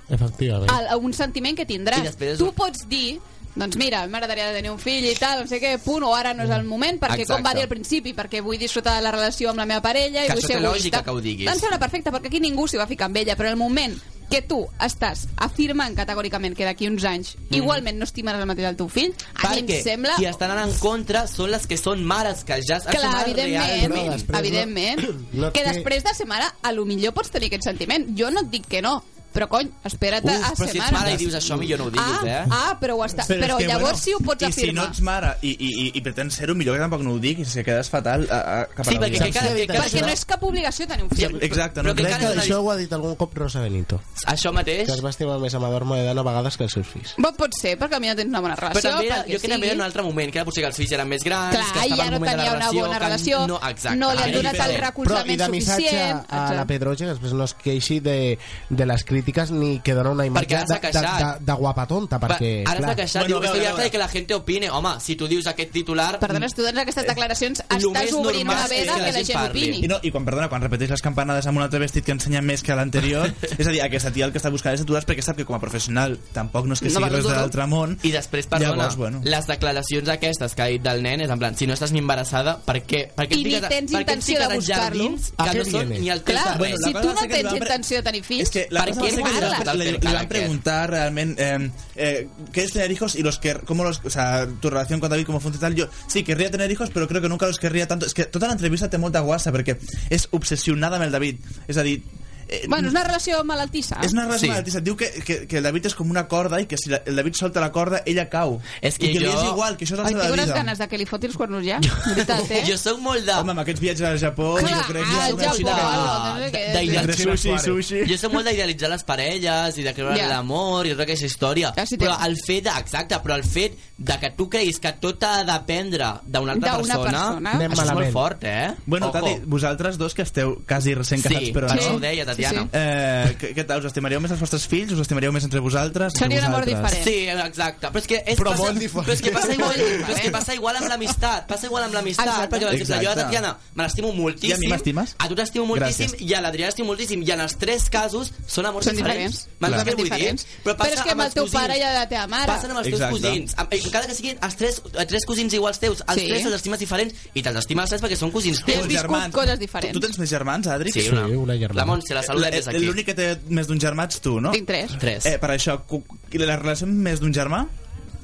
Efectivament. el, un sentiment que I tindràs. després és Tu un- pots dir doncs mira, m'agradaria tenir un fill i tal, no sé què, punt, o ara no és el moment, perquè Exacte. com va dir al principi, perquè vull disfrutar de la relació amb la meva parella i Que vull això ser té lògica egoista. que ho diguis. Em sembla perfecte, perquè aquí ningú s'hi va ficar amb ella, però en el moment que tu estàs afirmant categòricament que d'aquí uns anys Mhm. igualment no estimaràs el mateix el teu fill, Eh, a mi Perquè em sembla qui estan anant en contra són les que són mares, que ja s'han Clar, evidentment, realment. evidentment no que té- després de ser mare, a lo millor pots tenir aquest sentiment. Jo no et dic que no, però cony, espera't Uf, a però ser si ets mare i dius això, millor no ho diguis, ah, eh? Ah, però, ho està... és però, que, llavors bueno, sí ho pots i si no afirmar. ets mare i, i, i, i pretens ser-ho, millor que tampoc no ho diguis, que quedes fatal a, a, cap a Sí, perquè l'audiència. que cada- que cada- perquè no és cap obligació tenir un fill. Exacte, Però no que crec encara que és una això... Això ho ha dit algun cop Rosa Benito. Això mateix. Que es va estimar més amb Adormo de Dano a vegades que els seus fills. Bo, pot ser, perquè a mi no tens una bona Però relació. també era, pel que jo crec que també era sigui. un altre moment, que era potser que els fills eren més grans, Clar, que i estava ja en no un moment de tenia la una relació... bona que- relació, no, exacte, no li han era donat el diferent. Però, i recolzament de missatge suficient. a la Exacte. Pedroche, que després no es queixi de, de les crítiques ni que dona una imatge Perquè ara de, s'ha de, queixat. de, de guapa tonta, perquè... Va, Ara s'ha clar. queixat, diu, estoy harta de que la gente opine. Home, si tu dius aquest titular... Perdona, tu dones aquestes declaracions, més estàs obrint normal una és que veda la que la gent gent parli. opini. I, no, I quan, perdona, quan repeteix les campanades amb un altre vestit que ensenya més que l'anterior, és a dir, aquesta tia el que està buscant és aturar perquè sap que com a professional tampoc no és que No, sigui perdó, res de no. l'altre món. I després, perdona, Llavors, bueno. les declaracions aquestes que ha dit del nen és en plan, si no estàs ni embarassada, per què? Per què em I ni fiques a- per tens què em intenció fiques de en buscar-lo? jardins ¿A Que qué no són Ah, viene? ni el teu Clar, terreny? si tu no tens intenció de tenir fills, que la per cosa què va ser que parles? le, le- le van a preguntar realmente eh, eh, ¿quieres tener hijos? y los que cómo los o sea tu relación con David cómo funciona y tal yo sí querría tener hijos pero creo que nunca los querría tanto es que toda la entrevista te molta guasa porque es obsesionada con el David es decir eh, Bueno, és una relació malaltissa. és una raça sí. malaltissa. Et diu que, que, que el David és com una corda i que si la, el David solta la corda, ella cau. És que I que li jo- és igual, que això és la Ai, seva tinc unes vida. ganes de que li foti els cuernos ja. Veritat, eh? Jo sóc molt de... Home, amb aquests viatges al Japó, Clar, jo ah, crec que... al una Japó, xina- no sé què. D'idealitzar- Jo soc molt d'idealitzar les parelles i de creure Ja. Ah, yeah. l'amor i tota aquesta història. Però el fet, exacte, però el fet de que tu creguis que tot ha de dependre d'una altra D'una persona, persona. això Anem és malament. molt fort, eh? Bueno, Ojo. Tati, vosaltres dos que esteu quasi recent Sí, casats, però per no. això ho deia, Tatiana. Sí, sí. Eh, què, què tal? Us estimaríeu més els vostres fills? Us estimaríeu més entre vosaltres? Entre vosaltres? Sí, exacte. Però és que, és, Però passa, molt diferent. Però és que passa igual, però és que passa igual amb l'amistat. Passa igual amb l'amistat. Exacte. Ah, Perquè, per exemple, jo a la Exacte. Tatiana me l'estimo moltíssim. I a mi m'estimes? A tu t'estimo moltíssim Gràcies. i a l'Adrià l'estimo moltíssim. I en els tres casos són amors Són diferents. diferents. M'entens Clar. què vull dir? Diferents. Però, passa Però és que amb el els teu cosins. pare i la teva mare. Passen amb els teus Exacte. cosins. Amb- Encara que siguin els tres, els tres cosins iguals teus, els Sí. tres els estimes diferents i te'ls estimes els tres perquè són cosins Tu teus. has viscut coses diferents. Tu tens més germans, Adri? Eh, Sí, una. Sí, una germana. La Montse, la saluda des d'aquí. L'únic que té més d'un germà ets tu, no? Tinc tres. Tres. Eh, per això, cu- i la relació amb més d'un germà?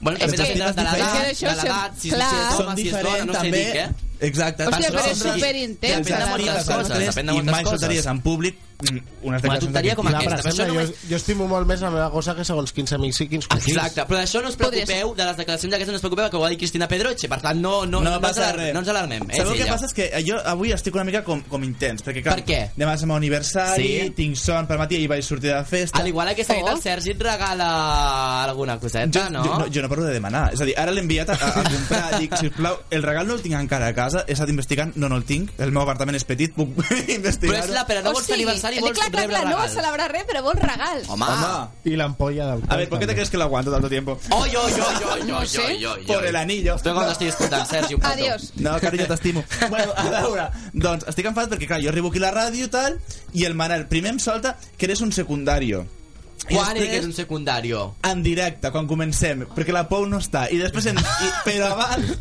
Bueno, Els també depèn estàs de l'edat, diferent? és que d'això de l'edat, si- si és home, Són si és dona, diferent, no sé també. dir què. Exacte. Hòstia, Són però és tres. superintens, Depèn de moltes Depèn de moltes coses, coses. I mai soltaries en públic unes Una tonteria com aquesta, Per però això exemple, només- jo, jo estimo molt més la meva gossa que segons quins amics i quins cosins. Exacte, però d'això no us preocupeu, de les declaracions d'aquestes no us preocupeu, que ho va dir Cristina Pedroche, per tant no, no, no, ens, alarm, no ens alarmem. Eh, Sabeu sí, què ja. passa? És que jo avui estic una mica com, com intens. Perquè, clar, Per què? Demà és el meu aniversari, Sí. tinc son per matí i vaig sortir de festa. Oh. Al igual aquesta nit el Sergi et regala alguna coseta, no? Jo, no, jo no paro de demanar. És a dir, ara l'he enviat a, a, a comprar. Dic, sisplau, el regal no el tinc encara a casa. He estat investigant, no, no el tinc. El meu apartament és petit, puc investigar-ho. Però és la- però no vols fer aniversari i vols clar, clar, rebre clar, no regals. vas celebrar res, però vols regals. I l'ampolla del A ver, ¿por qué te crees que lo aguanto tanto tiempo? ¡Oy, oy, oy, oy, No oy, sé. oy, oy, Por oy. el anillo. Estoy cuando estoy escoltant, Sergi, un puto. Adiós. No, cariño, t'estimo. bueno, a veure, doncs estic enfadat perquè, clar, jo arribo aquí a la ràdio i tal, i el Manel primer em solta que eres un secundario. I Quan després- eres un secundario? en directe, quan comencem, perquè la Pou no està. I després, em, i, però, abans,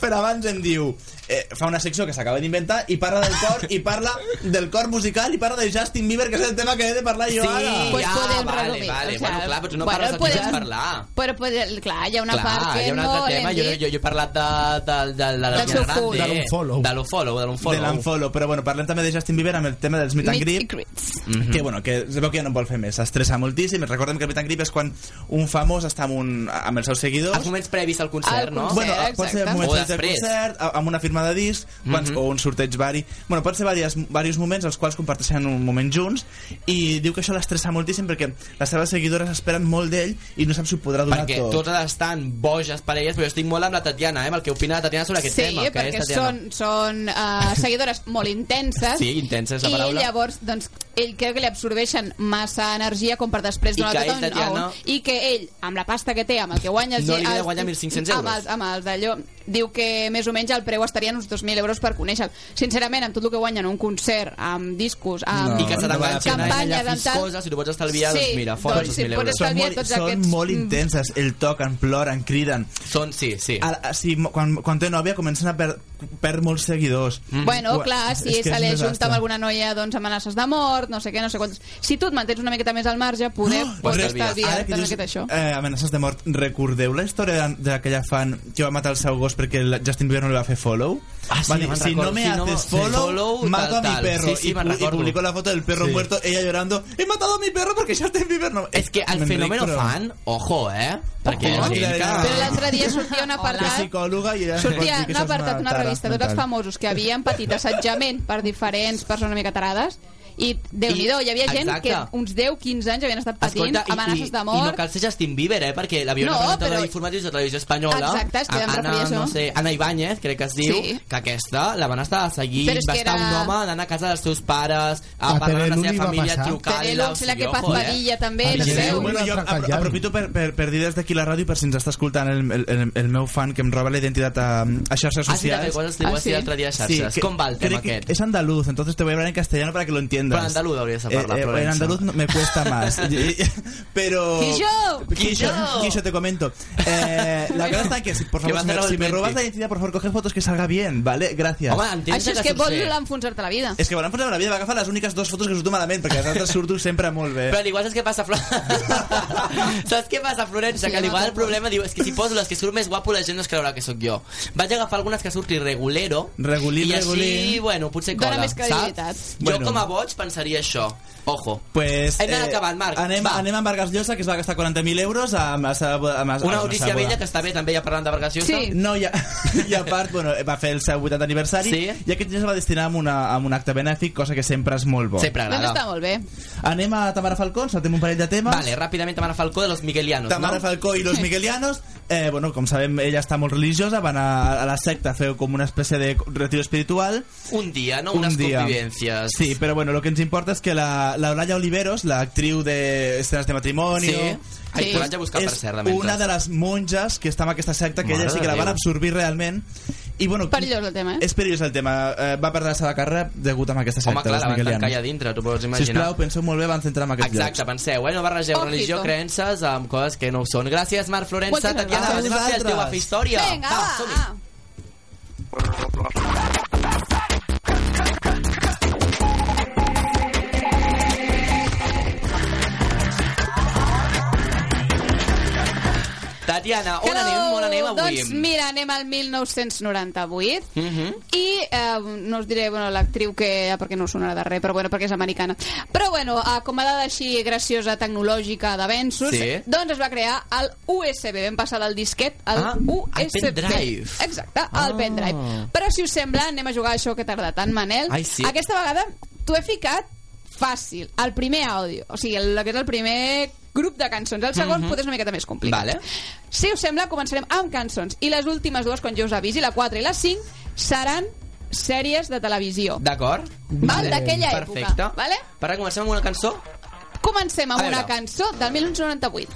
però abans em diu... Eh, fa una secció que s'acaba d'inventar i parla del cor, i parla del cor musical, i parla de Justin Bieber, que és el tema que he de parlar jo Sí, ara. Pues ja, podem vale, resumir, vale. o sea, Bueno, clar, però tu no bueno, parles de podem- qui has parlat. Però, pues, clar, hi ha una Clar, part que Ah, hi ha un no altre tema, l'hem jo, dit. jo, jo he parlat de, de, de, de, la Del seu gent gran, de, follow. De l'unfollow. De l'unfollow, de de l'unfollow. l'unfollow, però bueno, parlem també de Justin Bieber amb el tema dels Meet and Greet, Mm-hmm. que bueno, que es veu que ja no en vol fer més, s'estressa moltíssim, i recordem que el Meet and Greet és quan un famós està amb, un, amb els seus seguidors. Els moments previs al concert, Al no? concert, Bueno, pot ser exacte. moments O previs al després. concert, a- amb una firma de disc, quants, Mhm. o un sorteig vari... Bueno, pot ser diversos, diversos moments els quals comparteixen un moment junts, i diu que això l'estressa moltíssim perquè les seves seguidores esperen molt d'ell i no sap si ho podrà donar Perquè tot. totes estan boges per elles, però jo estic molt amb la Tatiana, eh, amb el que opina la Tatiana sobre aquest Sí, tema. que perquè és, Tatiana. són, són uh, seguidores molt intenses Sí, intensa és la i paraula. llavors doncs, ell creu que li absorbeixen massa energia com per després I donar que tot a ell, un- a un, Tatiana- i que ell, amb la pasta que té, amb el que guanya... els- No li ha de els- guanyar 1.500 Amb euros. els, amb els d'allò, diu que més o menys el preu estaria en uns 2.000 euros per conèixer Sincerament, amb tot el que guanyen un concert, amb discos, amb I que se t'enganxen a ella campanyes, amb tal... fiscosa, si t'ho pots estalviar, sí, doncs mira, fora doncs, doncs, si 2.000 pots són euros. estalviar molt, tots són aquests- molt Mm. intenses, el toquen, ploren, criden. Són, sí, sí. Ara, si, quan, quan té nòvia comencen a per, perdre molts seguidors. Mm. Bueno, Ua, clar, si Mm. és que se és un li desastre. junta amb alguna noia doncs, amenaces de mort, no sé què, no sé quantos... Si tu et mantens una miqueta més al marge, poder, oh, pots Ah, Ara estalviar que una dius, miqueta això. Eh, amenaces de mort. Recordeu la història de- d'aquella fan que va matar el seu gos perquè el Justin Bieber no li va fer follow? Ah, sí, va dir, me'n si no recordo. me Si no, haces sí. follow, Follow, mato tal, a mi tal. perro. Sí, sí, y, me'n pu- y recordo. publicó la foto del perro Sí. muerto, ella llorando, he matado a mi perro porque Justin Bieber no... És que el Enric, fenòmeno però- fan, ojo, eh? Perquè hi ha Ojo. gent que... Però l'altre dia sortia un apartat... psicòloga i... Sortia un apartat, una revista de tots els famosos que havien patit assetjament per diferents persones una mica tarades i déu nhi hi havia gent Exacte. que uns 10-15 anys havien estat patint Escolta, i- amenaces i, de I no mort. cal ser Justin Bieber, eh? Perquè l'havia No, no, presentadora però- però... d'informatius de televisió espanyola. Exacte, és que em Anna, referia a això. no sé, Anna Ibáñez, crec que es diu, Sí. que aquesta la van estar seguint. Però és Va que estar era- un home anant a casa dels seus pares, a, A parlar amb Telenor la li seva va família, passar. trucar-la... Telenor, o em sembla sigui, que ojo, eh? Padilla també, Ah, no sí, sé. sí, Bueno, jo ap- atracallant. aprofito per, per, per dir des d'aquí la ràdio per si ens està escoltant el, el, el, el meu fan que em roba la identitat a, a xarxes Ah, sí, també, socials. quan es diu Ah, així sí? l'altre dia a xarxes. Com va el tema crec que aquest? És andaluz, entonces te voy a hablar en castellano para que lo entiendas. Però andaluz hauries de parlar, Eh, eh, en Provença. andaluz no- me cuesta más. Pero... Quillo! Quillo! Quillo! Quillo, te comento. Eh, la cosa está que, si, por Que favor, va a si me, cerrar el si me puente. robas la identidad, por favor, coge fotos que salga bien, ¿vale? Gracias. Això és que vol enfonsar-te la vida. És que volen fotre la vida, va agafar les úniques dues fotos que surto malament, perquè les altres surto sempre molt bé. Però al igual saps què passa, Flor... saps què passa, Florença? Que al igual el problema diu, és que si poso les que surt més guapo la gent no es creurà que sóc jo. Vaig agafar algunes que surti regulero Regulín, i així, regulín. bueno, potser Dóna cola, més credibilitat. saps? Bueno. Jo com a boig pensaria això. Ojo. Pues, eh, Hem d'anar acabant, Marc. Anem, anem amb Vargas Llosa, que es va gastar 40.000 euros a, a, a, a, a Una notícia vella que està bé també ja parlant de Vargas Llosa. No, i a, i a part, bueno, va fer el seu 80 aniversari Sí. i aquest dia es va destinar a, una, a un acte benèfic, cosa que sempre és molt bo. Sempre Doncs està agrada. molt bé. Anem a Tamara Falcón, saltem un parell de temes. Vale, ràpidament Tamara Falcó de los Miguelianos, Tamara no? Falcó i los miguelianos eh, bueno, com sabem, ella està molt religiosa van a, a la secta a fer com una espècie de retiro espiritual Un dia, no? Un Unes dia. convivències. Sí, però bueno, lo que ens importa és que la, la Olalla Oliveros, la actriu de Escenes de Matrimoni... Sí. Ai, Sí. t'ho vaig a buscar, és per cert, de mentre. una de les monges que està en aquesta secta, que Mare ella sí que la de van Déu. absorbir realment. I bueno, Perillós el tema, eh? és perillós el tema. Eh, va perdre la seva carrera degut a aquesta secta. Home, clar, dels la van miguelianos. tancar allà dintre, t'ho pots imaginar. Sisplau, penseu molt bé, van centrar en aquests Exacte, llocs. penseu, eh? No barregeu Ojito. religió, creences amb coses que no ho són. Gràcies, Marc Florença. Moltes Ah, Tatiana, gràcies. anem a fer el teu a fer història. Vinga, Va, va, som-hi. va. Tatiana, on anem? On anem avui? Doncs mira, anem al 1998 Mhm. i eh, no us diré bueno, l'actriu que... ah, perquè no us sonarà de res, però bueno, perquè és americana. Però bueno, eh, com a dada així graciosa tecnològica d'avenços, Sí. doncs es va crear el USB. Vam passar del disquet al Ah, USB. al pendrive. Ah. Exacte, al pendrive. Però si us sembla, anem a jugar a això que tarda tant, Manel. Ai, sí. Aquesta vegada t'ho he ficat fàcil, el primer àudio. O sigui, el, el que és el primer grup de cançons. El segon Mhm. mm -hmm. potser és una miqueta més complicat. Vale. Si us sembla, començarem amb cançons. I les últimes dues, quan jo us avisi, la 4 i la 5, seran sèries de televisió. D'acord? Val, d'aquella època. Perfecte. Vale? Per ara comencem amb una cançó? Comencem amb A veure. una cançó del 1998.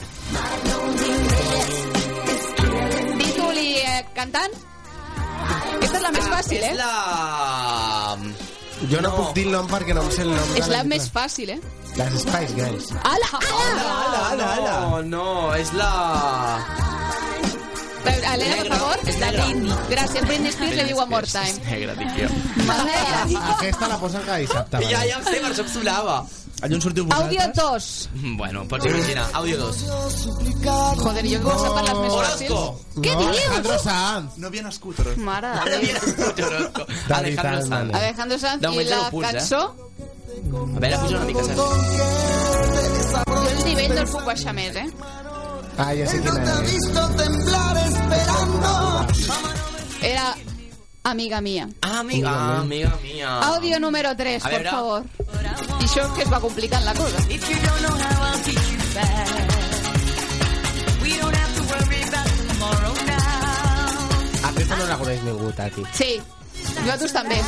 Títol i eh, cantant? Aquesta és la més fàcil, eh? La... Jo no, puc dir el nom perquè no em sé el nom. de És la lletra. més fàcil, eh? Les Spice Girls. Ala! Ala! Ala, ala. No, no, és la... Elena, per favor. És la Britney. Gràcies, Britney Spears le diu a More Time. Negra, dic jo. Aquesta la posen cada dissabte. Ja, ja ho sé, per això em sonava. Allà on sortiu Àudio 2. Bueno, pots imaginar. Àudio 2. Joder, jo que sé per les més fàcils. Orozco. Què No, dius? Alejandro Sanz. No havia nascut, Orozco. Mare de Déu. Alejandro Sanz. Alejandro Sanz De i moment la zero punts, eh? cançó... A veure, puja una mica, Sergi. Jo el nivell no el puc baixar més, eh? Ah, ja sé quina és. Era amiga mía. Amiga, ah, amiga mía. Audio número 3, A por veure. favor. I això que es va complicant la cosa. Aquesta no la coneix ningú, Tati. Sí, nosaltres també.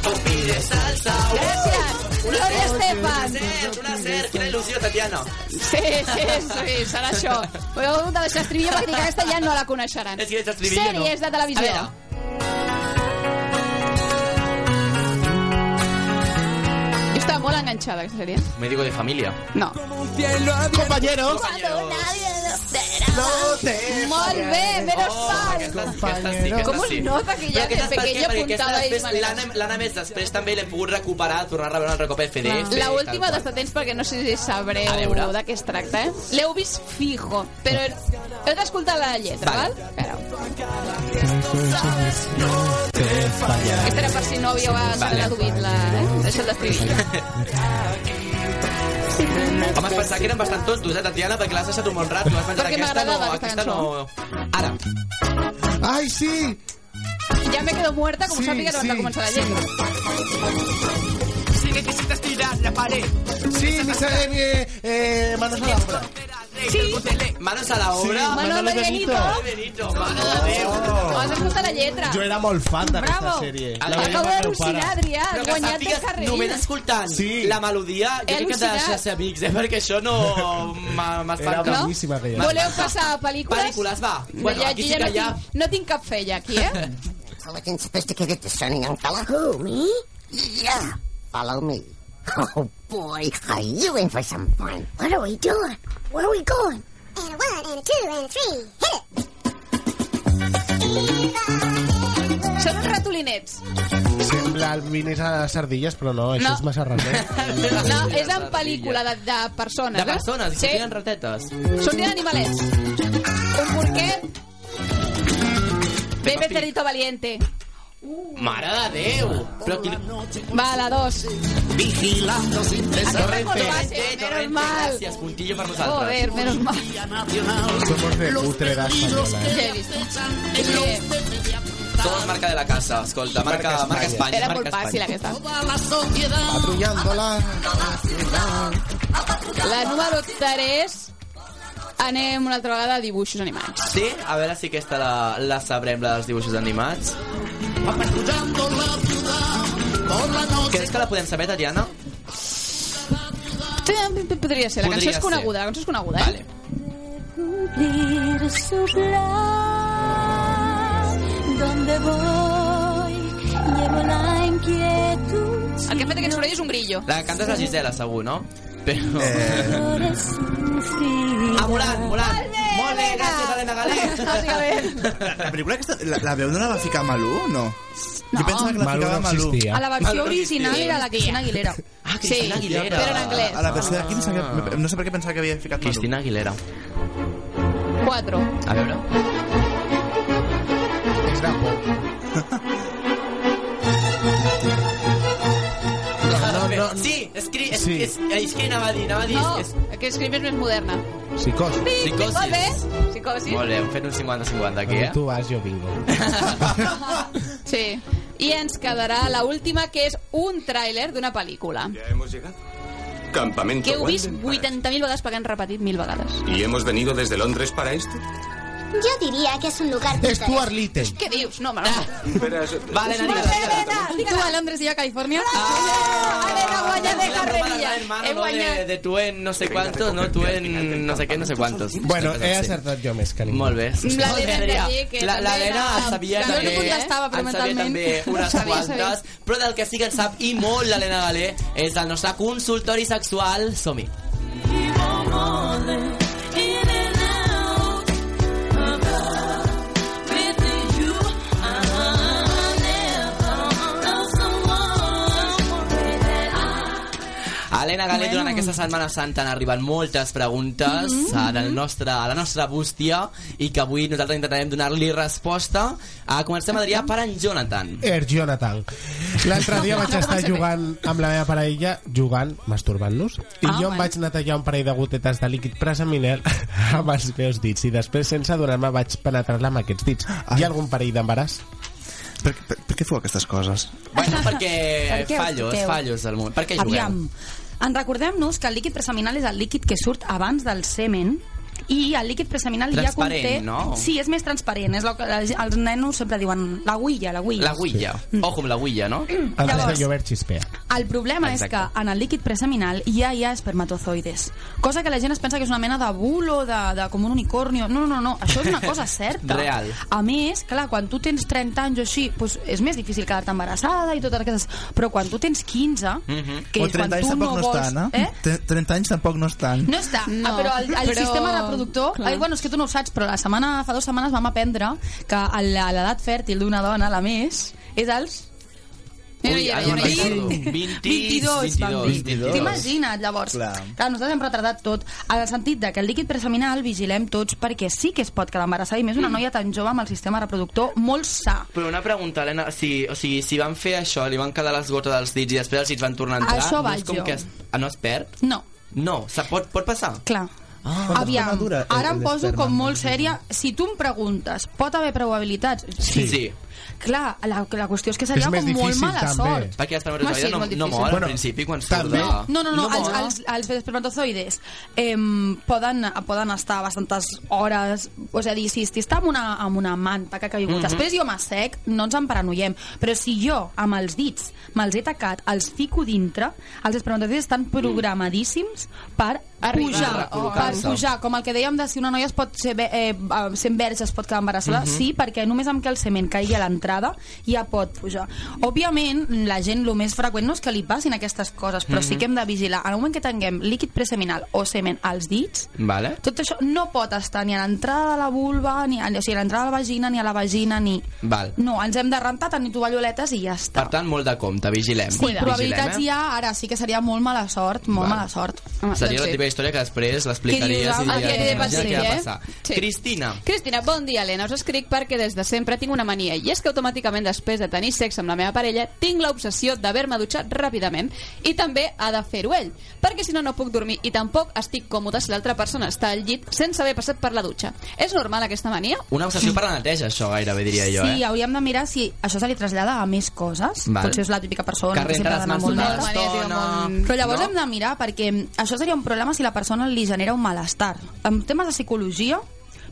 Pide salsa. Gràcies. Una ser, Gloria Estefan. Una ser, una ser. Quina il·lusió, Tatiana. Sí, sí, sí, serà això. Ho heu de deixar estribillo perquè dic, aquesta ja no la coneixeran. És que aquest estribillo no. Sèries de A televisió. veure. Jo estava molt enganxada, aquesta sèrie. Me digo de familia. No. Compañeros. No te... Molt bé, menos Oh, mal. Com us nota que ja de pequeño apuntava ells L'Anna maneres. l'Anna, a més després també l'hem pogut recuperar, tornar a veure un altre cop a FDF. La última dels patents perquè no sé si A sabreu veure. de què es tracta, eh? L'heu vist fijo, però heu d'escoltar la lletra, val? Aquesta era per si no havíeu Vale. deduït la... Eh? Deixa't d'escriure. Home, es pensava que eren bastant tontos, eh, Tatiana, perquè l'has deixat un bon rato. Has pensat, Perquè aquesta no, m'agradava aquesta aquesta no... Ai, sí! Ja me quedo muerta, com sí, sàpiga que no sí, començar la lletra. Si necesitas tirar la pared. Sí, mi sale mi... Eh, manos a la obra. Sí. Manos a la obra. Sí, Manolo Manolo Benito. Benito, Benito. mare de Déu. Oh. Has escoltat la lletra. Jo era molt fan d'aquesta Bravo. sèrie. Acabo La veia amb el meu d'al·lucinar, pare. Adrià, has Però que guanyat sàpigues, de carrerilla. Només escoltant Sí. la melodia, jo He crec que t'ha al·lucinat. deixat ser amics, eh? Perquè això no... m'ha- M'està... Era boníssima aquella. M'està- Voleu passar a pel·lícules? Pel·lícules, va. No, Bueno, ja, aquí jo sí ja que no, hi ha... tinc, no tinc cap fe ja, aquí, eh? Intelligent, sophisticated, discerning, uncle. Who, me? Yeah. Follow me. Oh, boy. Are you in for some fun? What are we doing? Where are we going? And a one, and a two, and a three. Hit it. Són uns ratolinets. Sembla el Vinis a les sardilles, però no, això No. és massa random. No, és en pel·lícula de, de persones. eh? De persones, i Sí. sortien ratetes. Sortien animalets. Un porquet. Bebe cerdito valiente. Mare de Déu! Però quin... Va, la dos. Vigilando sin cesar. Torrente, Torrente, mal. Gràcies, puntillo per nosaltres. Joder, menos mal. Somos de putre d'espanyola. Ja he vist. És que Somos marca de la casa, escolta. Marca, marca Espanya. Era marca molt Espanya. fàcil, aquesta. Patrullándola. La número 3... Anem una altra vegada a dibuixos animats. Sí? A veure si aquesta la, la sabrem, la dels dibuixos animats. Creus que la podem saber, Tatiana? Sí, Podria ser, Podria la cançó és ser. coneguda, la cançó és coneguda, eh? Vale. Cumplir su plan. Donde voy, llevo la inquietud. El que ha fet aquest soroll és un grillo. La cantes la Gisela, segur, no? Però... Eh. Flores sin fin. Ah, volant, volant. Molt bé, gràcies, Helena Galé. La, la pel·lícula aquesta, la, la veu no la va ficar Malú, o no? Jo pensava que la Malú no ficava Malú. existia. A la versió original era la Cristina Aguilera. Ah, sí, però en anglès. Ah. A la versió d'aquí, no sé per què pensava que havia ficat Malú. Cristina Aguilera. 4. A veure. És de por. No, no, no. Sí, escri... És, Sí. és, és que anava a dir, anava a dir... No, És... que escrip és més moderna. Psicosis. Molt bé. Psicosis. Molt bé, hem fet un 50-50 aquí, eh? Tu vas, jo vingo. Sí. I ens quedarà la última, que és un tràiler d'una pel·lícula. Ya hemos llegado. Campamento. Que heu vist Walden. 80.000 vegades perquè han repetit 1.000 vegades. ¿Y hemos venido desde Londres para esto? Jo diria que és un lugar... Stuart Little. Què dius? No, home, no. Verás, Vale, Nani, Tu a Londres i jo a Califòrnia. La broma del gran hermano, no? De, de tu en no sé cuántos, no? Tu en no sé qué, no sé cuántos. Bueno, he acertat jo més que ningú. Molt bé. La Lena també, que La, la també Lena era- en sabia Jo no també, contestava, però en sabia mentalment també ho unes sabia, quantes, però del que sí que en sap i molt la Lena Galé és el nostre consultori sexual. Som-hi. Helena Galé, Bueno. bueno. durant aquesta Setmana Santa han arribat moltes preguntes mm Mm-hmm. -hmm. a, la nostra, a la nostra bústia i que avui nosaltres intentarem donar-li resposta. Ah, comencem, Adrià, per en Jonathan. Er Jonathan. L'altre dia vaig estar jugant amb la meva parella, jugant, masturbant-nos, i Ah, jo em bueno. vaig netejar un parell de gotetes de líquid preseminal amb els meus dits i després, sense adonar-me, vaig penetrar-la amb aquests dits. Hi ha algun parell d'embaràs? Per, per, per què feu aquestes coses? Bueno, perquè Per què us Eh, fallos, toqueu? fallos del món. Per què jugueu? Aviam, en recordem-nos que el líquid preseminal és el líquid que surt abans del semen i el líquid preseminal ja Transparent, conté... no? Sí, és més transparent. És el que les- els nenos sempre diuen la guilla, la guilla. La guilla. Mm. Ojo amb la guilla, no? Antes de llover xispea. El problema Exacte. és Exacte. que en el líquid preseminal ja hi ha espermatozoides, cosa que la gent es pensa que és una mena de bulo, de, de com un unicornio. No, no, no, això és una cosa certa. Real. A més, clar, quan tu tens 30 anys o així, doncs és més difícil quedar-te embarassada i totes aquestes... Però quan tu tens 15, Mhm. Mhm. que o quan 30 anys tu tampoc no no, vols... estan, eh? eh? eh? 30 anys tampoc no estan. No està, No, no, ah, però el, el però- però... sistema reproductor... clar. Ai, bueno, és que tu no ho saps, però la setmana, fa dues setmanes vam aprendre que a la- a l'edat fèrtil d'una dona, la més, és als... Ui, ara me'n recordo. 20, 22, vam dir. 22. T'imagina't, llavors. Clar. Clar. clar, nosaltres hem retardat tot, en el sentit de que el líquid preseminal vigilem tots perquè sí que es pot quedar embarassada, i més una noia tan jove amb el sistema reproductor molt sa. Però una pregunta, Helena, si, o sigui, si van fer això, li van quedar les gotes dels dits i després els dits van tornar a entrar, Això no és vaig com jo. que es, ah, no es perd? No. No, se pot, pot passar? Clar. Ah, Aviam, ara em poso com molt sèria. Si tu em preguntes, pot haver probabilitats? Sí. sí. Clar, la, la qüestió és que seria És més com molt difícil, mala també. sort. Perquè No, sí, l'espermatozoide és no, no molt difícil. mor Bueno, al principi quan surt de... No, no, no, mor. els, els, els espermatozoides eh, poden, poden estar bastantes hores, és a dir, si, si està amb una, amb una manta que ha caigut, Mhm. després jo m'assec, no ens en paranoiem, però si jo, amb els dits, me'ls he tacat, els fico dintre, els espermatozoides estan programadíssims per Arribar, pujar, o- per pujar, com el que dèiem de si una noia es pot ser, ve- eh, eh, sent verge es pot quedar embarassada, Mhm. sí, perquè només amb que el semen caigui a l'entrada ja pot pujar. Òbviament, la gent, el més freqüent no és que li passin aquestes coses, però Mhm. sí que hem de vigilar. En el moment que tinguem líquid preseminal o semen als dits, Vale. tot això no pot estar ni a l'entrada de la vulva, ni a, o sigui, a l'entrada de la vagina, ni a la vagina, ni... Val. No, ens hem de rentar, tenir tovalloletes i ja està. Per tant, molt de compte, vigilem. eh? Sí, probabilitats vigilem, hi ha, ara sí que seria molt mala sort, molt Val. mala sort. eh? Doncs Seria la típica història que després l'explicaries Que i dius, ah, diries, que he de "Imagina patir, què va eh?" passar. Sí. Cristina, Cristina, bon dia, Helena. Us escric perquè des de sempre tinc una mania i és que automàticament després de tenir sexe amb la meva parella tinc l'obsessió d'haver-me dutxat ràpidament i també ha de fer-ho ell, perquè si no no puc dormir i tampoc estic còmode si l'altra persona està al llit sense haver passat per la dutxa. És normal aquesta mania? una obsessió per la neteja, això gairebé diria jo, sí, eh? hauríem de mirar si això se li trasllada a més coses. Val. Potser és la típica persona Que renta les ha d'anar mans molt tota neta. l'estona, Però llavors no? hem de mirar perquè això seria un problema si la persona li genera un malestar. En temes de psicologia,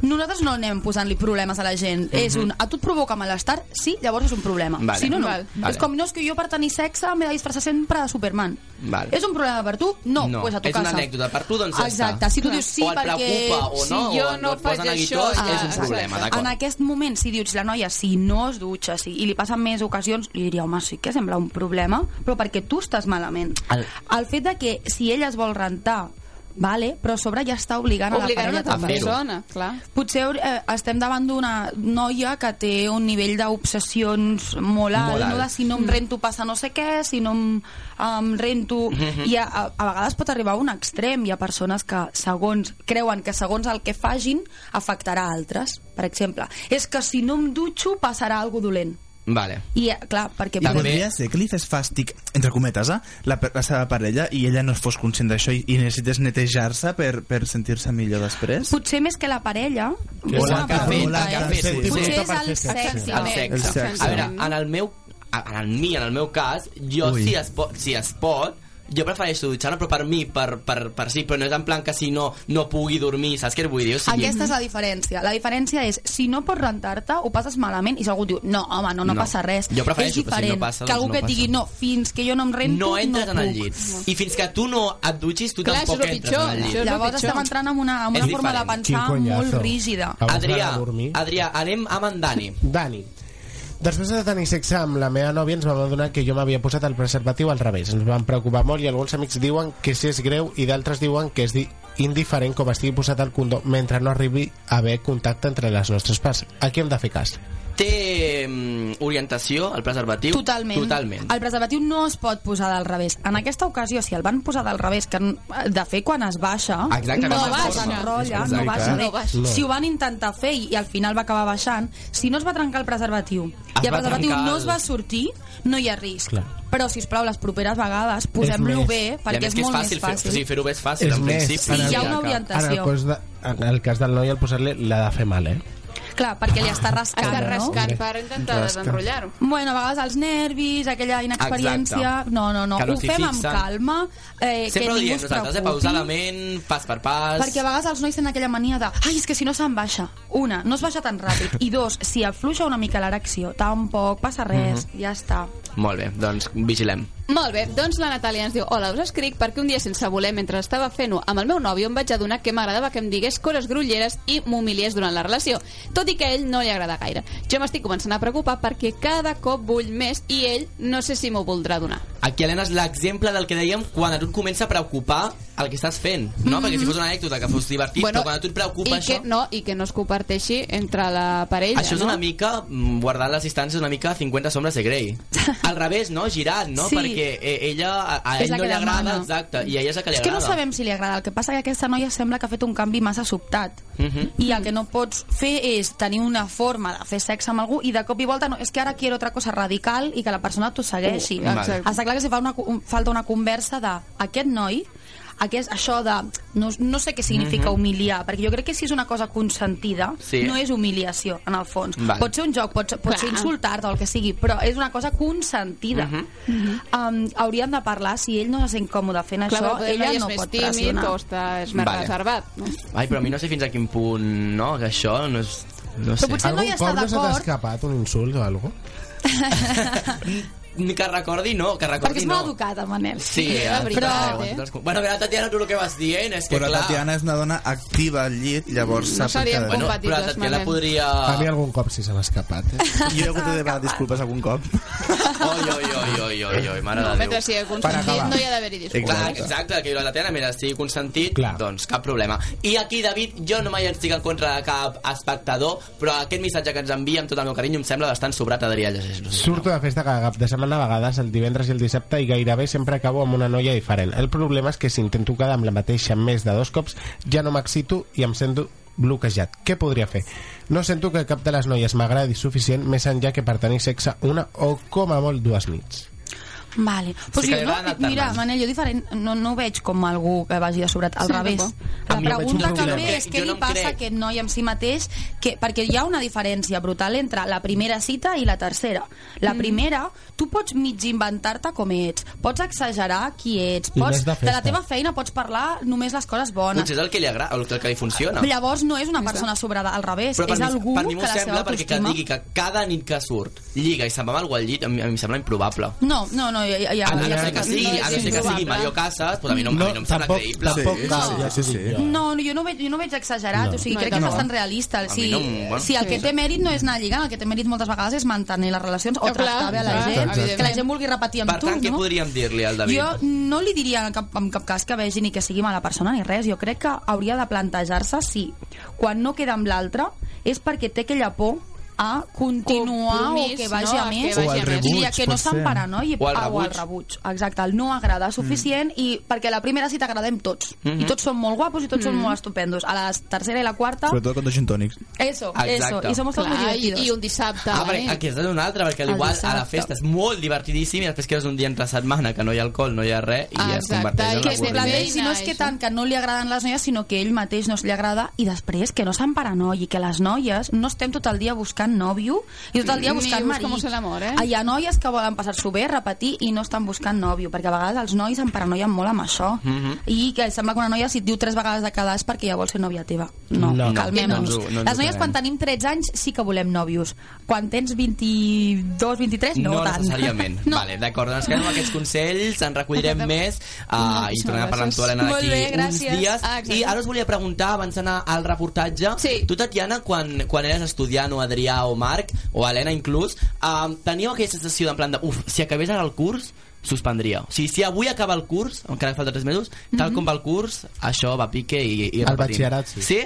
nosaltres no anem posant-li problemes a la gent. Mm -hmm. És un, a tu et provoca malestar? Sí, llavors és un problema. Mhm. Vale. Si no, no. Val. És Vale. com, no, és que jo per tenir sexe m'he de disfressar sempre de Superman. Vale. És un problema per tu? No, no. Pues a tu és casa. una anècdota. Per tu, doncs, ja Exacte, està. si tu dius sí o et perquè... preocupa o no, si o et- o et posen a guitós, és un problema, Ah, en d'acord. aquest moment, si dius la noia, si no es dutxa si, i li passen més ocasions, li diria, home, sí que sembla un problema, però perquè tu estàs malament. El- El fet de que si ella es vol rentar vale, però a sobre ja està obligant, Obligant a la parella una altra també. persona, Ah, clar. Potser eh, estem davant d'una noia que té un nivell d'obsessions molt alt, Molt molt alt. alt. No? De si no em rento passa no sé què, si no em, em rento... Mhm. I a, a, a vegades pot arribar a un extrem. Hi ha persones que segons creuen que segons el que fagin afectarà a altres, per exemple. És que si no em dutxo passarà alguna dolent. Vale. I eh, clar, perquè... I podria ser que li fes fàstic, entre cometes, eh? la, per- la seva parella i ella no es fos conscient d'això i, i necessites netejar-se per, per sentir-se millor després? Potser més que la parella... Que Bona la que ha fet, pregunta, la que ha eh? fet. Sí. Potser és El el sexe. El sexe. A veure, en el meu... En el mi, en el meu cas, jo, Ui. si es, pot, si es pot, jo prefereixo dutxar-me, però per mi, per, per, per si, però no és en plan que si no, no pugui dormir, saps què et vull dir? O sigui, Aquesta és la diferència. La diferència és, si no pots rentar-te, ho passes malament, i si algú et diu, no, home, no, no, No. passa res. Jo prefereixo, és però si no diferent passa, que doncs algú no que et passa. digui, no, fins que jo no em rento, no entres no en el puc". llit. I fins que tu no et dutxis, tu Clar, tampoc això és el entres pitjor, en el això llit. és el Llavors pitjor. estem entrant en una- en una És forma de diferent. pensar Quin coñazo. molt rígida. Abans Adrià, d'anar a dormir. Adrià, anem amb en Dani. Dani. Després de tenir sexe amb la meva nòvia ens vam adonar que jo m'havia posat el preservatiu al revés. Ens vam preocupar molt i alguns amics diuen que si és greu i d'altres diuen que és di indiferent com estigui posat el condó mentre no arribi a haver contacte entre les nostres parts. Aquí hem de fer cas. Té mm, orientació, el preservatiu? Totalment. Totalment. El preservatiu no es pot posar del revés. En aquesta ocasió, si el van posar del revés, que de fer quan es baixa, Exacte, no que es baixa, deforma. enrotlla, Exacte. no baixa, No no baixa. baixa. Si ho van intentar fer i al final va acabar baixant, si no es va trencar el preservatiu Es i el va preservatiu trencar no el- es va sortir, no hi ha risc. Clar. Però, si us plau, les properes vegades més. posem-lo bé, I a perquè més és que molt és fàcil, més fàcil. Fer, o sigui, fer-ho bé és fàcil, en principi. Sí, hi ha una orientació. En el, cos de, en el cas del noi, el posar-li l'ha de fer mal, eh? Clar, perquè li està rascant, Està rascant no? per intentar Rasca. desenrotllar-ho. Bueno, a vegades els nervis, aquella inexperiència... Exacte. No, no, no, Que no ho s'hi fem amb fixen. calma, eh, que Sempre ho ningú diem es nosaltres, eh? preocupi. pausadament, pas per pas... Perquè a vegades els nois tenen aquella mania de ai, és que si no se'n baixa. Una, no es baixa tan ràpid. I dos, si afluixa una mica l'erecció, tampoc passa res, Mhm. ja està. Molt bé, doncs vigilem. Molt bé, doncs la Natàlia ens diu Hola, us escric perquè un dia sense voler, mentre estava fent-ho amb el meu nòvio, em vaig adonar que m'agradava que em digués coses grulleres i m'humiliés durant la relació, tot i que a ell no li agrada gaire. Jo m'estic començant a preocupar perquè cada cop vull més i ell no sé si m'ho voldrà donar. Aquí, Helena, és l'exemple del que dèiem quan a tu et comença a preocupar el que estàs fent, no? Mhm. Perquè si fos una anècdota que fos divertit, Bueno, però quan a tu et I preocupa que, això... no, I que no es comparteixi entre la parella, Això és no? una mica, mm, guardant les distàncies, una mica 50 sombres de Grey. Al revés, no? Girat, no? Sí. Perquè eh, ella, a, a És ell la no que li agrada, demana. exacte, i a ella és la que li És que agrada. no sabem si li agrada, el que passa que aquesta noia sembla que ha fet un canvi massa sobtat. Mhm. I el que no pots fer és tenir una forma de fer sexe amb algú i de cop i volta no, és que ara quiero otra cosa radical i que la persona t'ho segueixi. Uh, exacte. Està clar que si fa una, co- un- falta una conversa de aquest noi aquest, això de... No, no sé què significa Mhm. humiliar, perquè jo crec que si és una cosa consentida, Sí. no és humiliació, en el fons. Val. Pot ser un joc, pot, ser- pot ser Clar. insultar-te o el que sigui, però és una cosa consentida. Mhm. Um, hauríem de parlar si ell no se sent còmode fent Clar, això, però potser ella és no més pot tímid pressionar. o està- és més Vale. reservat, no? Ai, però a mi no sé fins a quin punt, no? Que això no és... No sé. Algun cop no se t'ha escapat un insult o alguna cosa? Ni que recordi, no, que recordi, Perquè és no. mal educat, el Manel. Sí, la veritat, eh? eh? Bueno, mira, Tatiana, tu el que vas dient és que, Però la clar... Tatiana és una dona activa al llit, llavors No sap serien que... compatibles, Bueno, però la Tatiana Manel. podria- A mi algun cop sí se m'ha escapat. Eh? Jo he hagut de demanar disculpes algun cop. Oi, oi, oi, oi, oi, oi, mare No, de Déu. mentre sigui consentit no hi ha d'haver-hi discurs. Clar, exacte, que la Tatiana, mira, estigui consentit, Clar. doncs cap problema. I aquí, David, jo no mai estic en contra de cap espectador, però aquest missatge que ens envia amb tot el meu carinyo em sembla bastant sobrat, Adrià, llegeix-lo. Surto de festa cada cap de setmana a vegades el divendres i el dissabte i gairebé sempre acabo amb una noia diferent. El problema és que si intento quedar amb la mateixa més de dos cops ja no m'excito i em sento bloquejat. Què podria fer? No sento que cap de les noies m'agradi suficient més enllà que per tenir sexe una o com a molt dues nits. Vale. Pues Sí que jo, li no, van alternant. mira, Manel, jo diferent, no, no ho veig com algú que vagi de sobrat al Sí, revés. tampoc. A La mi no veig un pregunta que em problema. ve és Jo què no li em passa a crec. aquest noi amb si mateix, que, perquè hi ha una diferència brutal entre la primera cita i la tercera. La Mm. primera, tu pots mig inventar-te com ets, pots exagerar qui ets, I no pots, és de de la festa. teva feina pots parlar només les coses bones. Potser és el que li agrada, el que li funciona. Llavors no és una persona sobrada, al revés, Però per és mi, algú per mi m'ho que la seva sembla perquè que autoestima... digui que cada nit que surt lliga i se'n va amb algú al llit, a mi, a mi em sembla improbable. No, no, no, no, hi ha... Hi ha A, a Ah, no hi ser ha- que sigui, a no ser que sigui eh? Mario Casas, pues a mi no, a mi no em sembla Tampoc- creïble. tampoc- Sí, no. ja, sí, sí. No, no, jo no ho veig, jo no ho veig exagerat, No. o sigui, No, crec i que és tant. bastant No. realista. A Si, mi no, bueno. si el que Sí. té mèrit no és anar lligant, el que té mèrit moltes vegades és mantenir les relacions o Eh, clar, tractar bé a la clar, gent, Exacte. que la gent vulgui repetir amb Per tu, tant, què no? podríem dir-li al David? Jo no li diria en cap, en cap cas que vegi ni que sigui mala persona ni res. Jo crec que hauria de plantejar-se si quan no queda amb l'altre és perquè té aquella por a continuar Compromís, o que vagi no? a A que més. vagi O al a més. rebuig, I a que no pot ser. s'empara, no? I, O al ah, o al rebuig. rebuig. Exacte, el no agrada suficient i perquè a la primera cita agradem tots. Mhm. I tots són molt guapos i tots són Mhm. molt estupendos. A la tercera i la quarta... Sobretot quan dos tònics. Eso, Exacte. eso. I som tots molt Clar, i, divertidos. i un dissabte eh? Ah, a la perquè eh. nit. aquí has de donar altra, perquè al El igual a la dissabte. festa és molt divertidíssim i després quedes un dia entre setmana que no hi ha alcohol, no hi ha res i ja es converteix en que es plantegi, avorriment. si no és que tant que no li agraden les noies, sinó que ell mateix no se li agrada i després que no se'n paranoi i que les noies no estem tot el dia buscant nòvio i tot el dia Ni buscant marit. buscamos el amor, eh? Hi ha noies que volen passar-s'ho bé, repetir i no estan buscant nòvio, perquè a vegades els nois em paranoien molt amb això. Mhm. I que sembla que una noia si et diu tres vegades de quedar és perquè ja vol ser nòvia teva. No, No, no, no calmem-nos. no ens ho- no ens ho les noies creiem. quan tenim 13 anys sí que volem nòvios. Quan tens 22, 23, no, no tant. necessàriament. no. Vale, d'acord, doncs quedem amb aquests consells, en recollirem més uh, i tornem a parlar amb tu, Helena, Molt d'aquí bé, uns gràcies. dies. Ah, exacte. I ara us volia preguntar, abans d'anar al reportatge, sí. tu, Tatiana, quan, quan eres estudiant, o Adrià, o Marc, o Helena inclús, uh, teníeu aquella sensació en plan de, uf, si acabés ara el curs, suspendria. O sigui, si avui acaba el curs, encara falta 3 mesos, tal Mhm. com va el curs, això va a pique i, i Al repetim. batxillerat, sí. Sí?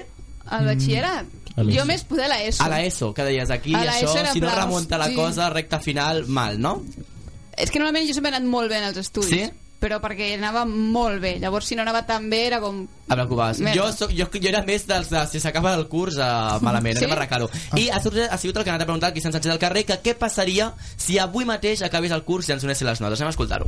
Al batxillerat? A l'ESO. Jo més poder a l'ESO. A la ESO, que deies aquí, A la això, ESO era si no plan, remunta la sí. cosa, recta final, mal, no? És que normalment jo sempre he anat molt bé en els estudis. Sí? Però perquè anava molt bé. Llavors, si no anava tan bé, era com... Em preocupaves. Merda. Jo, soc, jo, jo era més dels de si s'acaba el curs eh, malament, Sí? anem a arreglar-ho. I ha, sortit, ha sigut el que ha anat a preguntar el Cristian Sánchez del carrer que què passaria si avui mateix acabés el curs i ens donessin les notes. Anem a escoltar-ho.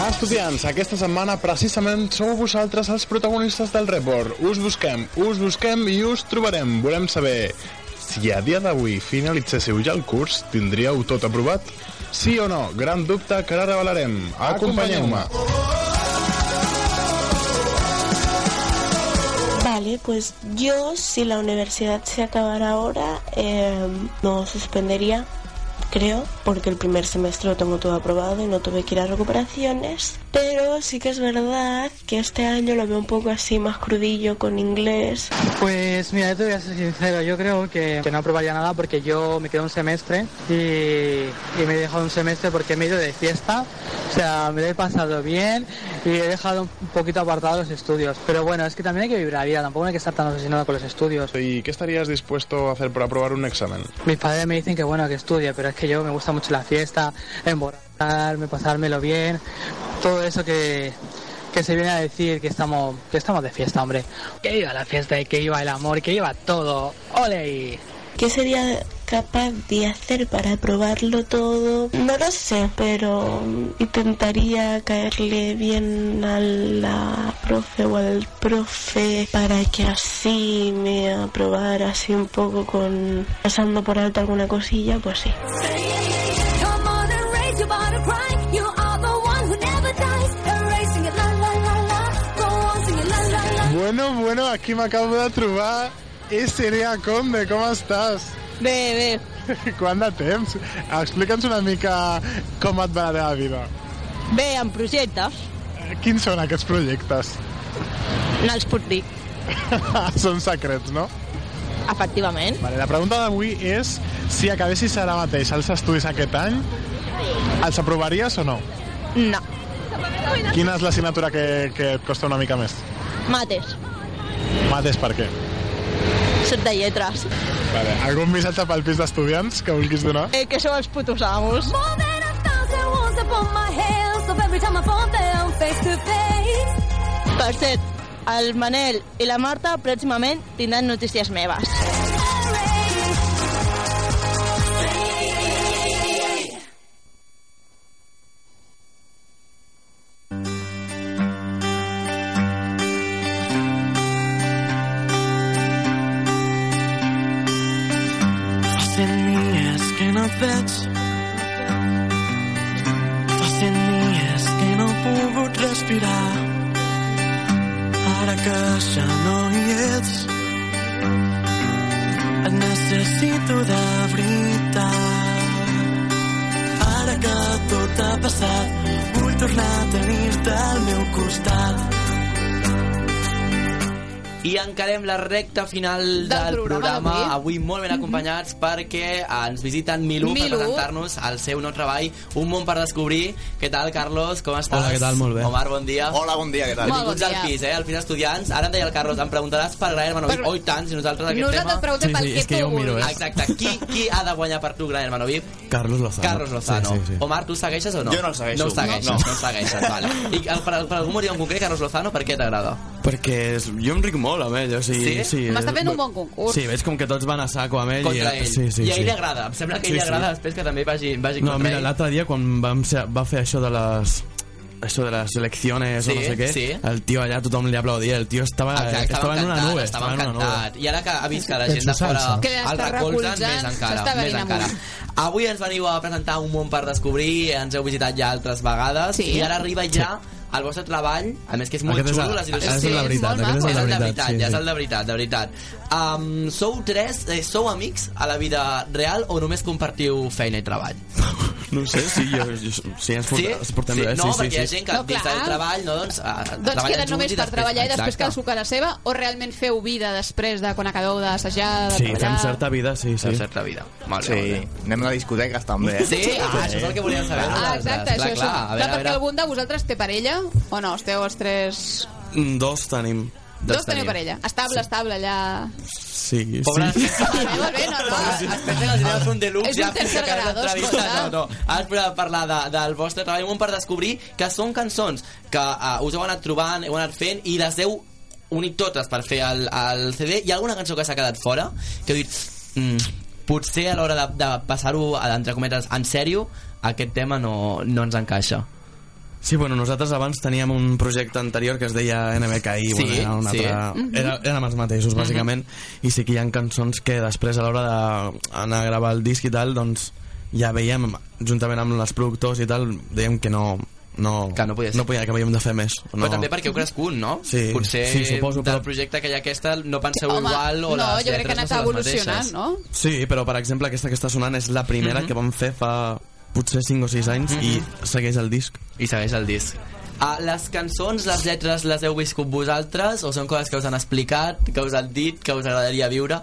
Ah, Estudiants, aquesta setmana precisament sou vosaltres els protagonistes del report. Us busquem, us busquem i us trobarem. Volem saber si a dia d'avui finalitzéssiu ja el curs, tindríeu tot aprovat? Sí o no? Gran dubte que ara revelarem. Acompanyeu-me. Vale, pues yo si la universidad se acabara ahora, eh, no suspendería, creo, porque el primer semestre lo tengo todo aprobado y no tuve que ir a recuperaciones. Pero sí que es verdad que este año lo veo un poco así más crudillo con inglés. Pues mira, yo te voy a ser sincero, yo creo que, que no aprobaría nada porque yo me quedé un semestre y, y me he dejado un semestre porque me he ido de fiesta, o sea, me lo he pasado bien y he dejado un poquito apartado los estudios. Pero bueno, es que también hay que vivir la vida, tampoco hay que estar tan obsesionado con los estudios. ¿Y qué estarías dispuesto a hacer por aprobar un examen? Mis padres me dicen que bueno, que estudie, pero es que yo me gusta mucho la fiesta, emborracharme, pasármelo bien, todo eso que, que se viene a decir que estamos, que estamos de fiesta, hombre. Que iba la fiesta y que iba el amor, que iba todo. ¡Ole! ¿Qué sería capaz de hacer para aprobarlo todo? No lo sé, pero intentaría caerle bien a la profe o al profe para que así me aprobara así un poco con pasando por alto alguna cosilla, pues sí. Come on and raise your body crying. You are the one who never dies. Erase, sing it la la la la. Go on, sing it la la la. Bueno, bueno, aquí me acabo de trobar Seria Conde, com estàs? Bé, bé. Quant de temps? Explica'ns una mica com et va la teva vida. Bé, en projectes. Quins són aquests projectes? No els puc dir, són secrets, no? efectivament. Vale, la pregunta d'avui és si acabessis ara mateix els estudis aquest any, els aprovaries o no? No, Quina és l'assignatura que, que et costa una mica més? mates. Mates per què? Set de lletres. Vale, algun missatge pel pis d'estudiants que vulguis donar? Eh, que sou els putos amos. More than a thousand walls upon my head. So every time I fall down face to face. Per cert, el Manel i la Marta pròximament tindran notícies meves. Facen días que no et veig. Facen dies que no he pogut respirar. ara que ja no hi ets. Et necessito de veritat. Ara que tot ha passat, vull tornar a tenir-te al meu costat. I encarem la recta final del, programa programa, avui molt ben acompanyats perquè ens visiten Milú, Milú. per presentar-nos al seu nou treball, Un món per descobrir. Què tal, Carlos? Com estàs? Hola, què tal? Molt bé. Omar, bon dia. Hola, bon dia, què tal? Molt Benvinguts bon al dia. pis, eh? Al pis d'estudiants. Ara em deia el Carlos, em preguntaràs per Gran Hermanovic. Oi, tant, si nosaltres aquest Nosaltres et tema... preguntem Sí, pel sí, que és que tu jo ho miro, vulguis. eh? Exacte. Qui, qui ha de guanyar per tu Gran Hermanovic? Carlos Lozano. Carlos Lozano. Oh. Sí, sí, sí. Omar, tu el segueixes o no? Jo no el segueixo. No el segueixes, No, no, no. no el segueixes, vale. I el- per, per algun motiu en concret, Carlos Lozano, per què t'agrada? Perquè és, jo em ric molt amb ell, o sigui... Sí? Sí? M'està fent un bon concurs. Sí, veig com que tots van a saco amb ell. Contra i, ell. Sí, sí, I a ell sí. li agrada. Em sembla que a Sí, ell li sí. agrada després que també vagi, vagi No, contra mira, ell. l'altre dia quan vam ser, va fer això de les això de les elecciones Sí, o no sé què, sí. el tio allà tothom li aplaudia, el tio estava, Exacte, estava, en una Ah, encantat, nube. estava en una nube. encantat. I ara que ha vist que la En gent de su fora salsa. Que l'està el recolzen, recolzant, més encara. s'està Més venint encara. Avui ens veniu a presentar un món per descobrir, ens heu visitat ja altres vegades, Sí. i ara arriba ja el vostre treball, a més que és molt Aquest és xulo, el- les il·lustracions. aquest és el de Sí, és veritat, molt aquest és el És de el de veritat, veritat, sí, ja és sí. el de veritat, de veritat. Um, sou tres, eh, sou amics a la vida real o només compartiu feina i treball? No ho sé, sí, jo, jo, sí, ens portem, ens portem sí, bé. no, sí, perquè sí, hi ha sí. gent que no, dins del treball no, doncs, eh, Doncs treballen queden junts i només per després- treballar i després Exacte. cadascú a casa seva o realment feu vida després de quan acabeu d'assajar, de Sí, treballar... fem certa vida, sí, sí. Fem certa vida. Molt sí, anem a discoteques també. Sí, ah, això és el que volíem saber. Ah, exacte, Clar, això, clar, això. a veure, a clar, perquè veure. algun de vosaltres té parella o no? Esteu els tres... Mm, Dos tenim. Dos teniu parella. Estable, estable, allà... Eh, Sí, Pobres- sí. Molt bé, no, no. Es pensa que els idees són de luxe. És un tercer grado, escolta. No, no. Ara volem parlar de, del vostre treball un món per descobrir que són cançons que uh, us heu anat trobant, heu anat fent i les heu unit totes per fer el, el CD. Hi ha alguna cançó que s'ha quedat fora que heu dit... Mm, potser a l'hora de, de passar-ho, a- entre cometes, en sèrio, aquest tema no, no ens encaixa. Sí, bueno, nosaltres abans teníem un projecte anterior que es deia NBKI, Sí, bueno, era un sí. altre... Mhm. Era, érem els mateixos, bàsicament, i sí que hi ha cançons que després a l'hora d'anar a gravar el disc i tal, doncs ja veiem, juntament amb els productors i tal, dèiem que no... No, que no podia, no podia que havíem de fer més. No. No. Però també perquè heu crescut, no? Sí, Potser sí, suposo, del però- projecte que hi ha aquesta no penseu Home, igual o no, les jo crec que ha lletres no anat són les evolucionant, mateixes. no? Sí, però per exemple aquesta que està sonant és la primera Mhm. que vam fer fa potser 5 o 6 anys i segueix el disc. Mm-hmm. I segueix el disc. Ah, les cançons, les lletres, les heu viscut vosaltres o són coses que us han explicat, que us han dit, que us agradaria viure?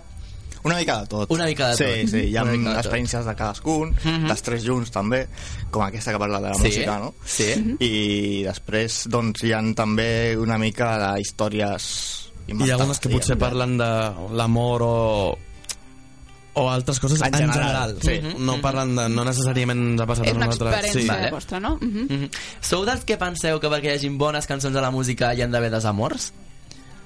Una mica de tot. Una mica de sí, tot. Sí, hi ha Una mica de Mhm. tot. experiències de cadascun, mm -hmm. dels tres junts també, com aquesta que parla de la Sí, música, no? Sí. I després, doncs, hi han també una mica de històries I hi ha algunes que potser parlen de l'amor o o altres coses en, En general, general. sí. Mm-hmm. No parlen de... No necessàriament ens ha passat És a una nosaltres. experiència sí. vostra, no? Mhm. Mhm. Sou dels que penseu que perquè hi hagin bones cançons a la música hi han d'haver desamors?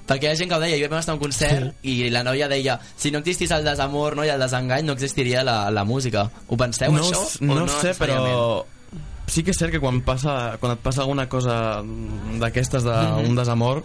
Perquè hi ha gent que ho deia, jo vam estar a un concert i la noia deia si no existís el desamor no, i el desengany no existiria la, la música. Ho penseu, no, això? s- o no, sé, necessàriament? però... Sí que és cert que quan, passa, quan et passa alguna cosa d'aquestes d'un de, Mhm. un desamor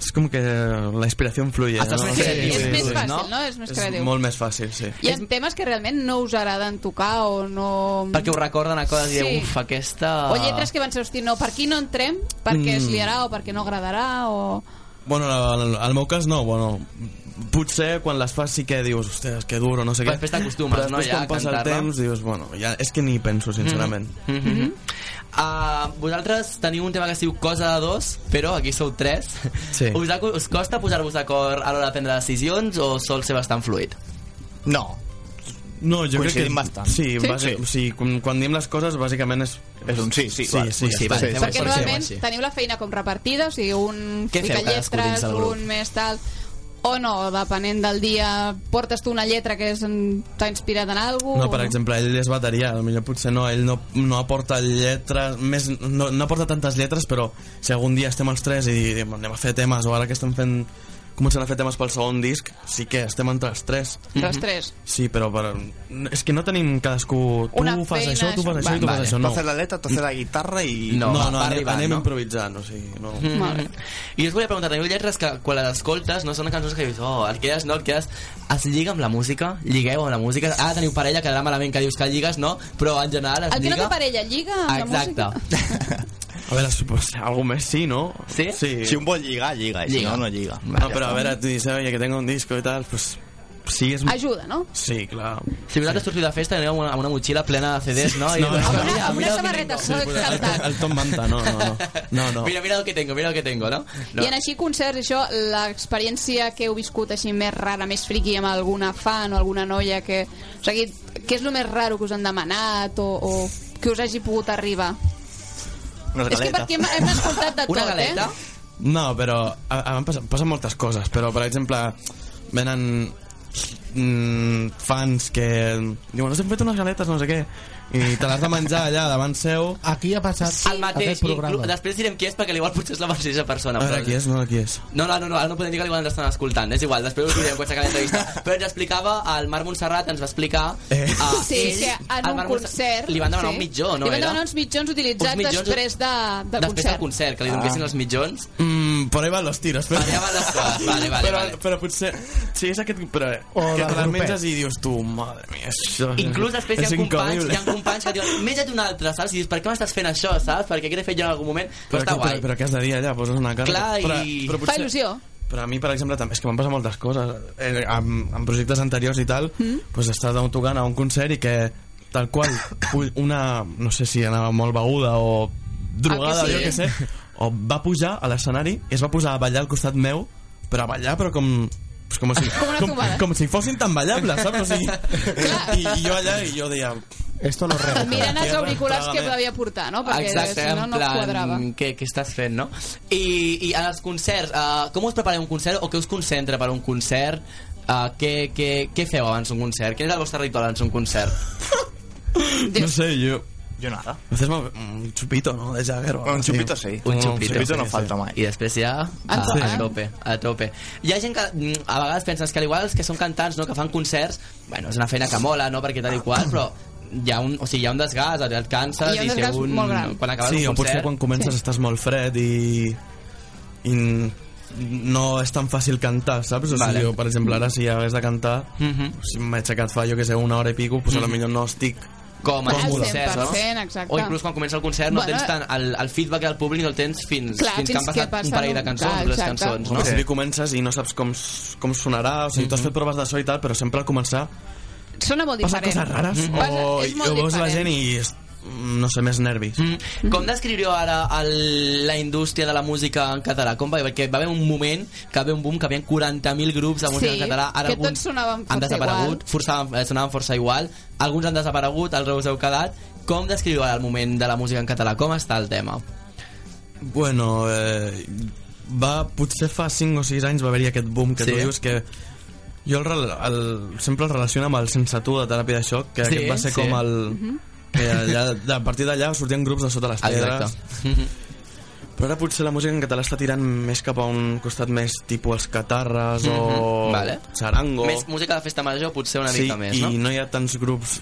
és com que la inspiració fluye. Estàs més creatiu. És més fàcil, no? És més creatiu. És molt més fàcil, sí. Hi ha temes que realment no us agraden tocar o no... Perquè us recorden a coses i dieu, Sí. uf, aquesta... O lletres que van ser, hosti, no, per aquí no entrem perquè es Ah. Mm. liarà o perquè no agradarà o... Bueno, al, al meu cas no, bueno, potser quan les fas sí que dius, hòstia, és que duro, no sé què. Però després t'acostumes, Però després no, ja, quan a passa el cantar-la. temps dius, bueno, ja, és que ni hi penso, sincerament. Mm -hmm. Mm-hmm. Mm -hmm. Uh, vosaltres teniu un tema que es diu Cosa de dos, però aquí sou tres. Sí. Us, ha, us costa posar-vos d'acord a l'hora de prendre decisions o sol ser bastant fluid? No. No, jo crec que... Coincidim bastant. Sí, Sí? sí? Base, Sí. sí. sí quan, quan diem les coses, bàsicament és... És un sí, sí, sí, vale. sí, Sí, ja vale, està. fem Perquè normalment teniu la feina com repartida, o sigui, un Què feu fica cadascú dins lletres, del grup? un més tal... O no, depenent del dia, portes tu una lletra que és- mm, t'ha inspirat en alguna No, per exemple, ell és bateria, potser potser no, ell no, no aporta lletres, més, no, no aporta tantes lletres, però si algun dia estem els tres i diem, anem a fer temes, o ara que estem fent començant a fer temes pel segon disc, sí que estem entre els tres. Mhm. Entre els tres. Sí, però per... és que no tenim cadascú... Tu Una fas feina, això, tu fas això. això i tu Vale. fas això, no. Tu fas la letra, tu fas la guitarra i... No, no, no va anem, arribant, anem no? improvisant, o sigui... No. Mm -hmm. I us volia preguntar, teniu lletres que quan les escoltes no són cançons que dius, oh, et quedes, no, et quedes... Es lliga amb la música? Lligueu amb la música? Ara teniu parella, quedarà malament que dius que lligues, no? Però en general es El que lliga... no té parella lliga amb Exacte. la música. A veure, pues, algo més sí, no? Sí? sí. Si un vol lligar, lliga, i si Lliga. no, no lliga. No, però a veure, tu dius, oye, que tengo un disco i tal, pues... Sí, és... Ajuda, no? Sí, clar. Si vosaltres sortiu de festa, anireu amb una, amb una motxilla plena de CDs, no? I- doncs, No, no, no. mira, Una samarreta sol cantant. El Tom Manta, no, no, no. no, no. Mira, mira el que tengo, mira el que tengo, no? no. I en així concerts, això, l'experiència que heu viscut així més rara, més friqui amb alguna fan o alguna noia que... O sigui, què és el més raro que us han demanat o, o que us hagi pogut arribar? És que perquè hem, hem escoltat de tot, Una galeta? eh? No, però a, a, em passen, passen moltes coses, però per exemple venen mm, fans que diuen, us hem fet unes galetes, no sé què i te l'has de menjar allà davant seu Aquí ha passat El mateix, aquest inclú, programa. després direm qui és perquè igual potser és la mateixa persona. Ara qui és, no, qui és No, no, no, no, ara no podem dir que igual ens estan escoltant, és igual, després us direm quan s'acaba l'entrevista. Però ens explicava, el Marc Montserrat ens va explicar... Eh. Sí, és que en un concert... Li van demanar sí. un mitjó, no Li van era? demanar uns mitjons utilitzats Uns mitjons- després de, de Després del concert. concert, que li donguessin Ah. els mitjons. mm, por ahí van los tiros però... Allà van les coses, vale, vale, però, vale. però potser si és aquest però, O que del te les grupet. menges i dius tu madre mia això, Inclús després hi és ha, companys, incomible." hi ha companys que diuen menja't un altre, saps? I dius, per què m'estàs fent això, saps? Perquè què t'he fet jo en algun moment? Però, però, està però, guai. però, però què has de dir allà? Poses una carta. Clar, i- però, Fa il·lusió. Però a mi, per exemple, també és que m'han passat moltes coses. Eh, en, en projectes anteriors i tal, mm? pues estàs damunt tocant a un concert i que tal qual pu- una, no sé si anava molt beguda o drogada, El que jo sigui. què sé, o va pujar a l'escenari i es va posar a ballar al costat meu, però a ballar, però com... Pues com, si, Com una com, trobada. com si fossin tan ballables, saps? O sigui, i, I jo allà, i jo deia... Esto no Mirant els auriculars que devia portar, no? Perquè Exacte, si no, en no et quadrava. plan, què, què estàs fent, no? I, i en els concerts, uh, com us prepareu un concert o què us concentra per un concert? Uh, què, què, què feu abans d'un concert? Quin és el vostre ritual abans d'un concert? No sé, yo... Yo nada. Haces más- un chupito, ¿no? De Jagger. o algo Un así. chupito sí. Un chupito, no falta mai. I després ja a, tope. a tope, a tope. Hi ha gent que mm, a vegades penses que al igual els que són cantants, no, que fan concerts, bueno, és una feina que mola, no, perquè tal i qual, però hi ha un, o sigui, hi ha un desgast, et canses Hi ha un i té desgast un... molt gran. Quan acabes sí, un o potser concert... quan comences estàs molt fred i, i no és tan fàcil cantar, saps? O sigui, Vale. jo, per exemple, ara si hagués de cantar, Mhm. si m'he aixecat fa, jo que sé, una hora i pico, pues, a lo Mhm. millor no estic com a còmode. concert, no? 100%, exacte. O inclús quan comença el concert no Bueno, tens tant el, el feedback del públic no el tens fins, Clar, fins que fins han que passat passen un parell de un- cançons, clar, les exacte. cançons, Al no? Mhm. principi comences i no saps com, com sonarà, o sigui, tu has fet proves de so i tal, però sempre al començar Sona molt passen diferent. coses rares, Mhm. o, és molt o veus la diferent. gent i, és, no sé, més nervis. Mhm. Mm. Com descriviu ara el, la indústria de la música en català? Com va? Perquè va haver un moment que va haver un boom que hi havia 40.000 grups de música en català. Ara que alguns tots sonaven han força desaparegut, força, eh, sonaven força igual. Alguns han desaparegut, els us heu quedat. Com descriviu ara el moment de la música en català? Com està el tema? Bueno, eh, va, potser fa 5 o 6 anys va haver-hi aquest boom que Sí. tu dius que jo el, rel- el, sempre el relaciono amb el Sense Tu de Teràpia de Xoc, que Sí, aquest va ser sí. com el... Mhm. que allà, de- a partir d'allà sortien grups de sota les pedres. Mhm. Però ara potser la música en català està tirant més cap a un costat més tipus els catarres o Mhm, vale. sarango. Més música de festa major, potser una sí, mica més, no? i no hi ha tants grups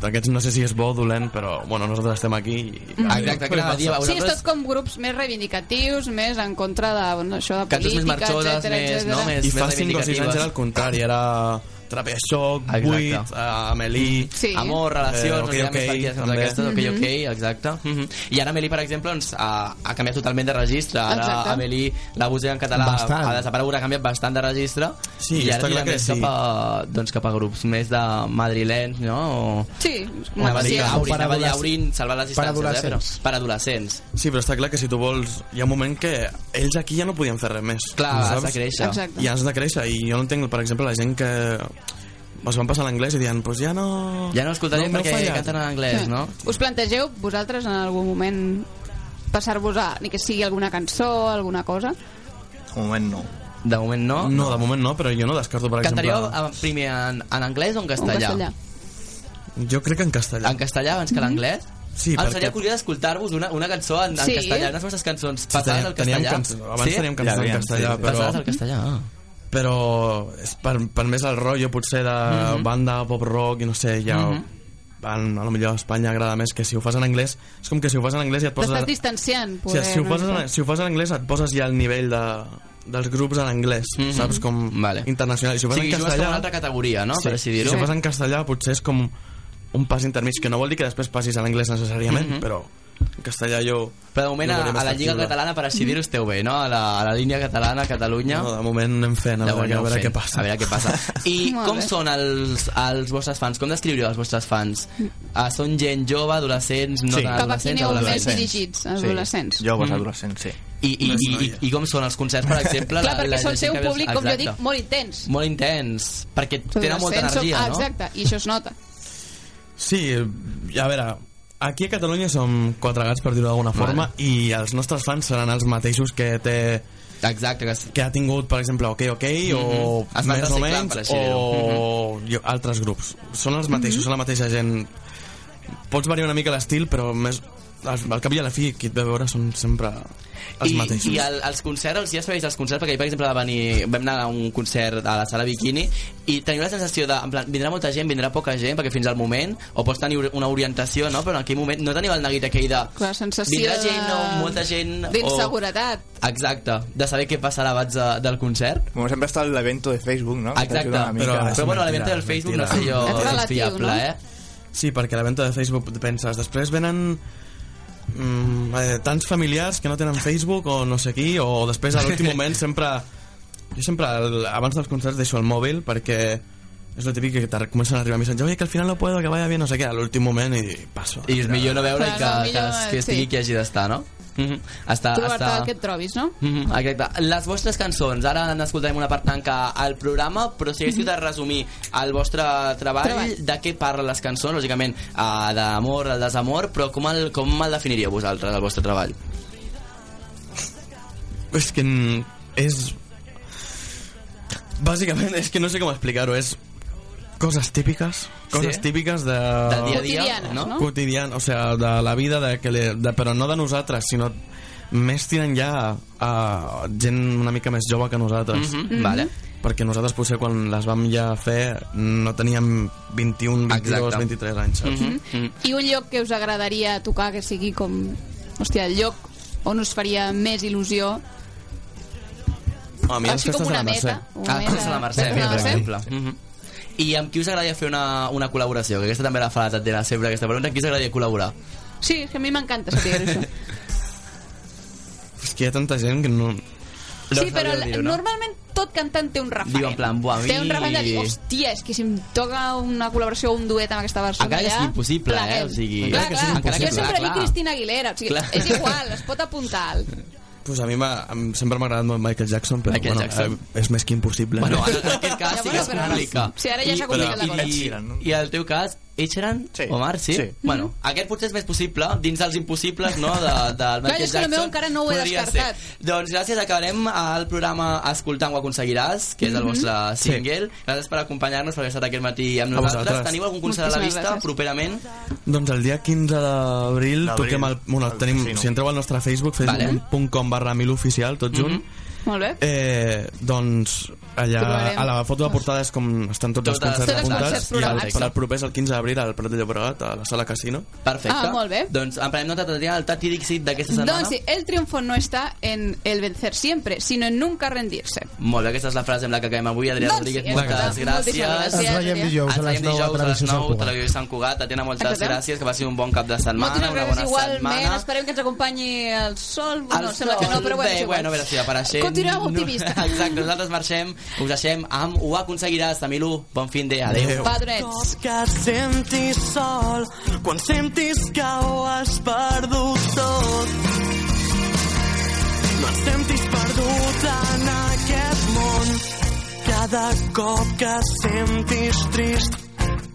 d'aquests no sé si és bo o dolent, però bueno, nosaltres estem aquí i... Exacte, que anava a dir, Sí, és tot com grups més reivindicatius, més en contra de, bueno, això, de cançons més política, marxoses, etcètera, més, etcètera. no? més, I fa 5 o 6 anys era el contrari, era Trapea Xoc, Exacte. Buit, uh, Amelí... Sí. Amor, eh, relacions, Ok, eh, ok, okay, també. aquestes, ok, ok, exacte. Mm -hmm. I ara Amelie, per exemple, doncs, ha, ha canviat totalment de registre. Ara Exacte. Amelie, la música en català Bastant. ha desaparegut, ha canviat bastant de registre. Sí, I ara està clar tira que més sí. cap, a, doncs, cap a grups més de madrilenys, no? O... Sí, Anava a dir Madrid. Aurin, O per anava a dir adolesc- Aurin, salvant les per distàncies, eh, però adolescents. per adolescents. Sí, però està clar que si tu vols... Hi ha un moment que ells aquí ja no podien fer res més. Clar, has saps? de créixer. Exacte. I has de créixer. I jo no entenc, per exemple, la gent que es van passar a l'anglès i diuen, pues ja no... Ja no escoltaré m'heu perquè fallat." canten en anglès, no? Us plantegeu vosaltres en algun moment passar-vos a, ni que sigui alguna cançó, alguna cosa? De moment no. De moment no? No, de moment no, però jo no descarto, per Cantaríeu exemple... eh, primer en, en anglès o en castellà? castellà. Jo crec que en castellà. En castellà abans que l'anglès? Sí, em perquè- seria curiós escoltar-vos una, una cançó en, en Sí. castellà, unes vostres cançons Sí, passades teníem- al teníem castellà. cançó- abans teníem cançons en castellà, però- Passades al castellà, ah. però és per, per més el rotllo potser de Mhm. banda, pop rock i no sé, ja Mhm. van, a lo millor a Espanya agrada més que si ho fas en anglès és com que si ho fas en anglès ja et poses T'estàs a- distanciant, o sigui, poder, si, ho una fas mica. en, si ho fas en anglès et poses ja al nivell de, dels grups en anglès saps com vale. internacional I si ho fas O sigui, en Mm-hmm. jugues castellà com una altra categoria, no? Per així I dir-ho. si ho fas en castellà potser és com un pas intermig que no vol dir que després passis a l'anglès necessàriament Mhm. però en castellà jo... Però de moment jo a, veurem a la estar Lliga lliure. Catalana per Asidirus TV, no? A la, a la línia catalana, Catalunya. No, de moment anem fent, a De veure, moment a veure anem què passa. A veure què passa. I Molt com bé. són els, els vostres fans? Com descriuríeu els vostres fans? Mm. Ah, són gent jove, adolescents, no Sí. tan Cap a quin adolescents, heu més adolescents? dirigits, adolescents. Joves Mm. adolescents, sí. I, i, i, i, i com són els concerts, per exemple? Clar, perquè la sol ser gent un que veus- públic, com jo Exacte. dic, molt intens. Molt intens, perquè tenen molta Adolescents, energia, som- no? Exacte, i això es nota. Sí, eh, a veure, aquí a Catalunya som quatre gats, per dir-ho d'alguna forma, i els nostres fans seran els mateixos que té... Exacte, que, que ha tingut, per exemple, OK OK, o Mhm. Es van més o reciclant, menys, per així dir-ho. Mhm. o jo, altres grups. Són els mateixos, són la mateixa gent. Pots variar una mica l'estil, però més, al, al cap i a la fi, qui et ve a veure són sempre els I, mateixos. i el, els concerts, els dies previs als concerts, perquè ahir, per exemple, va venir, vam anar a un concert a la sala Bikini i teniu la sensació de, en plan, vindrà molta gent, vindrà poca gent, perquè fins al moment, o pots tenir una orientació, no? però en aquell moment no teniu el neguit aquell de... La sensació Vindrà gent de- o molta gent o- D'inseguretat. Exacte, de saber què passarà abans de, del concert. Bueno, sempre està l'evento de Facebook, no? Exacte, però- però bueno, l'evento del Facebook no sé jo És si és relatiu, fiable, no? eh? Sí, perquè l'evento de Facebook penses, després venen mm, eh, tants familiars que no tenen Facebook o no sé qui, o després a l'últim moment sempre... Jo sempre, el, abans dels concerts, deixo el mòbil perquè és el típic que te comencen a arribar missatges oye, que al final no puedo, que vaya bien, no sé què, a l'últim moment i passo. I és millor no veure i que, que, que estigui sí. qui hagi d'estar, no? Mm -hmm. Està, Trobar-te està... el que et trobis, no? Mm -hmm, exacte. Les vostres cançons, ara n'escoltarem una part tanca al programa, però si haguéssiu de resumir el vostre treball, Mhm. Treball. de què parlen les cançons, lògicament, uh, d'amor, el desamor, però com el, com el definiríeu vosaltres, el vostre treball? És que mm, és... Bàsicament, és que no sé com explicar-ho, és coses típiques, coses Sí? típiques de... Del dia a dia, Quotidianes, no? no? Quotidian, o sea, de la vida, de que le, de, però no de nosaltres, sinó més tirant ja a, a gent una mica més jove que nosaltres. Mhm, Mhm. vale. Perquè nosaltres potser quan les vam ja fer no teníem 21, 22, Exacte. 23 anys, saps? Mhm, I un lloc que us agradaria tocar que sigui com... Hòstia, el lloc on us faria més il·lusió A mi les Així com festes de la una Mercè. meta, una Ah, meta. Festa de la Mercè, Festa de la per Mercè. exemple. Mhm. I amb qui us agradaria fer una, una col·laboració? Que aquesta també la fa la Tatiana sempre, aquesta pregunta. Amb qui us agradaria col·laborar? Sí, és que a mi m'encanta saber això. És que hi ha tanta gent que no... sí, però el, normalment tot cantant té un referent. Diu en plan, buah, a mi... Té un referent de dir, hòstia, és que si em toca una col·laboració o un duet amb aquesta persona Encara que allà... sigui impossible, eh? plaguem. O sigui, Clar, encara que clar, sigui encara que jo impossible, sempre clar. dic Cristina Aguilera, o sigui, Clar. és igual, es pot apuntar alt. Pues a mi m'ha- em- sempre m'ha agradat molt Michael Jackson, però Michael bueno, Jackson. eh, és més que impossible. Bueno, Ah, en aquest cas sí que es però- complica. Sí, ara ja s'ha complicat la cosa. I, Ed i, i el teu cas, Ed Sheeran? Sí. Omar, sí? Sí. Bueno, aquest potser és més possible, dins dels impossibles, no?, de, del Clar, Michael és que el meu Jackson. encara no ho he Podria descartat. Ser. Doncs gràcies, acabarem el programa Escoltant ho aconseguiràs, que és el Mhm. vostre Sí. single. Gràcies per acompanyar-nos, per haver estat aquest matí amb A nosaltres. vosaltres. Teniu algun concert a la Moltíssimes vista gràcies. properament? Doncs el dia 15 d'abril D'abril. toquem el... Bueno, el tenim, casino. si entreu al nostre Facebook, Vale. Mhm. facebook.com barra miloficial, tot junt, Molt bé. eh, doncs allà Trobarem. a la foto de portada és com estan tots els Totes- concerts tots els concerts apuntats i el, programats. per al proper és el 15 d'abril al Prat de Llobregat, a la sala Casino. Perfecte. Ah, molt bé. Doncs en prenem nota, Tatiana, del Tati Dixit d'aquesta setmana. Doncs sí, el triunfo no està en el vencer siempre, sino en nunca rendirse. Molt bé, aquesta és la frase amb la que acabem avui. Adrià Doncs Rodríguez, sí, moltes exacte. gràcies. Moltíssimes gràcies, Ens veiem Adrià. dijous a Ens les veiem nou a dijous a les Televisió Sant 9, Cugat. Televisió Sant Cugat. Tatiana, moltes Exacte. gràcies, que passi un bon cap de setmana, Moltes una gràcies bona igualment. setmana. Esperem que ens acompanyi el sol. El Bueno, sembla que no, sol, però bueno, bé, és igual. bueno, a veure si apareixent. Continuem optimistes. No, exacte, nosaltres marxem, us deixem amb Ho aconseguiràs, Tamilu. Bon fin de, adeu. Padrets. Que et sentis sol, quan sentis que ho has perdut tot. No et sentis perdut en aquest món. Cada cop que et sentis trist,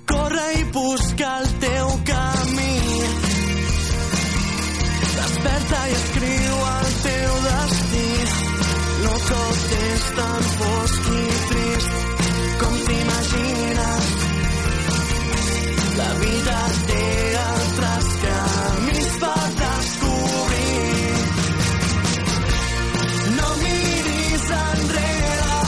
corre i busca el teu camí. Desperta i escriu el teu destí. No tot és tan fosc i trist com t'imagines. La vida té altres camins per descobrir. No miris enrere,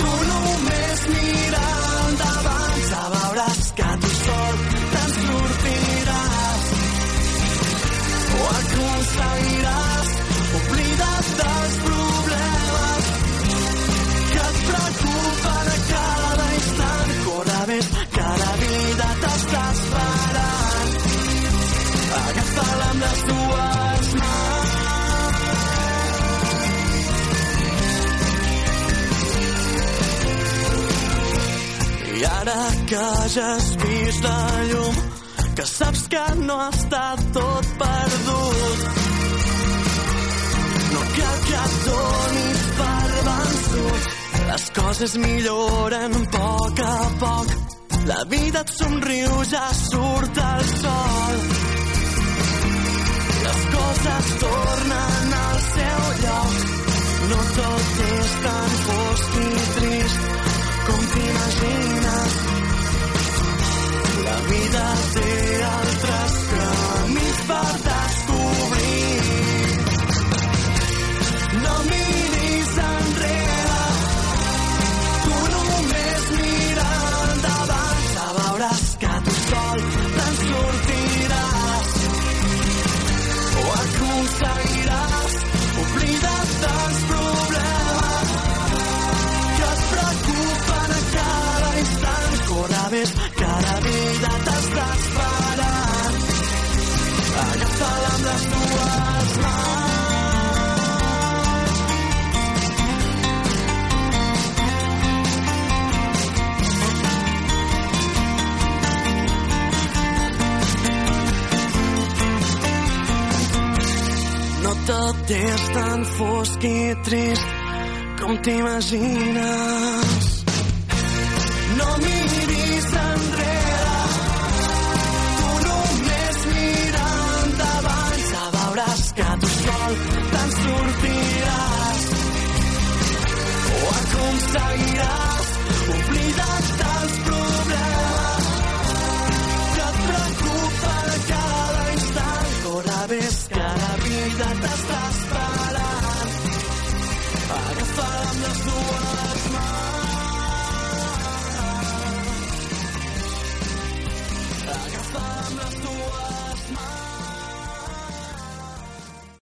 tu només mira endavant. Ja veuràs que tu sol te'n sortiràs. Ho aconseguiràs, oblida't dels problemes. amb les dues mans. I ara que ja has vist la llum, que saps que no ha estat tot perdut, no cal que et donis per vençut. Les coses milloren a poc a poc. La vida et somriu, ja surt el sol. Les coses tornen al seu lloc. No tot és tan fosc i trist com t'imagines. La vida té altres camins per descobrir. No miris enrere, tu només mira endavant. Ja veuràs que tu sol te'n sortiràs. Ho aconseguiràs, oblida't dels problemes que et preocupen a cada instant. Corre més, que la vida t'està esperant. Agafa-la amb les dues mans. No tot és tan fosc i trist com t'imagines. No miris enrere, tu només mira endavant. Ja veuràs que tu sol te'n sortiràs. Ho aconseguiràs, oblida't dels problemes que et preocupen a cada instant. Corre més que la vida t'està